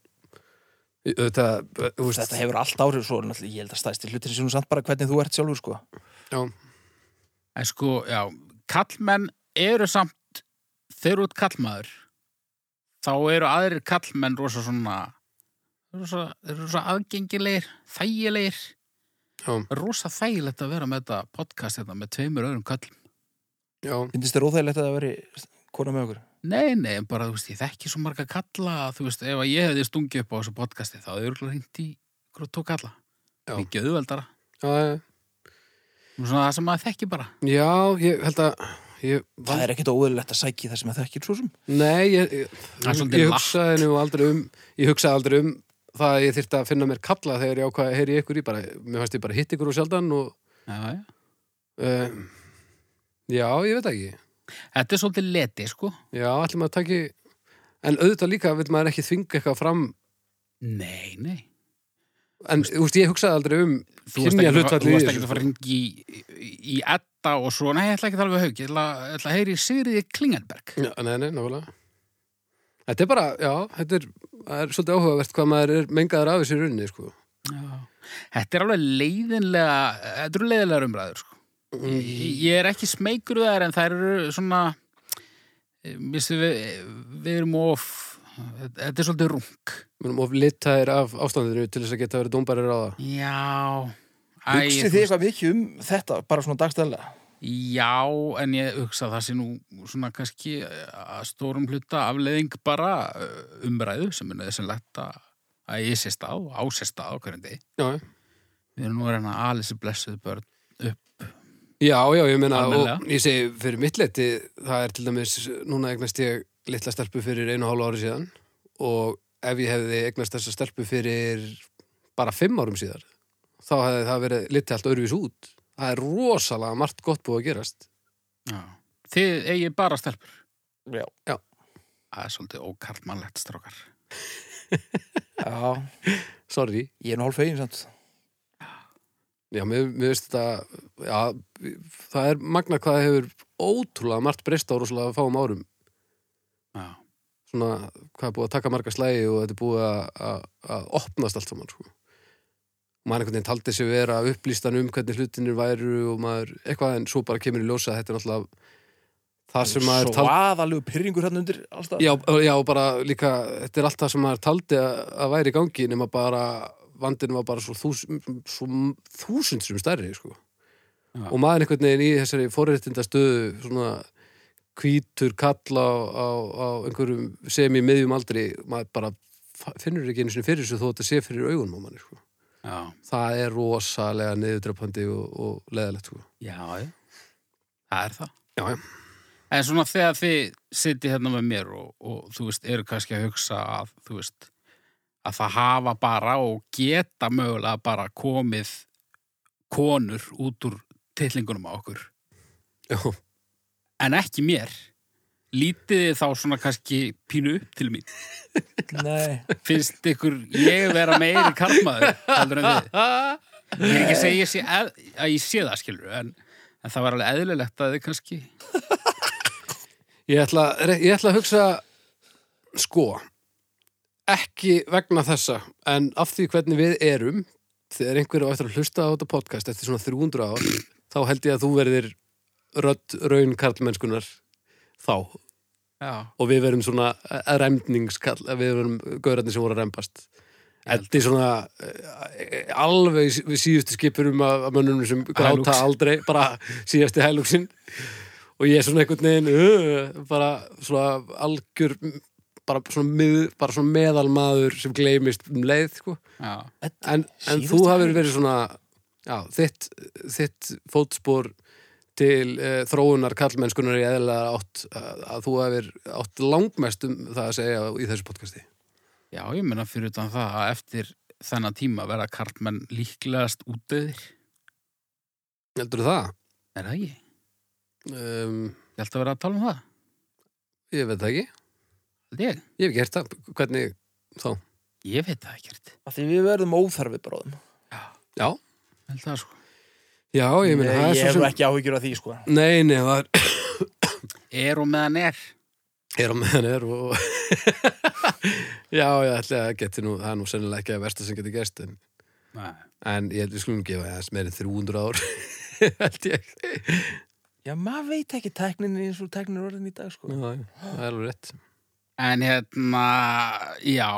[SPEAKER 3] auðvitað, þú veist
[SPEAKER 1] Þetta hefur allt áhrif svo, náttúrulega, ég held að stæsti hlutin sem samt bara hvernig þú ert sjálfur, sko.
[SPEAKER 3] já,
[SPEAKER 2] en sko, já, kallmenn eru samt þeir eru út kallmaður þá eru aðrir kallmenn rosa svona rosa, þeir eru rosa aðgengilegir þægilegir
[SPEAKER 3] já,
[SPEAKER 2] rosa þægilegt að vera með þetta podcast hérna með tveimur öðrum kallum
[SPEAKER 3] já,
[SPEAKER 1] Finnst þér óþægilegt að það veri kona með okkur?
[SPEAKER 2] Nei, nei, en bara, þú veist, ég þekki svo marga kalla að, þú veist, ef að ég hefði stungið upp á þessu podcasti, þá hefði örgulega hringt í ykkur og tók kalla.
[SPEAKER 3] Já.
[SPEAKER 2] Mikið auðveldara.
[SPEAKER 3] já, já,
[SPEAKER 2] Nú svona það sem maður þekki bara.
[SPEAKER 3] já ég held að ég vann
[SPEAKER 1] Það er ekkert óðurlegt að sæki það sem það þekkir svo sem.
[SPEAKER 3] Nei, ég, ég,
[SPEAKER 2] Það er
[SPEAKER 3] ég,
[SPEAKER 2] svolítið lágt.
[SPEAKER 3] hugsaði nú aldrei um ég hugsaði aldrei um það að ég þyrfti að finna mér kalla þegar ég ákvaði að heyri ykkur í bara, mér fannst ég bara hitt ykkur og sjaldan og
[SPEAKER 2] Já, já.
[SPEAKER 3] uh, já, ég veit það ekki
[SPEAKER 2] Þetta er svolítið leti, sko.
[SPEAKER 3] já, allir maður taki en auðvitað líka vil maður ekki þvinga eitthvað fram
[SPEAKER 2] Nei, nei.
[SPEAKER 3] en þú veist, ég hugsaði aldrei um
[SPEAKER 2] Þú varst ekki,
[SPEAKER 3] Kynja
[SPEAKER 2] að fara-
[SPEAKER 3] hlutfallið
[SPEAKER 2] þú
[SPEAKER 3] í
[SPEAKER 2] varst
[SPEAKER 3] þessu,
[SPEAKER 2] ekki að fara að hringi í, í, í Edda og svo, nei, ég ætla ekki að tala við haug, ég ætla, ég ætla að heyri í Sigriði Klingenberg.
[SPEAKER 3] já, nei, nei, nákvæmlega þetta er bara, já, þetta er, það er svolítið áhugavert hvað maður er mengaður af þessu runni, sko
[SPEAKER 2] Já. Þetta er alveg leiðinlega, þetta eru leiðinlega umræður, sko.
[SPEAKER 3] Mm.
[SPEAKER 2] Ég ég er ekki smeykur við þær en þær eru svona missi, við, við erum of þetta er svolítið rung
[SPEAKER 3] Mér erum of litaðir af ástandinu til þess að geta verið dómbarir á það
[SPEAKER 2] Já Æ,
[SPEAKER 1] Hugsið
[SPEAKER 2] þú
[SPEAKER 1] þið
[SPEAKER 2] veist,
[SPEAKER 1] eitthvað mikið um þetta, bara svona dagstæðlega?
[SPEAKER 2] Já, en ég hugsa að það sé nú svona kannski eh, að stórum hluta afleðing bara eh, umræðu sem er nöðsynlegt að að ég sé stað og á sé stað á hverjum degi
[SPEAKER 3] Já, já
[SPEAKER 2] Við erum nú að reyna að ala þessi blessuð börn upp
[SPEAKER 3] Já, já, ég meina, og
[SPEAKER 2] Almennilega.
[SPEAKER 3] ég segi fyrir mitt leti, það er til dæmis, núna eignast ég litla stelpu fyrir einu og hálfu ári síðan og ef ég hefði eignast þessa stelpu fyrir bara fimm árum síðar, þá hefði það verið litið allt örfis út. Það er rosalega margt gott búið að gerast.
[SPEAKER 2] Já. Þið eigið bara stelpur
[SPEAKER 1] Já.
[SPEAKER 2] Það er svolítið ókarlmannlegt strákar
[SPEAKER 1] Já,
[SPEAKER 3] Sorry.
[SPEAKER 1] ég er nú hálf fegin samt.
[SPEAKER 3] Já, mér, mér veist þetta, já, það er magna hvað það hefur ótrúlega margt breyst á rosalega fáum árum.
[SPEAKER 2] Já
[SPEAKER 3] Svona, hvað er búið að taka marga slægi og þetta er búið að- að að opnast allt saman, sko. maður einhvern veginn taldi sig vera upplýstan um hvernig hlutinir væru og maður eitthvað en svo bara kemur í ljósa að þetta er náttúrulega það sem maður
[SPEAKER 1] Svo
[SPEAKER 3] taldi
[SPEAKER 1] aðalegu pyrringur hann undir allstað.
[SPEAKER 3] já, já, bara líka, þetta er allt það sem maður taldi að, að væri í gangi nema bara vandinn var bara svo, þús, svo þúsund sem stærri sko.
[SPEAKER 2] Já.
[SPEAKER 3] og maður einhvern veginn í þessari forréttinda stöðu svona hvítur kall á, á, á einhverjum sem í miðjum aldri maður bara fa- finnur ekki einu sinni fyrir þessu þó að þetta sé fyrir augunum á manni sko
[SPEAKER 2] Já
[SPEAKER 3] það er rosalega niðurdrepandi og, og leðalegt sko.
[SPEAKER 2] Já, já. það er það.
[SPEAKER 3] Já, já.
[SPEAKER 2] En svona þegar þið sitið hérna með mér og, og þú veist, eru kannski að hugsa að, þú veist, að það hafa bara og geta mögulega bara komið konur út úr titlingunum á okkur,
[SPEAKER 3] Já,
[SPEAKER 2] en ekki mér. Lítið þið þá svona kannski pínu upp til mín.
[SPEAKER 1] Nei,
[SPEAKER 2] Finnst ykkur ég vera meiri karlmaður heldur en þið? Ég er ekki að segja ég sé eð, að ég sé það, skilur en, en það var alveg eðlilegt að þið kannski
[SPEAKER 3] Ég ætla, ég ætla að hugsa sko ekki vegna þessa en af því hvernig við erum þegar einhver á eftir að hlusta á þetta podcast eftir svona 300 ár þá held ég að þú verðir rödd raun karlmennskunar þá og
[SPEAKER 2] Já,
[SPEAKER 3] við verum svona remningskarl við verum gaurarnir sem voru að rembast Þetta er svona eh, alveg við síðustu skipurum af af mönnunum sem
[SPEAKER 2] Hilux.
[SPEAKER 3] gráta aldrei, bara síðasti hælúksinn og ég er svona einhvern veginn uh, bara svona algjör bara svona, mið, bara svona meðalmaður sem gleymist um leið sko.
[SPEAKER 2] já,
[SPEAKER 3] en, en þú hafur verið svona já, þitt, þitt fótspor til uh, þróunar kallmennskunar í eðlilega átt að, að þú hafir átt langmest um það að segja í þessu podcasti
[SPEAKER 2] já, ég menna fyrir utan það að eftir þennan tíma verða karlmenn líklegast útöðir
[SPEAKER 3] heldur það?
[SPEAKER 2] Er það ekki?
[SPEAKER 3] Um,
[SPEAKER 2] Ég held að vera að tala um það
[SPEAKER 3] ég veit það ekki,
[SPEAKER 2] Held ég?
[SPEAKER 3] ég hef gert það hvernig þá?
[SPEAKER 2] Ég veit það ekkert
[SPEAKER 1] Af Því við verðum óþarfi bráðum.
[SPEAKER 3] Já,
[SPEAKER 2] Held það sko
[SPEAKER 3] já, ég meina það er
[SPEAKER 1] ég
[SPEAKER 3] svo
[SPEAKER 1] hef
[SPEAKER 3] sem
[SPEAKER 1] ekki áhyggjur af því, sko.
[SPEAKER 3] Nei, nei, það er
[SPEAKER 2] Er og meðan er
[SPEAKER 3] er á meðan er og já, ég ætla að geti nú það er nú sennilega ekki að versta sem geti gerst en,
[SPEAKER 2] Nei.
[SPEAKER 3] en ég held við skulum gefa þess meir en 300 ár held ég
[SPEAKER 1] Já, maður veit ekki tækninni eins og tækninni er orðin í dag, sko.
[SPEAKER 3] já, já, það er alveg rétt
[SPEAKER 2] En hérna, já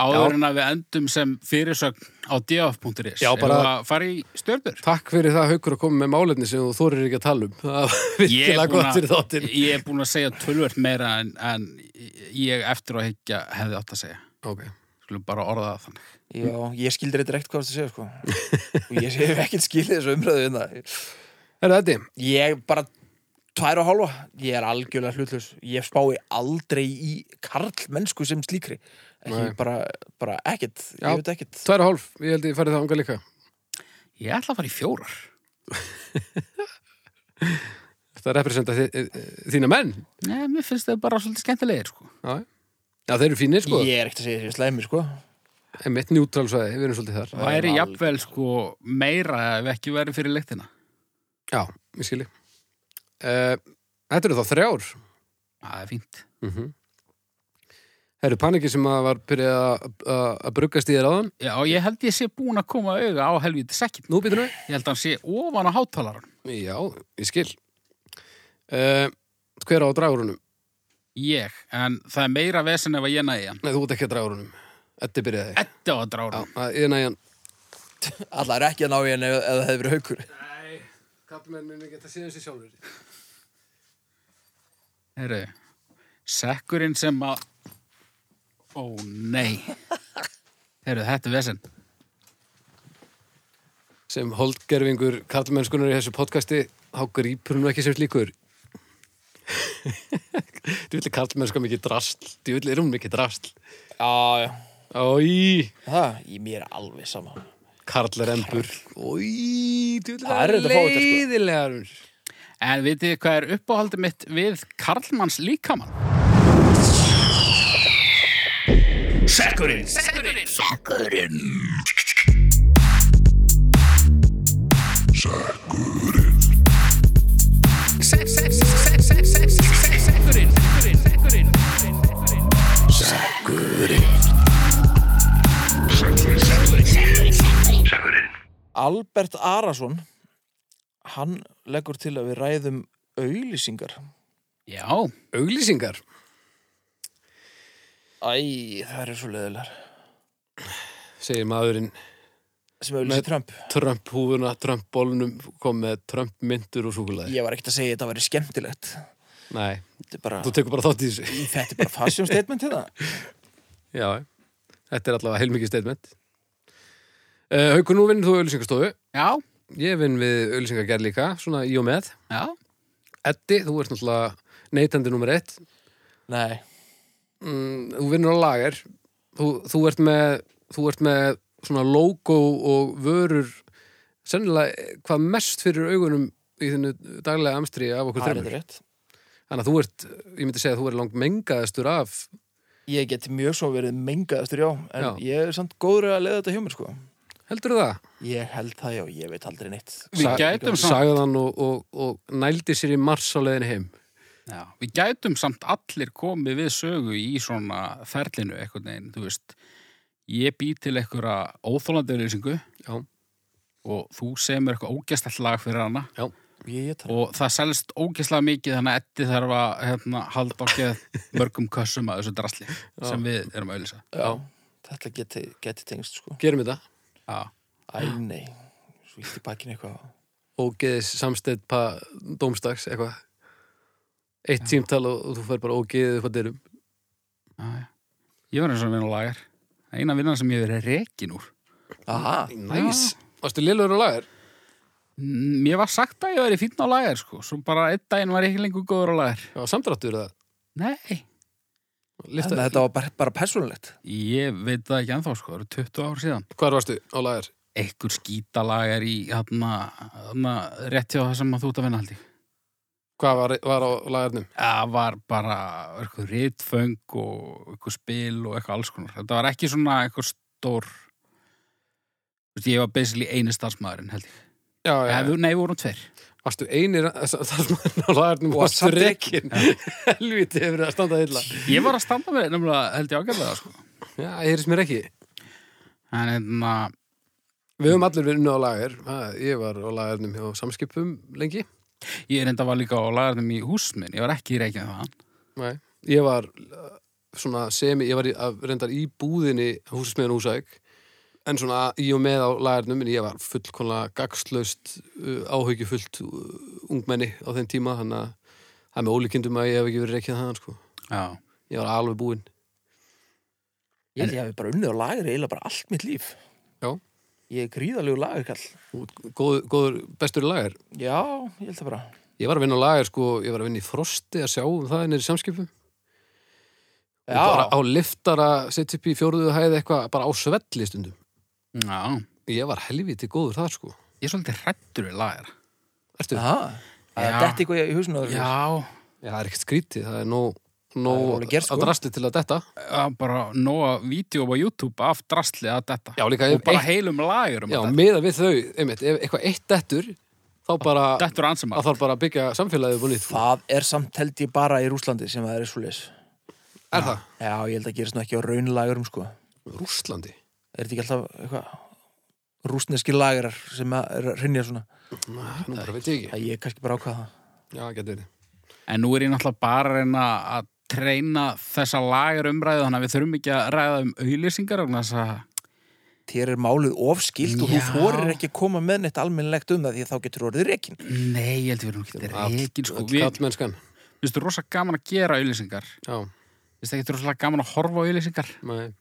[SPEAKER 2] Áður en að við endum sem fyrirsögn á df.is
[SPEAKER 3] Já,
[SPEAKER 2] Erum
[SPEAKER 3] bara-
[SPEAKER 2] við að fara í stjörnur
[SPEAKER 3] Takk fyrir það haukur að koma með málefni sem þú þorir ekki að tala um það var
[SPEAKER 2] Ég er
[SPEAKER 3] virkilega
[SPEAKER 2] búin
[SPEAKER 3] gott
[SPEAKER 2] að-
[SPEAKER 3] fyrir þáttinn
[SPEAKER 2] Ég er búin að segja tölvöld meira en, en ég eftir að higgja hefði átt að segja.
[SPEAKER 3] Ok,
[SPEAKER 2] Skulum bara orða það þannig.
[SPEAKER 1] Já, ég skildi reyndar ekkert hvað það segja, sko. og ég hef ekkert skildið þessu umræðu en það.
[SPEAKER 3] er þetta?
[SPEAKER 1] Ég bara, tvær og hálfa, ég er algjörlega hlutlaus. Ég spái aldrei í karlmennsku sem slíkri. Ekki,
[SPEAKER 3] Nei.
[SPEAKER 1] bara, bara ekkert,
[SPEAKER 3] Já.
[SPEAKER 1] ég veit ekkert.
[SPEAKER 3] Tværa hálf, ég held ég farið það ánga líka
[SPEAKER 2] Ég ætla að fara í fjórar.
[SPEAKER 3] Það er representa þi- eh, eh, þína menn
[SPEAKER 2] Nei, mér finnst þau bara svolítið skemmtilegir, sko.
[SPEAKER 3] Já, já þeir eru fínir sko
[SPEAKER 1] Ég er ekkert að segja þessu slæmi, sko.
[SPEAKER 3] Emitt njútrálsvæði, við erum svolítið þar
[SPEAKER 1] Það er
[SPEAKER 2] Væri
[SPEAKER 1] alveg-
[SPEAKER 2] jafnvel, sko, meira ef ekki væri fyrir leiktina.
[SPEAKER 3] Já, ég skilji uh, Þetta eru þá þrjár
[SPEAKER 2] Það er fínt.
[SPEAKER 3] mm Það eru paniki sem að var byrjað að- að að bruggast í þér áðan
[SPEAKER 2] Já, ég held ég sé búin að koma auga á helvítið sekkin.
[SPEAKER 3] Nú býtur við
[SPEAKER 2] Ég held að hann sé ofan á hátalarun.
[SPEAKER 3] Já, ég skil uh, Hver á dragurunum?
[SPEAKER 2] Ég, en það er meira vesen ef að ég næði hann.
[SPEAKER 3] Nei, þú ert ekki að dragurunum Þetta er byrjaði
[SPEAKER 2] Þetta á að drára.
[SPEAKER 3] Já, að- ég næjan
[SPEAKER 1] Alla er ekki að ná í henni ef ef það hefði verið haukur.
[SPEAKER 3] Nei, kallmenn minni geta síðan sér sjálfur
[SPEAKER 2] Heru, sekkurinn sem að Ó nei Heru, þetta er vesen
[SPEAKER 3] Sem holdgerfingur kallmennskunar í þessu podcasti þá grípur hún nú ekki sem slíkur Þú vilja kallmennska mikið drastl Þú vilja er hún mikið drastl
[SPEAKER 1] Já, já.
[SPEAKER 3] Ói
[SPEAKER 1] Það, ég mér er alveg sama.
[SPEAKER 3] Karlarembur Í,
[SPEAKER 1] Það er þetta fáið þetta, sko.
[SPEAKER 3] leiðilegar
[SPEAKER 2] En vitið þið hvað er uppáhaldið mitt við Karlmanns líkamann?
[SPEAKER 1] Albert Arason hann leggur til að við ræðum auglýsingar
[SPEAKER 2] Já,
[SPEAKER 3] Auglýsingar
[SPEAKER 1] Æ, það eru svo leðilegar
[SPEAKER 3] segir maðurinn
[SPEAKER 1] sem auglýsi
[SPEAKER 3] Með-
[SPEAKER 1] Trump
[SPEAKER 3] Trump húfuna, Trump bólnum kom með Trump myndur og súkulæði
[SPEAKER 1] Ég var ekkert að segja þetta að vera skemmtilegt
[SPEAKER 3] Nei,
[SPEAKER 1] Þetta er bara,
[SPEAKER 3] þú tekur bara þátt í þessu
[SPEAKER 1] þetta er bara fashion statement hérna
[SPEAKER 3] Já, þetta er allavega heilmikið statement uh, Haukur, nú vinnur þú auglýsingastofu
[SPEAKER 2] já,
[SPEAKER 3] Ég vinn við auglýsingagerð líka, svona í og með
[SPEAKER 2] já
[SPEAKER 3] Eddi, þú ert náttúrulega neytandi nummer eitt
[SPEAKER 1] Nei,
[SPEAKER 3] mm, Þú vinnur á lager þú, þú, ert með, þú ert með svona logo og vörur sennilega eh, hvað mest fyrir augunum í þinnu daglega amstri af okkur
[SPEAKER 1] það er
[SPEAKER 3] þreymur
[SPEAKER 1] þetta rétt
[SPEAKER 3] Þannig að þú ert, ég myndi segja að þú ert langt mengaðastur af
[SPEAKER 1] Ég get mjög svo verið mengaðastur já en
[SPEAKER 3] Já.
[SPEAKER 1] ég er samt góður að leiða þetta hjá mér sko
[SPEAKER 3] heldur það?
[SPEAKER 1] Ég held það, já, ég veit aldrei neitt.
[SPEAKER 2] Við gætum samt-
[SPEAKER 3] Sagðan og, og, og nældi sér í mars á leiðin heim
[SPEAKER 2] Já, við gætum samt allir komið við sögu í svona ferlinu eitthvað neginn, þú veist ég bý til einhverja óþólandi lýsingu
[SPEAKER 3] Já.
[SPEAKER 2] og þú semur eitthvað ógæstlegt lag fyrir hana
[SPEAKER 1] Ég, ég tala.
[SPEAKER 2] og það selst ógæstlega mikið þannig að Eddi þarf að hérna, halda á geð mörgum kössum að þessu drasli sem við erum að auðlýsa
[SPEAKER 1] Já, þetta geti, geti tengst, sko.
[SPEAKER 3] Gerum þetta
[SPEAKER 2] Já,
[SPEAKER 1] Æ, nei. Svo ítti bakinn eitthvað.
[SPEAKER 3] og geðis samstætt pa dómstags eitthvað Eitt tímtal og, og þú fer bara ógeðið upp að dyrum
[SPEAKER 2] já, já. Ég var eins og vinna lagar eina vinnan sem ég hef verið rekin úr
[SPEAKER 1] Aha,
[SPEAKER 3] Næs Varstu lillur og lagar?
[SPEAKER 2] Mm, Mér var sagt að ég væri fínn á lagar sko, svo bara einn daginn var ég ekki lengur góður á lagar
[SPEAKER 3] Já, samdráttur það
[SPEAKER 2] Nei,
[SPEAKER 1] þannig að
[SPEAKER 3] Lyfta,
[SPEAKER 1] þetta var bara, bara persónulegt.
[SPEAKER 2] Ég veit það ekki ennþá sko, það eru 20 ár síðan.
[SPEAKER 3] Hvar varstu á lagar?
[SPEAKER 2] Ekkur skítalag er í þarna, þarna rétt hjá það sem að þú ert að vinna haldi.
[SPEAKER 3] Hvað var, var á lagarnum?
[SPEAKER 2] Það var bara eitthvað rítföng og eitthvað spil og eitthvað alls konar. Þetta var ekki svona eitthvað stór... Þú veist, ég var basically eini starfsmaðurinn held ég.
[SPEAKER 3] Já, já,
[SPEAKER 2] Ja,
[SPEAKER 3] já.
[SPEAKER 2] við, nei, við vorum tveir.
[SPEAKER 3] Varstu einir starfsmann á lagarnum
[SPEAKER 1] Og
[SPEAKER 3] og varstu
[SPEAKER 1] samt ekki.
[SPEAKER 3] rekin Helviti hefur það standað illa
[SPEAKER 2] Ég var að standa með nefnilega held ég ágæmlega sko.
[SPEAKER 3] Já, ég heyrðis mér ekki
[SPEAKER 2] En hérna,
[SPEAKER 3] Við höfum allir verið unna á lagar Ha, Ég var á lagarnum hjá samskipum lengi
[SPEAKER 2] ég reynda var líka á lagarnum í húsminn. Ég var ekki í reikjað það.
[SPEAKER 3] Nei. Ég var uh, svona semi, ég var í, að, reyndar í búðinni húsmiðan húsæk en svona í og með á lagarnum en ég var fullkonlega gagslaust uh, áhyggjufullt uh, ungmenni á þeim tíma þannig að það er með ólíkindum að ég hef ekki verið reikjað þannig sko.
[SPEAKER 2] Já.
[SPEAKER 3] Ég var alveg búinn.
[SPEAKER 1] Ég held ég hafi bara unnið á lagri eiginlega bara allt mitt líf.
[SPEAKER 3] Já.
[SPEAKER 1] Ég er gríðalegu lagarkall.
[SPEAKER 3] Þú ert Góður, góður bestur í lagar.
[SPEAKER 1] Já, ég held það bara.
[SPEAKER 3] Ég var að vinna á lagar sko, ég var að vinna í frosti að sjá um það en er í samskipum. Og Bara á
[SPEAKER 1] Já,
[SPEAKER 3] liftar að setja upp í fjóruðu hæð eitthvað bara á svelli stundum.
[SPEAKER 2] Já.
[SPEAKER 3] Ég var helviti góður þar sko.
[SPEAKER 2] Ég er svolítið hrættur við lagar.
[SPEAKER 3] Ertu?
[SPEAKER 1] aha. Það
[SPEAKER 2] Já.
[SPEAKER 1] er dætt eitthvað í húsinu á þér.
[SPEAKER 2] Já.
[SPEAKER 3] Já, það er ekkert skrítið, það er nóg,
[SPEAKER 1] Það er
[SPEAKER 3] nóg
[SPEAKER 1] alveg gert, sko.
[SPEAKER 3] að drasti til að detta.
[SPEAKER 2] Já, bara nóga vídeo á YouTube af drasli að detta.
[SPEAKER 3] Já, líka
[SPEAKER 2] og
[SPEAKER 3] ef
[SPEAKER 2] bara
[SPEAKER 3] eitt-
[SPEAKER 2] heilum lagur um
[SPEAKER 3] Já,
[SPEAKER 2] þetta.
[SPEAKER 3] miða við þau, einmitt, ef eitthvað eitt dettur, þá bara,
[SPEAKER 2] Dettur ansama.
[SPEAKER 3] að þarf bara að byggja samfélagið búin ít.
[SPEAKER 1] Það er samt held ég bara í Rúslandi sem það er svo leis.
[SPEAKER 3] Er það?
[SPEAKER 1] Já, ég held að gerist nú ekki á raunlagurum, sko.
[SPEAKER 3] Rússlandi?
[SPEAKER 1] Er þetta ekki alltaf eitthvað rúsneski lagarar sem að er að hrynja svona?
[SPEAKER 3] Nú, bara veit ég ekki.
[SPEAKER 1] Það ég er kannski bara ákvað það.
[SPEAKER 3] Já, getur verið.
[SPEAKER 2] En nú er ég náttúrulega bara að reyna að treyna þessa lagur umræðu, þannig að við þurfum ekki að ræða um auðlýsingar og þess að...
[SPEAKER 1] Þér er málið ofskilt og þú
[SPEAKER 2] Já.
[SPEAKER 1] þorir ekki að koma með neitt almennilegt um það því að þá getur þú orðið reikin.
[SPEAKER 2] Nei, ég held að við erum ekki þetta reikin, sko.
[SPEAKER 3] Öll
[SPEAKER 2] Við
[SPEAKER 3] kallmennskan.
[SPEAKER 2] finnst þú rosa gaman að gera auðlýsingar.
[SPEAKER 3] Já,
[SPEAKER 2] Finnst ekki rosa gaman að horfa á auðlýsingar.
[SPEAKER 3] nei.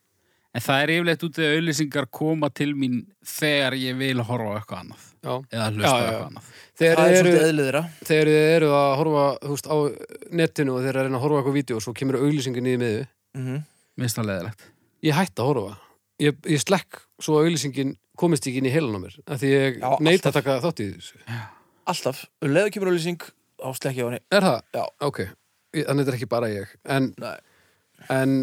[SPEAKER 2] En það er yfirleitt út eða auðlýsingar koma til mín þegar ég vil horfa á eitthvað annað.
[SPEAKER 3] Já.
[SPEAKER 2] Eða hlusta
[SPEAKER 3] Já,
[SPEAKER 2] á
[SPEAKER 3] já,
[SPEAKER 2] eitthvað
[SPEAKER 3] já.
[SPEAKER 2] annað.
[SPEAKER 3] Þegar
[SPEAKER 1] Það er
[SPEAKER 3] þið eru,
[SPEAKER 1] svolítið eðlið þeirra.
[SPEAKER 3] þegar þið eru að horfa, þú veist, á netinu og þeir eru að reyna að horfa á eitthvað vídeo og svo kemur auglýsingin í miðu.
[SPEAKER 1] Mhm.
[SPEAKER 2] Minnst það leðilegt.
[SPEAKER 3] Ég hætti að horfa. Ég, ég slekk svo að auglýsingin komist ekki inn í heilan á mér. af Því ég
[SPEAKER 1] Já,
[SPEAKER 3] neita að taka þátt í þessu.
[SPEAKER 1] Alltaf, um leiðu kemur auðlýsing, þá slekki ég á henni.
[SPEAKER 3] Er það?
[SPEAKER 1] Já.
[SPEAKER 3] Ok, Ég- þannig þetta er ekki bara ég. En,
[SPEAKER 1] Nei.
[SPEAKER 3] en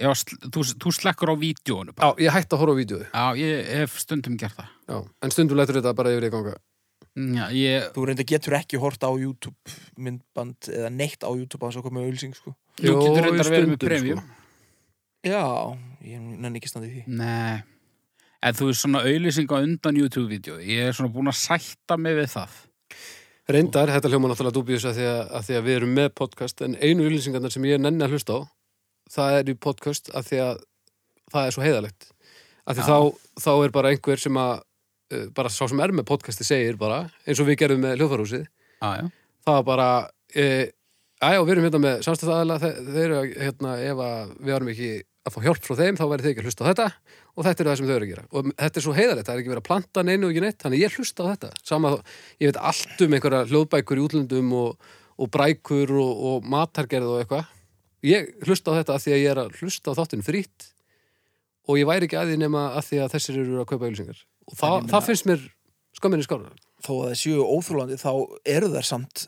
[SPEAKER 2] Já, sl þú, þú slekkur á vídjónu bara.
[SPEAKER 3] á, ég hætti að horfa á vídeo.
[SPEAKER 2] Já, ég hef stundum gert það.
[SPEAKER 3] Já. En stundum lætur þetta bara yfir í ganga.
[SPEAKER 2] Já, ég,
[SPEAKER 1] Þú reyndar getur ekki hort á YouTube myndband eða neitt á YouTube að þess að koma auðlýsing, sko.
[SPEAKER 2] þú
[SPEAKER 3] Jó,
[SPEAKER 2] getur reyndar að vera
[SPEAKER 3] stundum,
[SPEAKER 2] með premium.
[SPEAKER 3] sko.
[SPEAKER 1] Já, ég nenni ekki standið því.
[SPEAKER 2] Nei, en þú er svona auðlýsinga undan YouTube-vídeó. Ég er svona búin að sætta mig við það.
[SPEAKER 3] Reyndar, þetta hljóma náttúrulega dúbjus að því að, að því að við erum með podcast en einu ylýsingarnar sem ég nenni að hlusta á það er í podcast að því að það er svo heiðalegt. Að því
[SPEAKER 2] Já.
[SPEAKER 3] þá, þá er bara einhver sem að uh, bara sá sem er með podcasti segir bara eins og við gerum með hljófarhúsið
[SPEAKER 2] Já, já.
[SPEAKER 3] það var bara e, aðjá, við erum hérna með samstæðaðala þeir eru, að, hérna, ef að við varum ekki að fá hjálp frá þeim, þá væri þeir ekki að hlusta á þetta og þetta er það sem þau eru að gera og þetta er svo heiðarlegt, það er ekki verið að planta neinu og ekki neitt þannig ég hlusta á þetta, sama þó ég veit allt um einhverja hljóðbækur í útlöndum og, og brækur og, og matargerð og eitthvað ég hlusta á þetta af því að ég er að hlusta á þáttinn frýtt og ég væri ekki að því nema að því að þessir eru að kaupa ylsingar og það,
[SPEAKER 1] ég meina-
[SPEAKER 3] það finnst mér skömminni skára
[SPEAKER 1] Þó að það séu óþrólandi, þá eru þær samt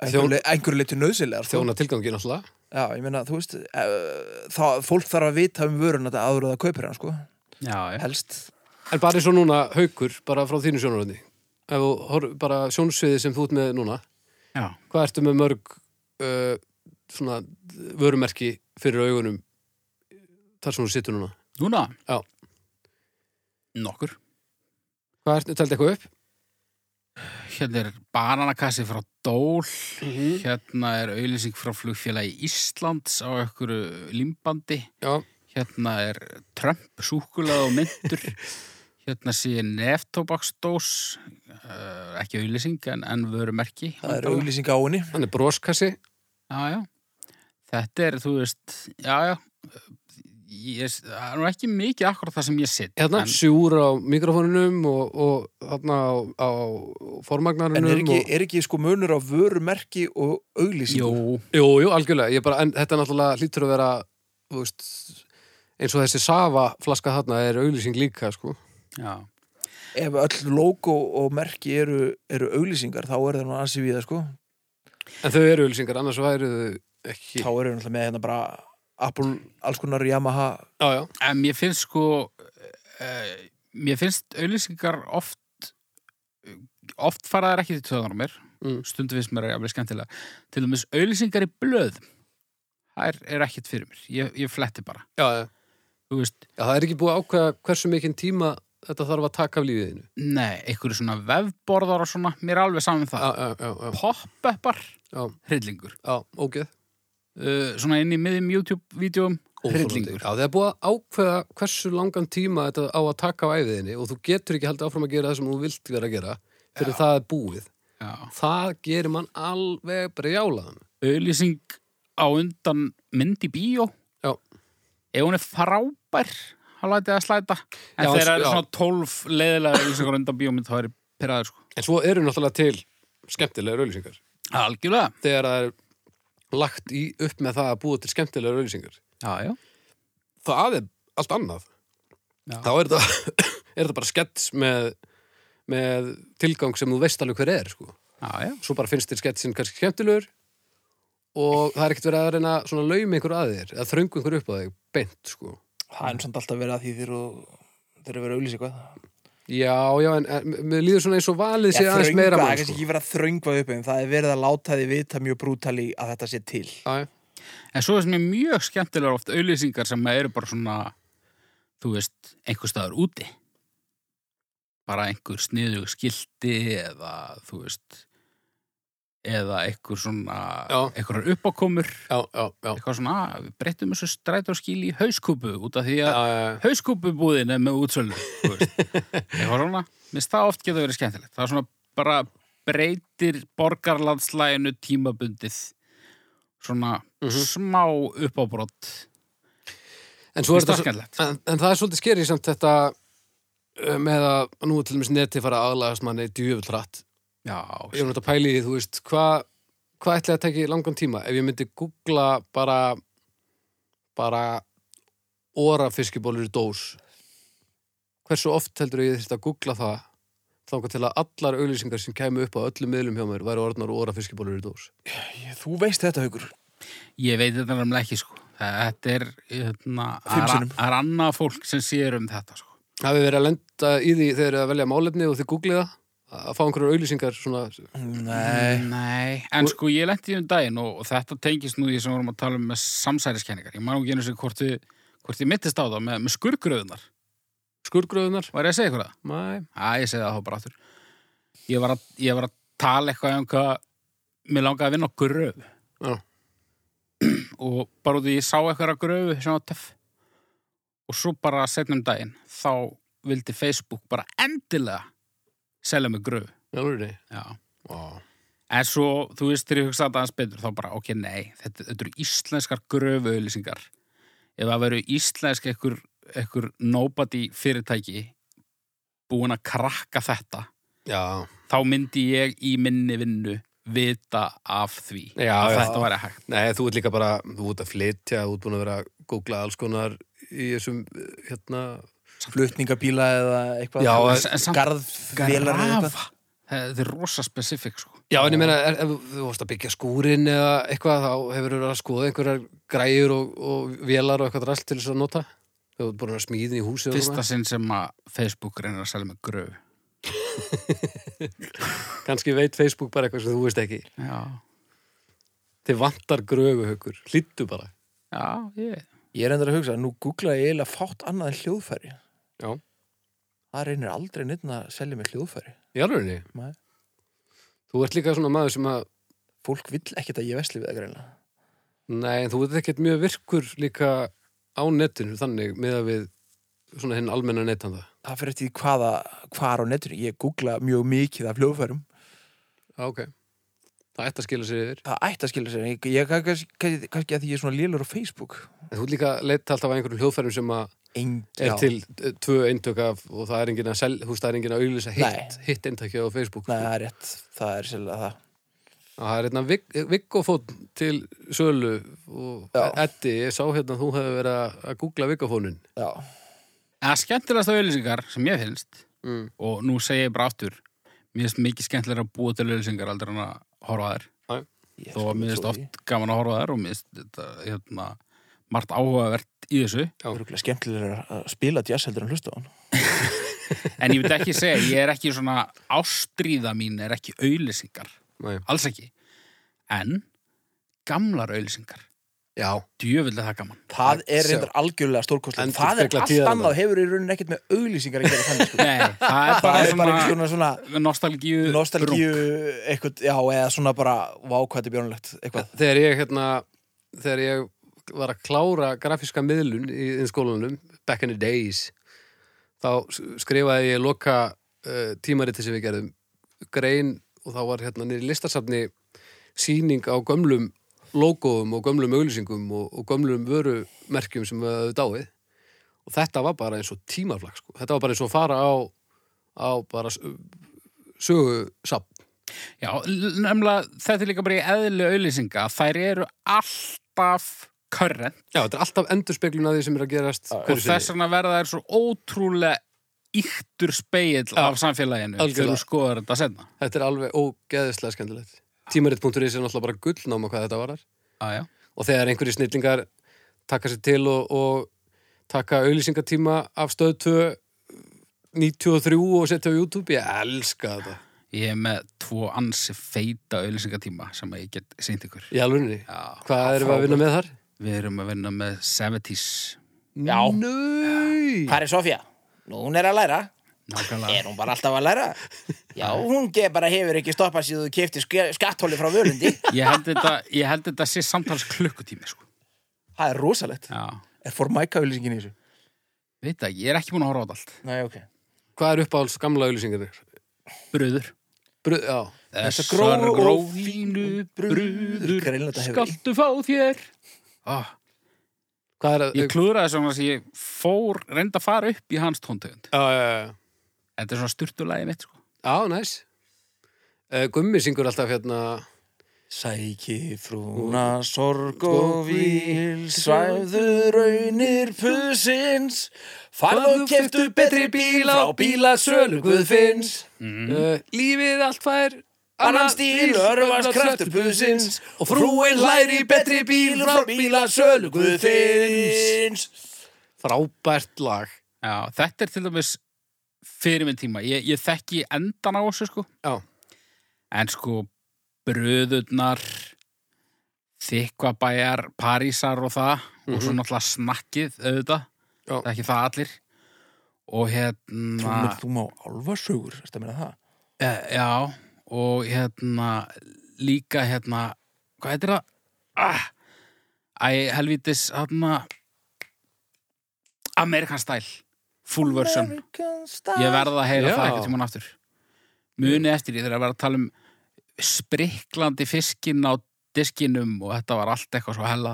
[SPEAKER 1] einhverju
[SPEAKER 3] Þjón-
[SPEAKER 1] le- einhverju leitu nöðsilegar. sko.
[SPEAKER 3] þjóna tilgangi náttúrulega
[SPEAKER 1] Já, ég meina, þú veist, eh, uh, það, fólk þarf að vita um vörun að það áður að það kaupir hann, sko,
[SPEAKER 2] Já, já.
[SPEAKER 1] helst.
[SPEAKER 3] En bara eins og núna, haukur, bara frá þínu sjónaröndi Ef þú horf, bara sjónsviði sem þú ert með núna
[SPEAKER 2] Já.
[SPEAKER 3] Hvað ertu með mörg uh, svona vörumerki fyrir augunum þar sem þú situr núna?
[SPEAKER 2] Núna?
[SPEAKER 3] Já.
[SPEAKER 2] Nokkur.
[SPEAKER 3] Hvað ertu, teldi eitthvað upp?
[SPEAKER 2] Hérna er bananakassi frá Dól.
[SPEAKER 1] Mhm.
[SPEAKER 2] Hérna er auðlýsing frá flugfélagi Íslands á einhverju limbandi.
[SPEAKER 3] Já,
[SPEAKER 2] Hérna er Trump, súkulað og myndur. Hérna sé neftóbaksdós, uh, ekki auðlýsing en, en vörumerki.
[SPEAKER 1] Það er auglýsing á henni.
[SPEAKER 3] hann er broskassi
[SPEAKER 2] Já, já. Þetta er, þú veist, já, já. Ég, það er nú ekki mikið akkurat það sem ég sitt.
[SPEAKER 3] hérna,
[SPEAKER 2] en,
[SPEAKER 3] sjúr á mikrofónunum og, og hérna á, á
[SPEAKER 1] En
[SPEAKER 3] formagnarunum
[SPEAKER 1] er ekki,
[SPEAKER 3] og...
[SPEAKER 1] er ekki sko munur á vörumerki og auglýsingu?
[SPEAKER 2] Jú,
[SPEAKER 3] Jú, jú, algjörlega, ég bara, en þetta náttúrulega hlýtur að vera, þú veist, eins og þessi Sava flaska þarna er auglýsing líka, sko.
[SPEAKER 2] já.
[SPEAKER 1] Ef öll logo og merki eru, eru auglýsingar, þá er það nú ansi við það sko.
[SPEAKER 3] En þau eru auglýsingar, annars væru þau ekki.
[SPEAKER 1] Þá eru við náttúrulega með hérna bara Apple, alls konar Yamaha.
[SPEAKER 3] Já, já,
[SPEAKER 2] En mér finnst sko uh, mér finnst auðlýsingar oft oft fara þær ekki til töðanar á mér
[SPEAKER 3] Mm.
[SPEAKER 2] stundu finnst mér að jafnvel skemmtilega til dæmis auðlýsingar í blöð þær er ekkit fyrir mér, ég, ég fletti bara
[SPEAKER 3] já, já.
[SPEAKER 2] þú veist,
[SPEAKER 3] Já, það er ekki búið að ákveða hversu mikinn tíma þetta þarf að taka af lífiðinu.
[SPEAKER 2] nei, einhverju svona vefborðar og svona, mér er alveg saman
[SPEAKER 3] Já,
[SPEAKER 2] það
[SPEAKER 3] já, já, já,
[SPEAKER 2] pop-uppar,
[SPEAKER 3] já,
[SPEAKER 2] hryllingur
[SPEAKER 3] já, ógeð.
[SPEAKER 2] uh, svona inn í miðjum YouTube-vídeum
[SPEAKER 3] Óþolandi.
[SPEAKER 2] hryllingur
[SPEAKER 3] Já, það er búið að ákveða hversu langan tíma þetta á að taka af æfiðinni og þú getur ekki haldið áfram að gera það sem þú vilt vera að gera fyrir það er búið.
[SPEAKER 2] Já.
[SPEAKER 3] Það gerir mann alveg brjálaðan.
[SPEAKER 2] auðlýsing á undan mynd í bíó
[SPEAKER 3] Já.
[SPEAKER 2] ef hún er frábær þá læti það slæta en
[SPEAKER 3] Já,
[SPEAKER 2] þegar það
[SPEAKER 3] já.
[SPEAKER 2] eru svona tólf leðilega auðlýsingar undan bíómynd þá er ég pyrraður sko
[SPEAKER 3] En svo eru náttúrulega til skemmtilegar auðlýsingar.
[SPEAKER 2] algjörlega,
[SPEAKER 3] Þegar það er lagt í upp með það að búa til skemmtilegar auðlýsingar.
[SPEAKER 2] já, já,
[SPEAKER 3] Það er allt annað.
[SPEAKER 2] Já.
[SPEAKER 3] Þá er þetta, er þetta bara skets með, með tilgang sem þú veist alveg hver er, sko.
[SPEAKER 2] já, já.
[SPEAKER 3] Svo bara finnst þér sketsin kannski skemmtilegur og það er ekkert verið að reyna svona laum einhver að þér, að þröngu einhver upp að þig beint, sko.
[SPEAKER 1] Það er nú samt alltaf verið að því þegar þú- þegar þú verið að auglýsa eitthvað.
[SPEAKER 3] Já, já, en, en mér líður svona eins og valið sé
[SPEAKER 1] Já,
[SPEAKER 3] aðeins
[SPEAKER 1] þröngva,
[SPEAKER 3] meira
[SPEAKER 1] það er
[SPEAKER 3] mann,
[SPEAKER 1] kannski
[SPEAKER 3] sko.
[SPEAKER 1] ekki verið að þröngva upp en það er verið að láta því vita mjög brútali að þetta sé til.
[SPEAKER 3] Já, já.
[SPEAKER 2] en svo er sem er mjög skemmtilega oft auðlýsingar sem eru bara svona þú veist, einhver staður úti bara einhver sniðug skilti eða þú veist eða einhver svona
[SPEAKER 3] Já.
[SPEAKER 2] einhverjar uppákomur
[SPEAKER 3] Já, já, já.
[SPEAKER 2] eitthvað svona, "Ah, við breyttum þessu strætóskíl í hauskúpu út af því
[SPEAKER 3] Já,
[SPEAKER 2] að
[SPEAKER 3] já, já.
[SPEAKER 2] hauskúpubúðin er með útsölu þú veist. eitthvað svona minnst það oft getur verið skemmtilegt það er svona bara breytir borgarlandslæginu tímabundið svona
[SPEAKER 1] Mhm.
[SPEAKER 2] smá uppábrott
[SPEAKER 3] En svo
[SPEAKER 2] Mér
[SPEAKER 3] er
[SPEAKER 2] finnst það
[SPEAKER 3] þetta
[SPEAKER 2] skemmtilegt
[SPEAKER 3] en, en það er svolítið skeri samt þetta uh, með að nú er til dæmis neti fara að aðlagast manni djöfullrætt.
[SPEAKER 2] já,
[SPEAKER 3] Ég var náttúrulega að pæli því, þú veist, hvað hva ætli að teki langan tíma? Ef ég myndi googla bara bara orafiskibólur í dós hversu oft heldur ég þurfti að googla það þangað til að allar auglýsingar sem kæmi upp á öllum miðlum hjá mér væri orðnar orafiskibólur í dós.
[SPEAKER 1] Þú veist þetta, Haukur.
[SPEAKER 2] ég veit þetta nefnilega ekki sko þetta er hérna,
[SPEAKER 1] Fimm
[SPEAKER 2] það er
[SPEAKER 1] sinnum.
[SPEAKER 2] það er annað fólk sem sér um þetta sko
[SPEAKER 3] Hafið þið verið að lenda í því þegar þið eruð að velja málefni og þið googlið það? Að fá einhverjar auglýsingar svona
[SPEAKER 1] Nei.
[SPEAKER 2] Nei, en sko ég lendi um daginn og, og þetta tengist nú því sem við vorum að tala um með samsæriskenningar. Ég man nú ekki einu sem hvort, þið- hvort ég mittist á það með, með skurgröðunar.
[SPEAKER 3] skurgröðunar?
[SPEAKER 2] Var ég að segja ykkur það?
[SPEAKER 3] Mæ,
[SPEAKER 2] Æ, ég segi það þá bara aftur. Ég var að, ég var að tala eitthvað um hvað mér langaði að vinna á gröfu.
[SPEAKER 3] Já.
[SPEAKER 2] og bara út í ég sá eitthvað á gröfu sem var töff. Og svo bara setnum daginn, þá vildi Facebook bara endilega selja mig gröfu.
[SPEAKER 3] alveg þið.
[SPEAKER 2] Já.
[SPEAKER 3] Vá.
[SPEAKER 2] En svo, þú veist, þegar ég hugsa þetta aðeins betur, þá bara, ok, nei, þetta, þetta eru íslenskar gröfuauðlýsingar. Ef það veru íslensk ekkur, ekkur nobody fyrirtæki búin að krakka þetta,
[SPEAKER 3] Já,
[SPEAKER 2] þá myndi ég í minni vinnu vita af því
[SPEAKER 3] Já,
[SPEAKER 2] að
[SPEAKER 3] já.
[SPEAKER 2] þetta væri hægt.
[SPEAKER 3] nei, þú ert líka bara, þú ert að flytja, þú ert búin að vera að googla alls konar í þessum, eh, hérna,
[SPEAKER 1] Flutningabíla eða eitthvað.
[SPEAKER 3] Já,
[SPEAKER 2] en- en samt-
[SPEAKER 1] Garðvélar eða eitthvað.
[SPEAKER 2] Grafa. Þetta er rosa spesifik, sko.
[SPEAKER 3] já, en ég meina, er, ef þú- þú vorst að byggja skúrin eða eitthvað, þá hefur þú verið að skoða einhverjar græjur og, og vélar og eitthvað rast til þess að nota. Þú ert búin að smíðin í húsið og
[SPEAKER 2] Fyrsta
[SPEAKER 3] svona.
[SPEAKER 2] sinn sem að Facebook reynir að selja með gröf.
[SPEAKER 3] Kannski veit Facebook bara eitthvað sem þú veist ekki.
[SPEAKER 2] Já,
[SPEAKER 3] Þið vantar gröfuhaukur. Hlýttu bara.
[SPEAKER 2] já, ég.
[SPEAKER 1] Ég er endur að hugsa, nú googlaði ég eiginlega fátt annað en hljóðfæri.
[SPEAKER 3] Já.
[SPEAKER 1] Það reynir aldrei neitt að selja með hljóðfæri.
[SPEAKER 3] Í alvegni.
[SPEAKER 1] Nei.
[SPEAKER 3] Þú ert líka svona maður sem að,
[SPEAKER 1] Fólk vill ekkert að ég vesli við það greinlega.
[SPEAKER 3] nei, en þú ert ekkert mjög virkur líka á netinu þannig með að við svona hinn almenna netanda.
[SPEAKER 1] Það fyrir eftir því hvaða, hvar á netinu. Ég googla mjög mikið af hljóðfærum.
[SPEAKER 3] Já, ok. Það ætti að skila sér yfir.
[SPEAKER 1] Það ætti að skilja sér. Ég, ég kannski, kannski, kannski að því ég er svona lélur á Facebook.
[SPEAKER 3] En þú ert líka leitt alltaf að einhverjum hljóðfærum sem að
[SPEAKER 1] Engi
[SPEAKER 3] er til eh, tvö eintök af og það er enginn að sel, þú veist, það er enginn að auglýsa hitt, hitt eintökja á Facebook.
[SPEAKER 1] Nei, það er rétt. Það er sérlega það.
[SPEAKER 3] Og það er hérna Vig- Viggofón til sölu og
[SPEAKER 1] Já.
[SPEAKER 3] Eddi, ég sá hérna að þú hefði verið að- að googla Viggofónin.
[SPEAKER 1] Já.
[SPEAKER 2] En það skemmtilegasta auðlýsingar sem ég finnst,
[SPEAKER 3] Mm.
[SPEAKER 2] og nú segi ég bara aftur, mér finnst mikið skemmtilega að búa til auðlýsingar aldrei en að horfa þær.
[SPEAKER 1] Ég
[SPEAKER 2] Þó að
[SPEAKER 1] skal
[SPEAKER 2] mér finnst
[SPEAKER 1] trúa því.
[SPEAKER 2] oft gaman að horfa þær og mér finnst þetta, hérna, margt áhugavert í þessu.
[SPEAKER 1] Það er örugglega skemmtilegur að spila jazz heldur en hlusta á hann.
[SPEAKER 2] En ég veit ekki segja, ég er ekki svona, ástríða mín er ekki auðlýsingar,
[SPEAKER 3] Nei.
[SPEAKER 2] alls ekki. En gamlar auðlýsingar,
[SPEAKER 3] Já.
[SPEAKER 2] djöfildi það gaman.
[SPEAKER 1] Það er
[SPEAKER 3] Sjá.
[SPEAKER 1] reyndar algjörlega stórkostlegt.
[SPEAKER 3] Endurspegla
[SPEAKER 1] Það er allt
[SPEAKER 3] tíðaranda.
[SPEAKER 1] annað, hefur í rauninni ekkert með auglýsingar að gera þannig. sko.
[SPEAKER 2] Nei, það er
[SPEAKER 1] Það
[SPEAKER 2] bara
[SPEAKER 1] er bara einhvers
[SPEAKER 2] svona
[SPEAKER 1] konar svona
[SPEAKER 2] nostalgíu
[SPEAKER 1] nostalgíu eitthvað, já, eða svona bara vákvæði björnulegt eitthvað.
[SPEAKER 3] Þegar ég, hérna, þegar ég var að klára grafíska miðlun í, í skólanum, back in the days, þá s- skrifaði ég loka uh, tímariti sem við gerðum grein og þá var hérna niður í listasafni sýning á gömlum logoum og gömlum auglýsingum og, og gömlum vörumerkjum sem við höfðu dáið og þetta var bara eins og tímarflag sko. þetta var bara eins og að fara á, á bara sögusafn
[SPEAKER 2] Já, nefnilega þetta er líka bara í eðlu auðlýsinga þær eru alltaf körrent
[SPEAKER 3] Já, þetta er alltaf endurspeglun að því sem er að gerast
[SPEAKER 2] og þess vegna verða þær svo ótrúlega yktur speill af samfélaginu
[SPEAKER 3] algjörlega.
[SPEAKER 2] þegar þú skoðar þetta senna
[SPEAKER 3] Þetta er alveg ógeðislega skemmtilegt. Tímarit.is er náttúrulega bara gullnáma hvað þetta varar.
[SPEAKER 2] ah,
[SPEAKER 3] Og þegar einhverjir snillingar taka sér til og, og taka auðlýsingatíma af stöð 2 93 og setja á YouTube, ég elska þetta.
[SPEAKER 2] Ég er með tvo ansi feita auðlýsingatíma sem að ég get seint ykkur
[SPEAKER 3] Í alvegni.
[SPEAKER 2] Já.
[SPEAKER 3] Hvað erum við að vinna með þar?
[SPEAKER 2] Við erum að vinna með 70s
[SPEAKER 1] Já.
[SPEAKER 3] Nau!
[SPEAKER 1] Hvað er Sofía? Nú, hún er að læra.
[SPEAKER 2] nákvæmlega
[SPEAKER 1] Er hún bara alltaf að læra? Já, hún ge- bara hefur ekki stoppað síðan þú kefti skatthóli frá völundi.
[SPEAKER 2] Ég held þetta, ég held þetta sé samtals klukkutími sko.
[SPEAKER 1] Það er rosalegt.
[SPEAKER 2] Já,
[SPEAKER 1] Er fór mæka auglýsingin í þessu?
[SPEAKER 2] veit það, ég er ekki búin að horfa á þetta allt
[SPEAKER 1] Nei, ok.
[SPEAKER 3] Hvað er uppáhalds gamla auðlýsingarnir?
[SPEAKER 2] Bröður
[SPEAKER 3] Bröð, já.
[SPEAKER 2] Eh, Þessar
[SPEAKER 1] gróu og
[SPEAKER 2] grófínu brúður
[SPEAKER 1] Greinilega þetta hefur-
[SPEAKER 2] Skaltu fá þér ah,
[SPEAKER 3] Hvað er að...
[SPEAKER 2] Ég klúðraði svona að ég fór reynda að fara upp í hans tóntegund
[SPEAKER 3] Já, já, já, já.
[SPEAKER 2] Þetta er svona styrtulagi mitt sko.
[SPEAKER 3] Já, næs. Eh, Gummi syngur alltaf hérna...
[SPEAKER 1] Sæki frúna sorg og víl, svæfðu raunir pusins, farðu og keftu betri bíl á bílasölu guðfinns.
[SPEAKER 3] Uh, lífið allt fær
[SPEAKER 1] Mm. Annan stíl, örvast kraftur pusins Og frúin hlæri betri bíl frá bíla sölu guðfinns
[SPEAKER 3] Frábært lag
[SPEAKER 2] Já, Þetta er til dæmis fyrir minn tíma Ég, ég þekki endan á þessu sko.
[SPEAKER 3] Já.
[SPEAKER 2] En sko bröðurnar þykvabæjar Parísar og það og svo náttúrulega snakkið auðvitað
[SPEAKER 3] Já.
[SPEAKER 2] Það er ekki það allir og hérna
[SPEAKER 1] þú má álfarsögur, ertu að meina það?
[SPEAKER 2] Eh, Já, og hérna líka hérna hvað heitir það? Ah, æ, helvítis hérna Amerikan stæl full version, ég verða að heyra
[SPEAKER 3] Já.
[SPEAKER 2] það eitthvað tímann aftur muni eftir ég þegar að vera að tala um spriklandi fiskinn á diskinum og þetta var allt eitthvað svo hella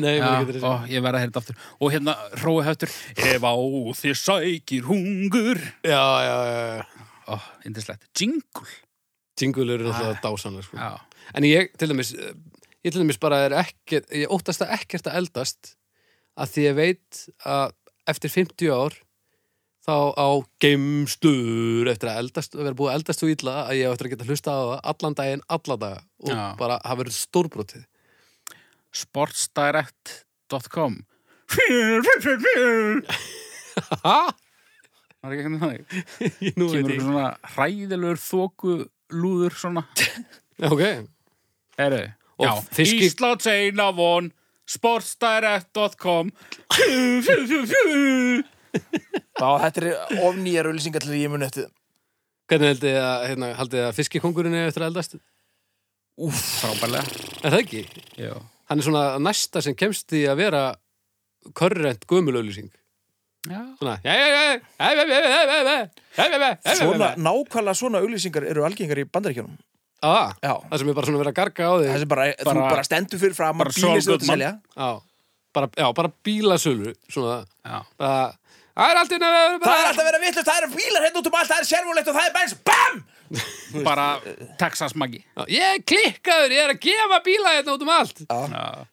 [SPEAKER 3] Nei,
[SPEAKER 2] Já, og ég verða að heyra þetta aftur og hérna hrói höftur ef á þið sækir hungur
[SPEAKER 3] já, já, já, já.
[SPEAKER 2] ó, indislegt, jingle
[SPEAKER 3] Jingle eru náttúrulega dásanlega sko.
[SPEAKER 2] já,
[SPEAKER 3] En ég til dæmis eh, Ég til dæmis bara er ekkert Ég óttast það ekkert að eldast að því ég veit að eftir 50 ár þá á geimstur eftir að eldast að vera búið að eldast svo illa að ég á eftir að geta hlusta á það allan daginn, alla daga og
[SPEAKER 2] Já.
[SPEAKER 3] bara hafa verið stórbrotið
[SPEAKER 2] sportsdirect.com Var ekki ekki þannig?
[SPEAKER 3] Nú veit
[SPEAKER 2] Kemur
[SPEAKER 3] ég.
[SPEAKER 2] svona hræðilegur þóku lúður svona.
[SPEAKER 3] Já, Ok,
[SPEAKER 2] Heru,
[SPEAKER 3] Og
[SPEAKER 2] já,
[SPEAKER 3] fiski-
[SPEAKER 2] Íslands eina von, sportsdirect.com
[SPEAKER 1] Já, þetta er ofnýjar auðlýsingar til ég muni eftir þeim.
[SPEAKER 3] hvernig haldið þið að, hérna, haldið þið að fiskikongurinn er eftir að eldast?
[SPEAKER 1] Úff,
[SPEAKER 2] Frábælega.
[SPEAKER 3] Er það ekki?
[SPEAKER 2] Já.
[SPEAKER 3] Hann er svona næsta sem kemst í að vera körrent gömulauðlýsing.
[SPEAKER 2] Já.
[SPEAKER 3] Svona, jæ, jæ, jæ, jæ, jæ, jæ, jæ, jæ, jæ, jæ, jæ, jæ,
[SPEAKER 1] svona, nákvæmlega svona auðlýsingar eru algengar í bandaríkjunum.
[SPEAKER 3] Ah,
[SPEAKER 1] Já.
[SPEAKER 3] það sem er bara svona verið að garga á
[SPEAKER 1] Það
[SPEAKER 3] þig.
[SPEAKER 1] sem bara, þú
[SPEAKER 2] Bara-
[SPEAKER 1] bara stendur fyrir fram
[SPEAKER 2] bara
[SPEAKER 1] að bílið
[SPEAKER 2] Saul
[SPEAKER 1] sem þú ert að
[SPEAKER 2] Goodman.
[SPEAKER 1] selja.
[SPEAKER 3] Já, bara, já, bara bílasölu, svona,
[SPEAKER 2] Já.
[SPEAKER 3] bara, það er allt í nefnum,
[SPEAKER 1] Það er alltaf að vera vittlust, það eru bílar hérna út um allt, það er servulegt og það er bens, BAM!
[SPEAKER 2] Bara Texas Maggi.
[SPEAKER 3] Ég er klikkaður, ég er að gefa bíla hérna út um allt.
[SPEAKER 2] Já.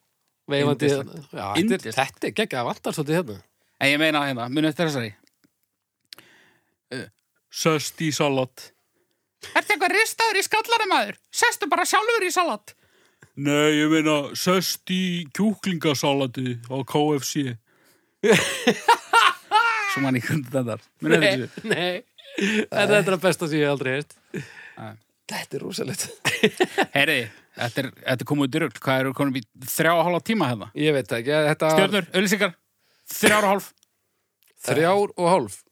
[SPEAKER 3] Veifandi, já,
[SPEAKER 2] Yndislegt.
[SPEAKER 3] þetta er-
[SPEAKER 2] Yndislegt.
[SPEAKER 3] þetta er geggjað vantar svolítið hérna.
[SPEAKER 2] En ég meina hérna, muni eftir þessari Eh, Söst í salat Ertu eitthvað ristaður í skallari maður? Sestu bara sjálfur í salat Nei, ég meina söst í kjúklingasalati á KFC Svo mann í kundi þetta Muni eftir þessu
[SPEAKER 3] Nei, þetta er það besta sem ég hef aldrei heilt.
[SPEAKER 1] Þetta er rosalegt.
[SPEAKER 2] Heyri, þetta er, þetta er komið út í rugl Hvað eru konum í þrjá og hálfa tíma hérna?
[SPEAKER 3] Ég veit það ekki, þetta
[SPEAKER 2] Stjörnur, öllisingar, þrjár og hálf
[SPEAKER 3] þrjár og hálf.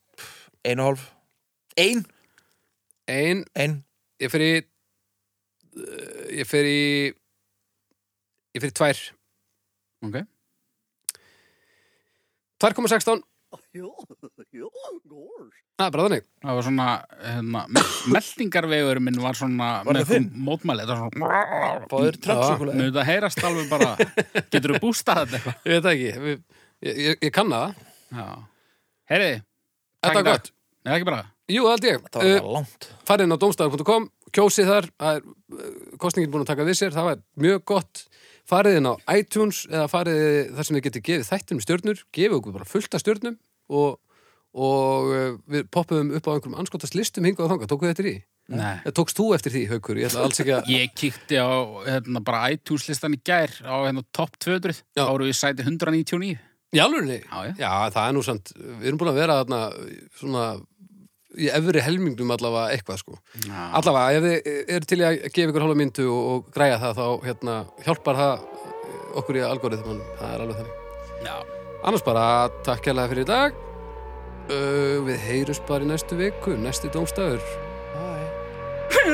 [SPEAKER 1] Ein og hálf. Ein,
[SPEAKER 3] Ein,
[SPEAKER 1] ein.
[SPEAKER 3] ég fer í, uh, ég fer í, ég fer í tvær.
[SPEAKER 2] Ok
[SPEAKER 3] 2,16. Það er bara þannig.
[SPEAKER 2] Það var svona, hérna, meldingarvegur minn var svona
[SPEAKER 1] Var það þinn?
[SPEAKER 2] mótmæli, þetta var svona
[SPEAKER 1] Báður
[SPEAKER 2] Mér
[SPEAKER 1] trökksúkulega.
[SPEAKER 2] þetta heyrast alveg bara Getur þú bústað þetta eitthvað?
[SPEAKER 3] Ég veit það ekki, við- ég, ég, ég kann það.
[SPEAKER 2] Já Heyri,
[SPEAKER 3] Þetta
[SPEAKER 2] í
[SPEAKER 3] var
[SPEAKER 2] dag.
[SPEAKER 3] gott.
[SPEAKER 2] Nei, ekki bara
[SPEAKER 3] Jú, það held ég.
[SPEAKER 1] Það var
[SPEAKER 2] Eh,
[SPEAKER 3] Uh,
[SPEAKER 1] bara langt.
[SPEAKER 3] farið inn á domstafar.com, kjósið þar, það er uh, kostningin búin að taka við sér, það var mjög gott. Farið inn á iTunes eða farið þar sem þið getur gefið þættinum stjörnur, gefið okkur bara fullt af stjörnum og, og uh, við poppuðum upp á einhverjum anskotast listum hingað og þangað, tókuðu eftir því?
[SPEAKER 2] Nei
[SPEAKER 3] Eða Tókst þú eftir því, Haukur? Ég ætla alls ekki að...
[SPEAKER 2] Ég kíkti á, hérna, bara iTunes-listan í gær á, hérna, top 200
[SPEAKER 3] Já.
[SPEAKER 2] Þá voru við í sæti 199
[SPEAKER 3] Í alvörunni?
[SPEAKER 2] Já, já.
[SPEAKER 3] það er nú samt, við erum búin að vera þarna svona í efri helmingnum allavega eitthvað sko.
[SPEAKER 2] Já.
[SPEAKER 3] Allavega, ef þið er til í að gefa ykkur hálfa myndu og, og græja það þá hérna, hjálpar það eh, okkur í algoritman, það er alveg þannig.
[SPEAKER 2] Já
[SPEAKER 3] Annars bara, takk hérlega fyrir í dag. Uh, við heyrjumst bara í næstu viku, næsti dómstafur.
[SPEAKER 1] Æ.